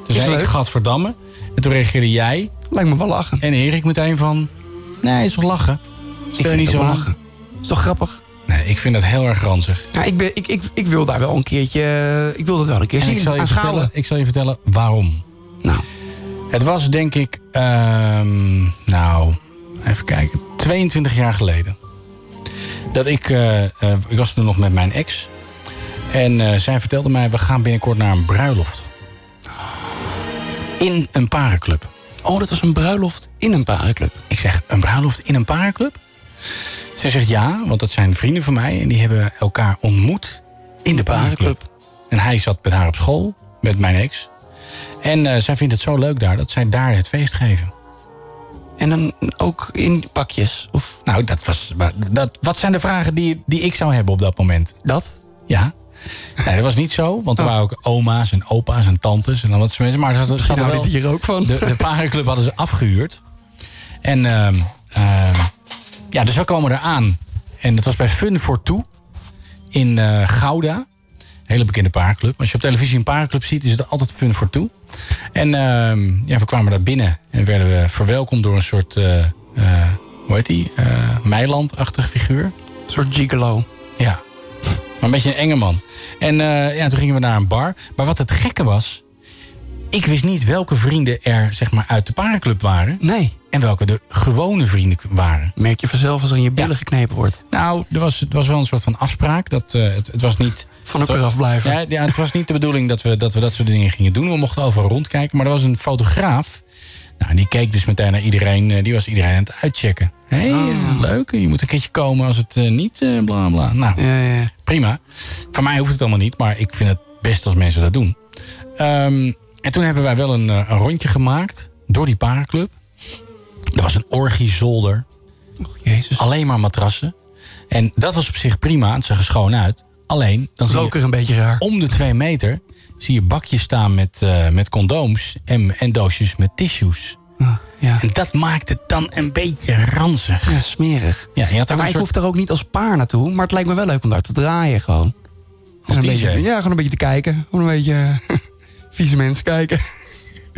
F: Toen
G: Is
F: zei ik:
G: leuk.
F: Gadverdamme. En toen reageerde jij.
G: Lijkt me wel lachen.
F: En Erik meteen van: Nee, is toch lachen? Stel je
G: vind
F: niet
G: het
F: zo
G: wel
F: aan.
G: lachen. Is toch grappig?
F: Nee, ik vind dat heel erg ranzig.
G: Ja, ik, ben, ik, ik, ik wil daar wel een keertje... eh, Ik wil dat wel een keer
F: En
G: zien.
F: ik zal, je
G: aan
F: vertellen,
G: schalen.
F: ik zal je vertellen waarom. Nou. Het was denk ik, ehm, nou, even kijken, 22 jaar geleden. Dat ik, eh, eh, ik was toen nog met mijn ex. En eh, zij vertelde mij, we gaan binnenkort naar een bruiloft. In een parenclub. Oh, dat was een bruiloft in een parenclub. Ik zeg, een bruiloft in een parenclub? Ze zegt ja, want dat zijn vrienden van mij. En die hebben elkaar ontmoet in de parenclub. En hij zat met haar op school, met mijn ex. En eh, zij vindt het zo leuk daar dat zij daar het feest geven. En dan ook in pakjes? Of? Nou, dat was, maar dat, wat zijn de vragen die, die ik zou hebben op dat moment? Dat? Ja. Nee, dat was niet zo, want
G: Oh.
F: er waren ook oma's en opa's en tantes en al dat soort mensen. Maar ze hadden, ze
G: Misschien
F: hadden
G: houdt
F: wel,
G: hij hier ook van.
F: De, de parenclub hadden ze afgehuurd. En ehm, ehm, ja, dus we komen eraan. En dat was bij Fun for Two in eh, Gouda. Hele bekende paarclub. Als je op televisie een paarclub ziet, is het altijd fun voor toe. En ehm, ja, we kwamen daar binnen en werden we verwelkomd door een soort, eh, eh, hoe heet die? Eh, Meiland-achtig figuur. Een soort gigolo. Ja, maar een beetje een enge man. En eh, ja, toen gingen we naar een bar. Maar wat het gekke was, ik wist niet welke vrienden er zeg maar, uit de parenclub waren. Nee. En welke de gewone vrienden waren. Merk je vanzelf als er in je billen geknepen wordt. Nou, er was, het was wel een soort van afspraak. Dat, eh, het, het was niet... Van
G: elkaar afblijven.
F: Ja, ja, het was niet de bedoeling dat we, dat we dat soort dingen gingen doen. We mochten overal rondkijken. Maar er was een fotograaf. Nou, en die keek dus meteen naar iedereen. eh, Die was iedereen aan het uitchecken. Hé, hey,
G: Ah.
F: eh, leuk. Je moet een keertje komen als het eh, niet eh, bla bla. Nou, prima. Voor mij hoeft het allemaal niet. Maar ik vind het best als mensen dat doen. Ehm, en toen hebben wij wel een, eh, een rondje gemaakt door die parenclub. Er was een orgiezolder. Alleen maar matrassen. En dat was op zich prima. Het zag er schoon uit. Alleen, dan zie je, een beetje raar. om de twee meter zie je bakjes staan met, eh, met condooms en, en doosjes met tissues.
G: Ah,
F: En dat maakt het dan een beetje ranzig.
G: Ja, smerig.
F: Ja, je had ook
G: maar
F: een
G: ik
F: soort-
G: hoef daar ook niet als paar naartoe. Maar het lijkt me wel leuk om daar te draaien gewoon.
F: Als
G: En
F: DJ?
G: een beetje, ja, gewoon een beetje te kijken. Gewoon een beetje eh, vieze mensen kijken.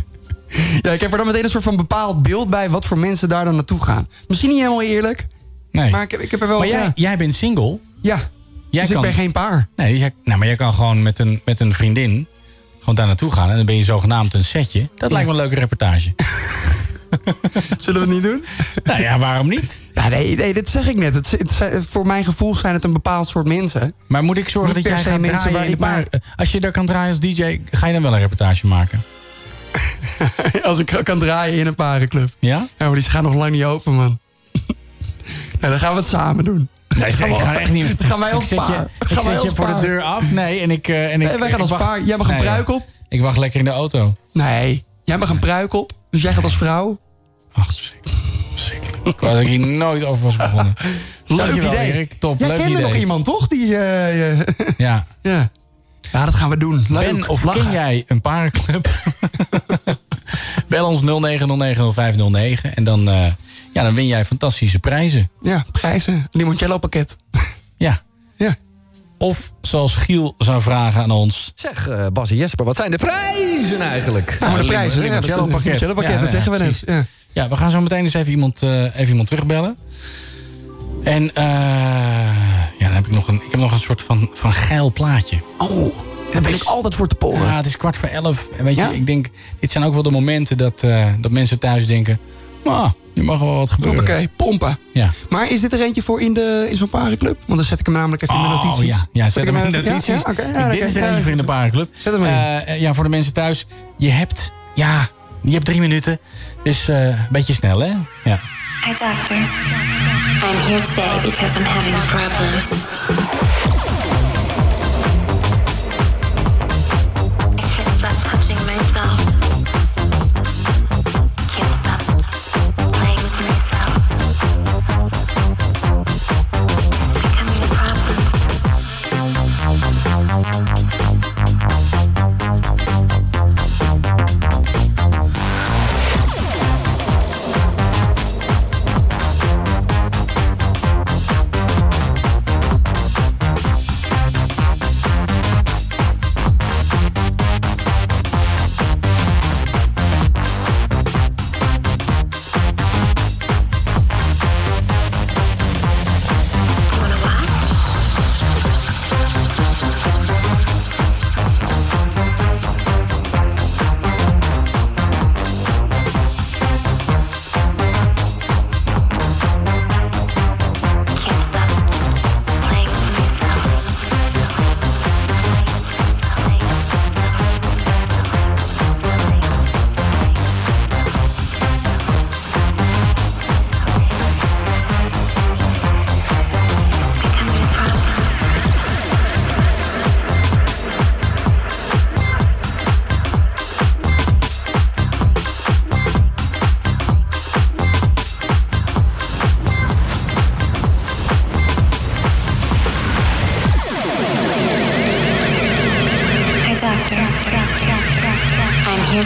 G: ja, ik heb er dan meteen een soort van bepaald beeld bij... wat voor mensen daar dan naartoe gaan. Misschien niet helemaal eerlijk.
F: Nee.
G: Maar ik, heb- ik heb er wel...
F: Maar jij,
G: ja.
F: jij bent single.
G: Ja.
F: Jij
G: Dus ik ben geen paar.
F: Nee, jij- nou, maar jij kan gewoon met een, met een vriendin gewoon daar naartoe gaan. En dan ben je zogenaamd een setje. Dat lijkt me een leuke reportage.
G: Zullen we het niet doen?
F: Nou ja, waarom niet?
G: Ja, nee, nee, dat zeg ik net. Het, het zijn- voor mijn gevoel zijn het een bepaald soort mensen.
F: Maar moet ik zorgen
G: Niet
F: dat jij
G: per se
F: gaat
G: mensen
F: draaien
G: waar
F: in de
G: ik maar-
F: paar- Als je daar kan draaien als DJ, ga je dan wel een reportage maken?
G: Als ik kan draaien in een parenclub.
F: Ja?
G: Ja, maar die gaan nog lang niet open, man. nou, dan gaan we het samen doen.
F: Nee,
G: Gaan
F: ik
G: we-
F: ga echt niet.
G: Gaan wij
F: Ik
G: als
F: zet je-
G: paar.
F: Ik
G: Gaan wij
F: zet je
G: als
F: voor de
G: paar.
F: deur af. Nee, en ik. eh, En ik
G: Nee, wij gaan
F: ik
G: als
F: wacht-
G: paar. Jij mag een
F: Nee, joh.
G: pruik op.
F: Ik wacht lekker in de auto.
G: Nee, jij mag een pruik op. Dus jij gaat als vrouw.
F: Ik wou dat ik hier nooit over was begonnen.
G: Leuk
F: Dankjewel,
G: idee.
F: Erik. Top,
G: jij
F: leuk
G: kende
F: idee.
G: nog iemand, toch? Die, eh, eh,
F: Ja.
G: ja. ja, dat gaan we doen. Leuk.
F: Ben of
G: Lachen.
F: ken jij een parenclub? Bel ons 09090509 en dan, eh, ja, dan win jij fantastische prijzen.
G: Ja, prijzen. Limoncello pakket.
F: Ja.
G: ja.
F: Of zoals Giel zou vragen aan ons.
L: Zeg, eh, Bas en Jesper, wat zijn de prijzen eigenlijk?
F: Nou, de prijzen, ja, dat-
L: limoncello pakket.
F: limoncello pakket,
L: Ja,
F: dat
L: nou
F: zeggen we net.
G: Ja.
F: Ja, we gaan zo meteen dus even iemand, eh, even iemand terugbellen. En eh ja, dan heb ik nog een, ik heb nog een soort van, van geil plaatje. Oh, daar ben ik altijd voor te poren. Ja, het is kwart voor elf. En weet je, ik denk, dit zijn ook wel de momenten dat, eh, dat mensen thuis denken... Ah, nu mag wel wat gebeuren.
G: Hoppakee, pompen.
F: Ja.
G: Maar is dit er eentje voor in, de- in zo'n parenclub? Want dan zet ik hem namelijk even in mijn
F: Oh
G: notities.
F: ja, ja
G: Zet
F: zet
G: ik
F: hem in
G: even- ja,
F: notities.
G: ja, oké, ja,
F: Ik-
G: oké,
F: dit is er
G: ja.
F: eentje voor in de parenclub.
G: Zet hem erin.
F: Eh, eh, ja, voor de mensen thuis. Je hebt, ja, je hebt drie minuten. Dus eh, een beetje snel, hè? Ja.
Z: Hi, doctor. I'm here today because I'm having a problem. I can't stop touching myself. Can't stop playing with myself. It's becoming a problem.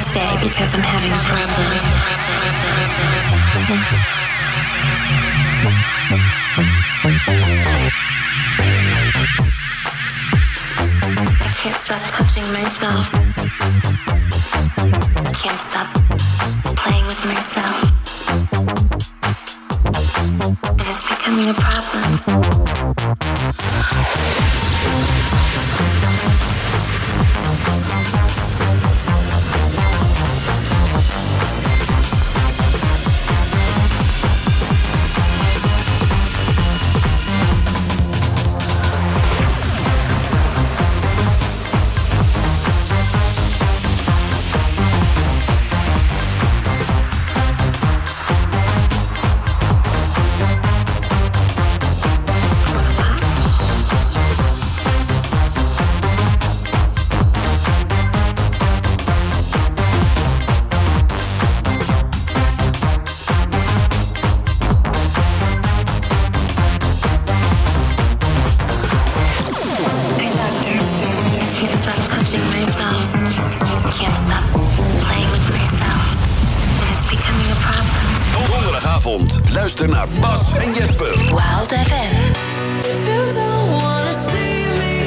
Z: stay because I'm having a problem. I can't stop touching myself. I can't stop playing with myself. And it's becoming a problem. Can't stop touching myself. Can't stop playing with myself. And it's becoming a problem.
B: Donderdagavond. Luister naar Bas en Jesper.
Z: Wild FM.
C: If you don't wanna see me,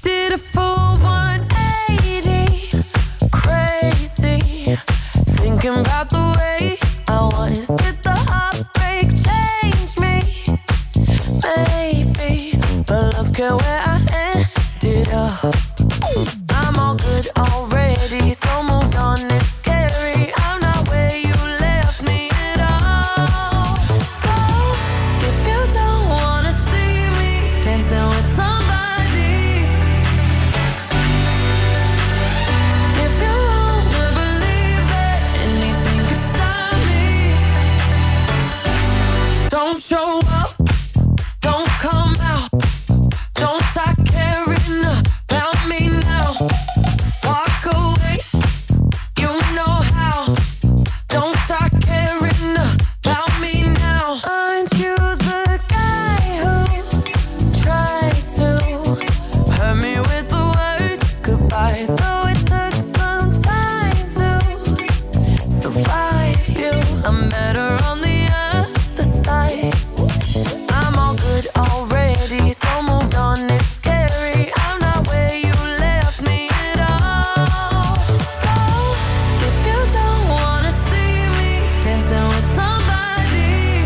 C: did a full 180, crazy, thinking about the way I was. Did the heartbreak change me? Maybe, but look at where I ended up. I'm all good already, so moved on. It's scary. I'm not where you left me at all. So if you don't wanna see me dancing with somebody, if you wanna believe that anything could stop me, don't show up, don't come out, don't start caring about me now. Walk away, you know how. Don't start caring about me now. Aren't you the guy who tried to hurt me with the word goodbye? Though it took some time to survive you, I'm better on the other side. I'm all good already, so moved on. It's scary. I'm not where you left me at all. So if you don't wanna see me dancing with somebody,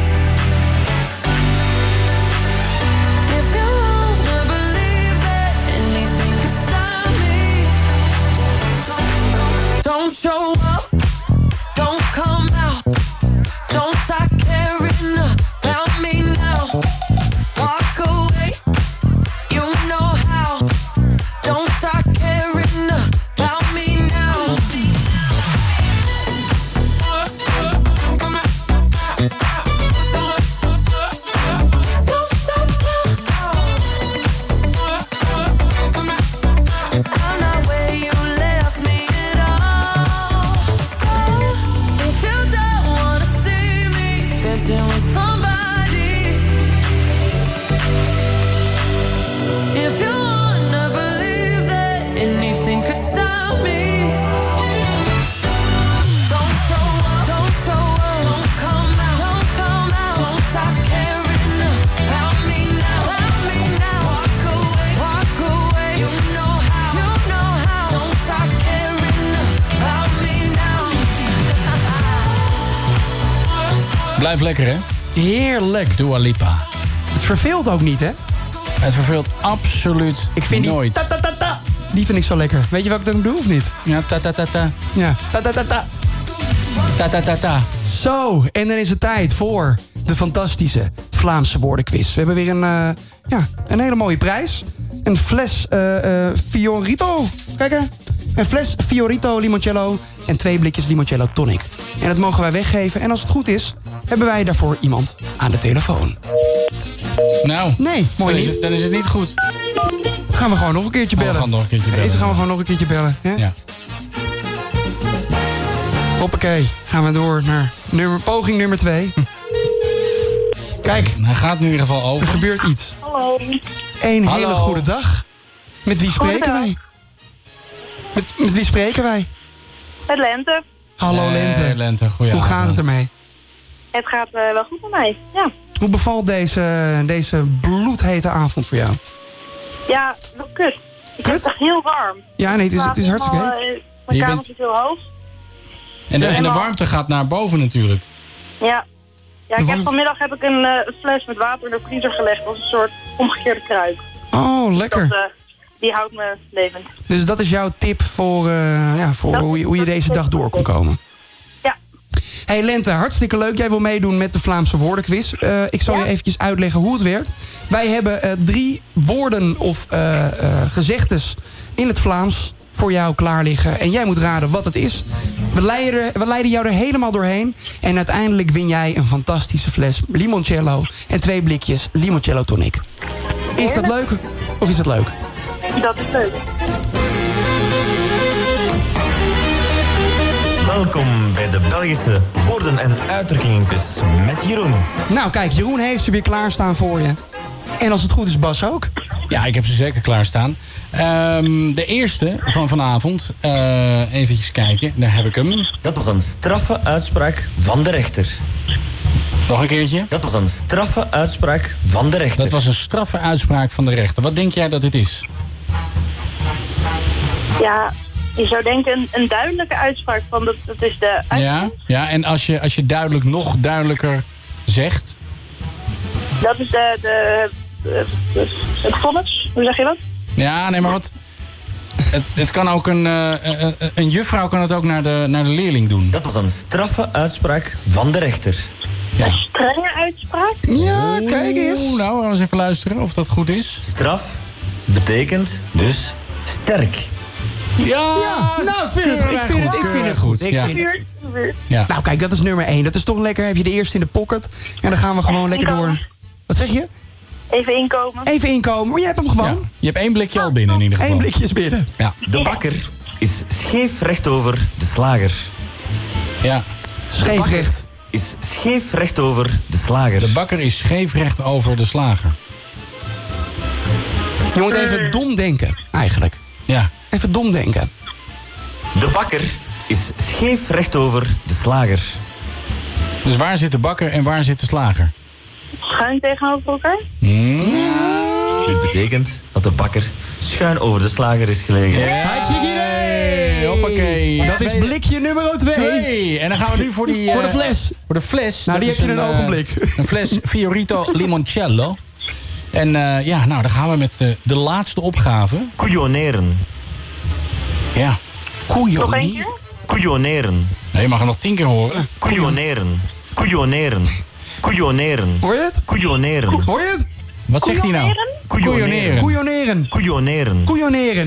C: if you wanna believe that anything could stop me, don't show up, don't come out, don't start caring about me now. Walk away, you know how. Don't start caring about me now. I'm not where you left me at all. So if you don't wanna see me dancing with somebody, if you wanna believe that anything could stop me, don't show up, don't show up, don't come out, don't come out, don't stop caring about me now, about me now. Walk away, walk away, you know how, you know how. Don't stop caring about me now.
F: Blijf lekker, hè?
G: Heerlijk.
F: Dua Lipa.
G: Het verveelt ook niet, hè?
F: Het verveelt absoluut
G: Ik vind
F: nooit.
G: die ta ta ta ta, die vind ik zo lekker. Weet je wat ik dan doe of niet?
F: Ja, ta ta ta ta.
G: Ja, ta ta ta ta.
F: Ta ta ta ta.
G: Zo, en dan is het tijd voor de fantastische Vlaamse woordenquiz. We hebben weer een, eh, ja, een hele mooie prijs. Een fles eh, eh, Fiorito. Kijk hè. Een fles Fiorito limoncello en twee blikjes limoncello tonic. En dat mogen wij weggeven. En als het goed is, hebben wij daarvoor iemand aan de telefoon.
F: Nou.
G: Nee, mooi
F: dan is
G: niet.
F: het- dan is het niet goed.
G: Gaan we gewoon nog een keertje
F: Oh, we
G: bellen.
F: gaan nog een keertje bellen,
G: Deze gaan we gewoon nog een keertje bellen. Hè?
F: Ja.
G: Hoppakee, gaan we door naar nummer, poging nummer 2. Kijk.
F: Hij gaat nu in ieder geval over.
G: Er gebeurt iets.
Q: Hallo.
G: Een
F: Hallo.
G: hele goede dag. Met wie spreken wij?
Q: Goedendag.
G: Met, met wie spreken wij?
N: Met lente.
G: Hallo
F: Hey,
G: Lente.
F: Lente, goeie
G: Hoe gaat
F: avond.
G: het ermee?
N: Het gaat eh, wel goed met mij. Ja.
G: Hoe bevalt deze, deze bloedhete avond voor jou?
N: Ja, wel kut. Ik heb het echt heel warm.
G: Ja, nee, het is- het is hartstikke heet.
N: heet.
F: Je
N: eh, Mijn kamer
F: bent-
N: zit heel hoog.
F: En de, en de warmte gaat naar boven natuurlijk.
N: Ja. Ja, ik heb vanmiddag heb ik een eh, fles met water in de vriezer gelegd als een soort omgekeerde kruik.
G: Oh, lekker.
N: Dat, eh, die houdt me levend.
G: Dus dat is jouw tip voor, eh, ja, voor hoe, je, hoe je deze dag door kan komen.
N: Ja.
G: Hey Lente, hartstikke leuk. Jij wil meedoen met de Vlaamse woordenquiz. Eh, ik zal je eventjes uitleggen hoe het werkt. Wij hebben eh, drie woorden of eh, eh, gezegdes in het Vlaams voor jou klaar liggen. En jij moet raden wat het is. We leiden, we leiden jou er helemaal doorheen. En uiteindelijk win jij een fantastische fles limoncello... en twee blikjes limoncello tonic. Is dat leuk of is dat leuk?
N: Dat is leuk.
W: Welkom bij de Belgische woorden en uitdrukkingenkus met Jeroen.
G: Nou, kijk, Jeroen heeft ze weer klaarstaan voor je. En als het goed is, Bas ook.
F: Ja, ik heb ze zeker klaarstaan. Ehm de eerste van vanavond. eh eventjes kijken, daar heb ik hem.
W: Dat was een straffe uitspraak van de rechter.
F: Nog een keertje?
W: Dat was een straffe uitspraak van de rechter.
F: Dat was een straffe uitspraak van de rechter. Wat denk jij dat dit is?
N: Ja, je zou denken een, een duidelijke uitspraak van dat, dat is de uitspraak.
F: Ja, ja en als je, als je duidelijk nog duidelijker zegt.
N: Dat is de, de, de- de- het vonnis, hoe zeg je dat?
F: Ja, nee, maar wat. Het, het kan ook een, eh, eh, eh, een juffrouw kan het ook naar de, naar de leerling doen.
W: Dat was een straffe uitspraak van de rechter.
N: Strenge uitspraak?
G: Ja, kijk eens.
F: nou, we eens even luisteren of dat goed is.
W: Straf betekent dus sterk.
F: Ja,
G: nou, ik vind, het, ik, vind het, ik vind het goed. Ik vind het. Nou, kijk, dat is nummer één. Dat is toch lekker. Heb je de eerste in de pocket. En dan gaan we gewoon lekker door. Wat zeg je?
N: Even inkomen.
G: Even inkomen. Maar je hebt hem gewoon.
F: Je hebt één blikje al binnen in ieder geval.
G: Eén blikje is binnen.
F: Ja.
W: De bakker is scheef rechtover de slager.
F: Ja.
W: Scheef recht. Is scheef rechtover de slager.
F: De bakker is scheefrecht over de slager.
G: Je moet even dom denken, eigenlijk.
F: Ja.
G: Even dom denken.
W: De bakker is scheef rechtover de slager.
F: Dus waar zit de bakker en waar zit de slager?
N: Schuin tegenover elkaar?
W: Dit betekent dat de bakker schuin over de slager is gelegen.
F: Hartstikke idee! Hoppakee.
G: Dat is blikje nummer twee.
F: Oh, Twee. En dan gaan we nu voor die... eh,
G: Voor de fles.
F: Voor de fles.
G: Nou, die
F: Dat
G: heb je
F: is
G: in een
F: eh,
G: ogenblik.
F: Een fles Fiorito Limoncello. En eh, ja, nou, dan gaan we met eh, de laatste opgave.
W: Couilloneren.
F: Ja.
W: Nog één
F: Couilloneren.
W: keer? Couilloneren.
F: Nee, je mag hem nog tien keer horen.
W: Couilloneren. Couilloneren. Couilloneren.
G: Hoor je het?
W: Couilloneren.
G: Hoor je het?
F: Wat zegt hij nou? Couilloneren.
G: Couilloneren.
W: Couilloneren.
G: Couilloneren.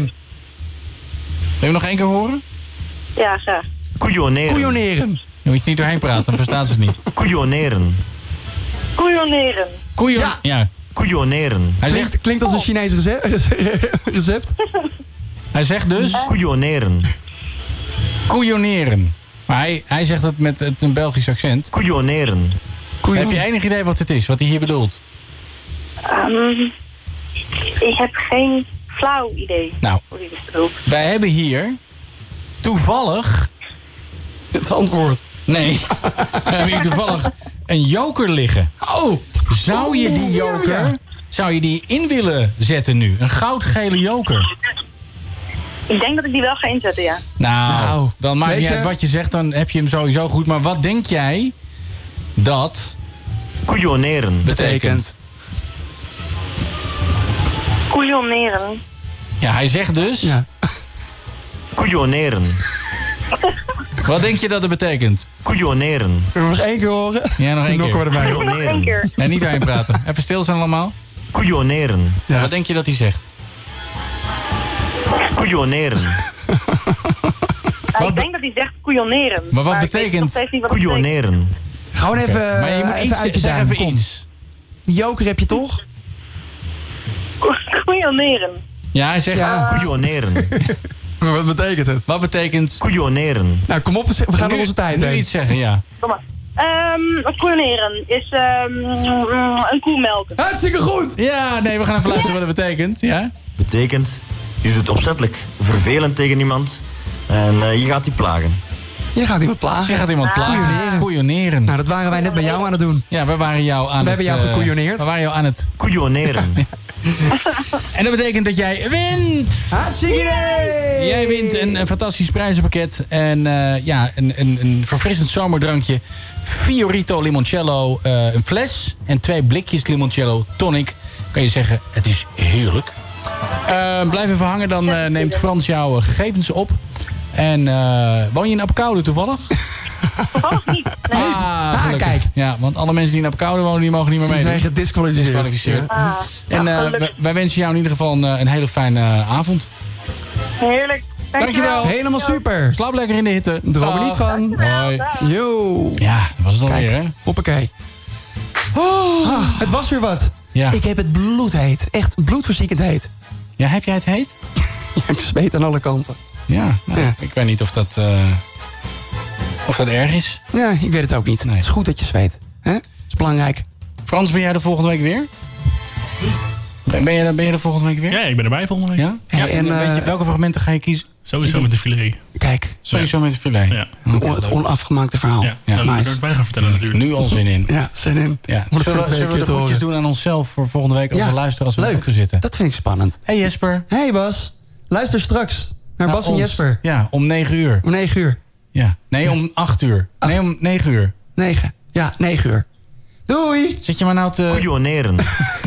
F: Wil je hem nog één keer horen?
N: Ja, graag.
W: Couilloneren.
G: Couilloneren.
F: Je moet je niet doorheen praten, dan verstaan ze het niet.
W: Couilloneren.
N: Koeioneren.
F: Couillon... Ja.
W: Couilloneren.
F: Hij zegt,
G: Klinkt, klinkt als een Chinees rece- recept.
F: hij zegt dus...
W: Couilloneren.
F: Couilloneren. Maar hij, hij zegt het met het, een Belgisch accent.
W: Couilloneren.
F: Heb je enig idee wat het is, wat hij hier bedoelt?
N: Ehm, ik heb geen flauw idee.
F: Nou,
N: hoe dit is bedoeld.
F: wij hebben hier toevallig...
G: Het antwoord.
F: Nee, we hebben hier toevallig een joker liggen.
G: Oh!
F: Zou je die joker... Zou je die in willen zetten nu? Een goudgele joker.
N: Ik denk dat ik die wel ga inzetten, ja.
F: Nou, dan maakt
N: weet
F: niet
N: je-
F: uit wat je zegt, dan heb je hem sowieso goed. Maar wat denk jij dat
W: Couilloneren.
F: betekent?
N: Koeioneren.
F: Ja, hij zegt dus...
W: Couilloneren.
F: Wat denk je dat het betekent?
W: Couilloneren.
G: Nog één keer horen.
F: Ja, nog één
W: Nog
F: keer.
W: worden wij. Nog één keer.
F: Nee, niet doorheen praten. Even stil zijn allemaal.
W: Couilloneren.
F: Wat denk je dat hij zegt?
W: Couilloneren.
N: Ah, ik denk dat hij zegt koeioneren.
W: Maar wat
N: ik weet
W: betekent
N: nog steeds niet wat het
W: Couilloneren.
G: Gewoon even,
F: Oké, maar je moet
G: Eh, even
F: iets-
G: uit je
F: zeg
G: duim,
F: even
G: kom.
F: iets.
G: Die joker heb je toch?
N: betekent. Koeioneren.
F: Ja, hij zegt...
W: Ja. Couilloneren.
G: Maar wat betekent het?
F: Wat betekent...
W: Couilloneren.
G: Nou, kom op, we gaan
F: Nu-
G: door onze tijd
F: nu
G: heen.
F: iets zeggen, ja.
N: Kom maar. Ehm, wat koeioneren is ehm, mm, een koe melken.
G: Hartstikke goed!
F: Ja, nee, we gaan even luisteren wat het betekent. Ja?
W: Betekent
Q: Je doet opzettelijk vervelend tegen iemand en eh, je gaat die plagen.
G: Je gaat iemand plagen.
F: Je gaat iemand plagen.
G: Koeieneren.
F: Koeieneren.
G: Nou, dat waren wij net bij jou aan het doen.
F: Ja, we waren jou aan
G: We
F: het...
G: hebben jou
F: eh,
G: gekoeioneerd.
F: We waren jou aan het...
Q: Koeioneren.
F: en dat betekent dat jij wint!
G: Hartstikke idee!
F: Jij wint een, een fantastisch prijzenpakket. En eh, ja, een, een, een verfrissend zomerdrankje. Fiorito limoncello, eh, een fles. En twee blikjes limoncello tonic. Kan je zeggen, het is heerlijk. Eh, blijf even hangen, dan eh, neemt Frans jouw eh, gegevens op. En eh, woon je in Apeldoorn toevallig? Ah, gelukkig.
G: kijk.
F: Ja, want alle mensen die in Apeldoorn wonen, die mogen niet meer
G: Die
F: meedoen.
G: zijn gedisqualificeerd.
F: Gedisqualificeerd.
G: Ja.
N: Ah.
F: En eh, wij- wij wensen jou in ieder geval een, eh, een hele fijne eh, avond.
N: Heerlijk.
F: Dankjewel.
G: Helemaal super.
F: Slaap lekker in de hitte.
G: Droom er
F: Dag.
G: niet van.
F: Hoi.
G: Yo.
F: Ja, dat was het
G: Kijk,
F: alweer, hè?
G: Hoppakee. Ah, het was weer wat.
F: Ja.
G: Ik heb het bloedheet. Echt bloedverziekend heet.
F: Ja, heb jij het heet?
G: Ja, ik zweet aan alle kanten.
F: Ja, nou, ik weet niet of dat, eh, of dat erg is.
G: Ja, ik weet het ook niet. Het is goed dat je zweet. hè? Het is belangrijk.
F: Frans, ben jij er volgende week weer? Ben ben je, er- ben je er volgende week weer?
W: Ja, ik ben erbij volgende week.
F: Ja?
G: Hey, en,
F: en, weet je,
G: eh,
F: welke fragmenten ga je kiezen?
W: Sowieso met de filet.
G: Kijk,
F: Sowieso met het filet.
W: Ja.
G: on- het onafgemaakte verhaal.
W: Ja, daar wil ik er ook bij gaan vertellen natuurlijk.
F: Nu al zin in.
G: Ja, zin in.
F: Ja.
G: Moet ik voor
F: Zullen, we- zullen
G: twee
F: we
G: keer
F: de
G: te
F: groetjes
G: horen.
F: doen aan onszelf voor volgende week als
G: Ja,
F: we luisteren als we
G: leuk.
F: leuk zitten?
G: Dat vind ik spannend.
F: Hey Jesper.
G: Hey Bas. Luister straks naar
F: Naar
G: Bas en
F: ons.
G: Jesper.
F: Ja, om 9 uur.
G: Om 9 uur.
F: Ja. Nee, om 8 uur. Nee, om 9 uur.
G: 9. Ja, 9 uur. Doei.
F: Zit je maar nou te...
Q: Koeioneren.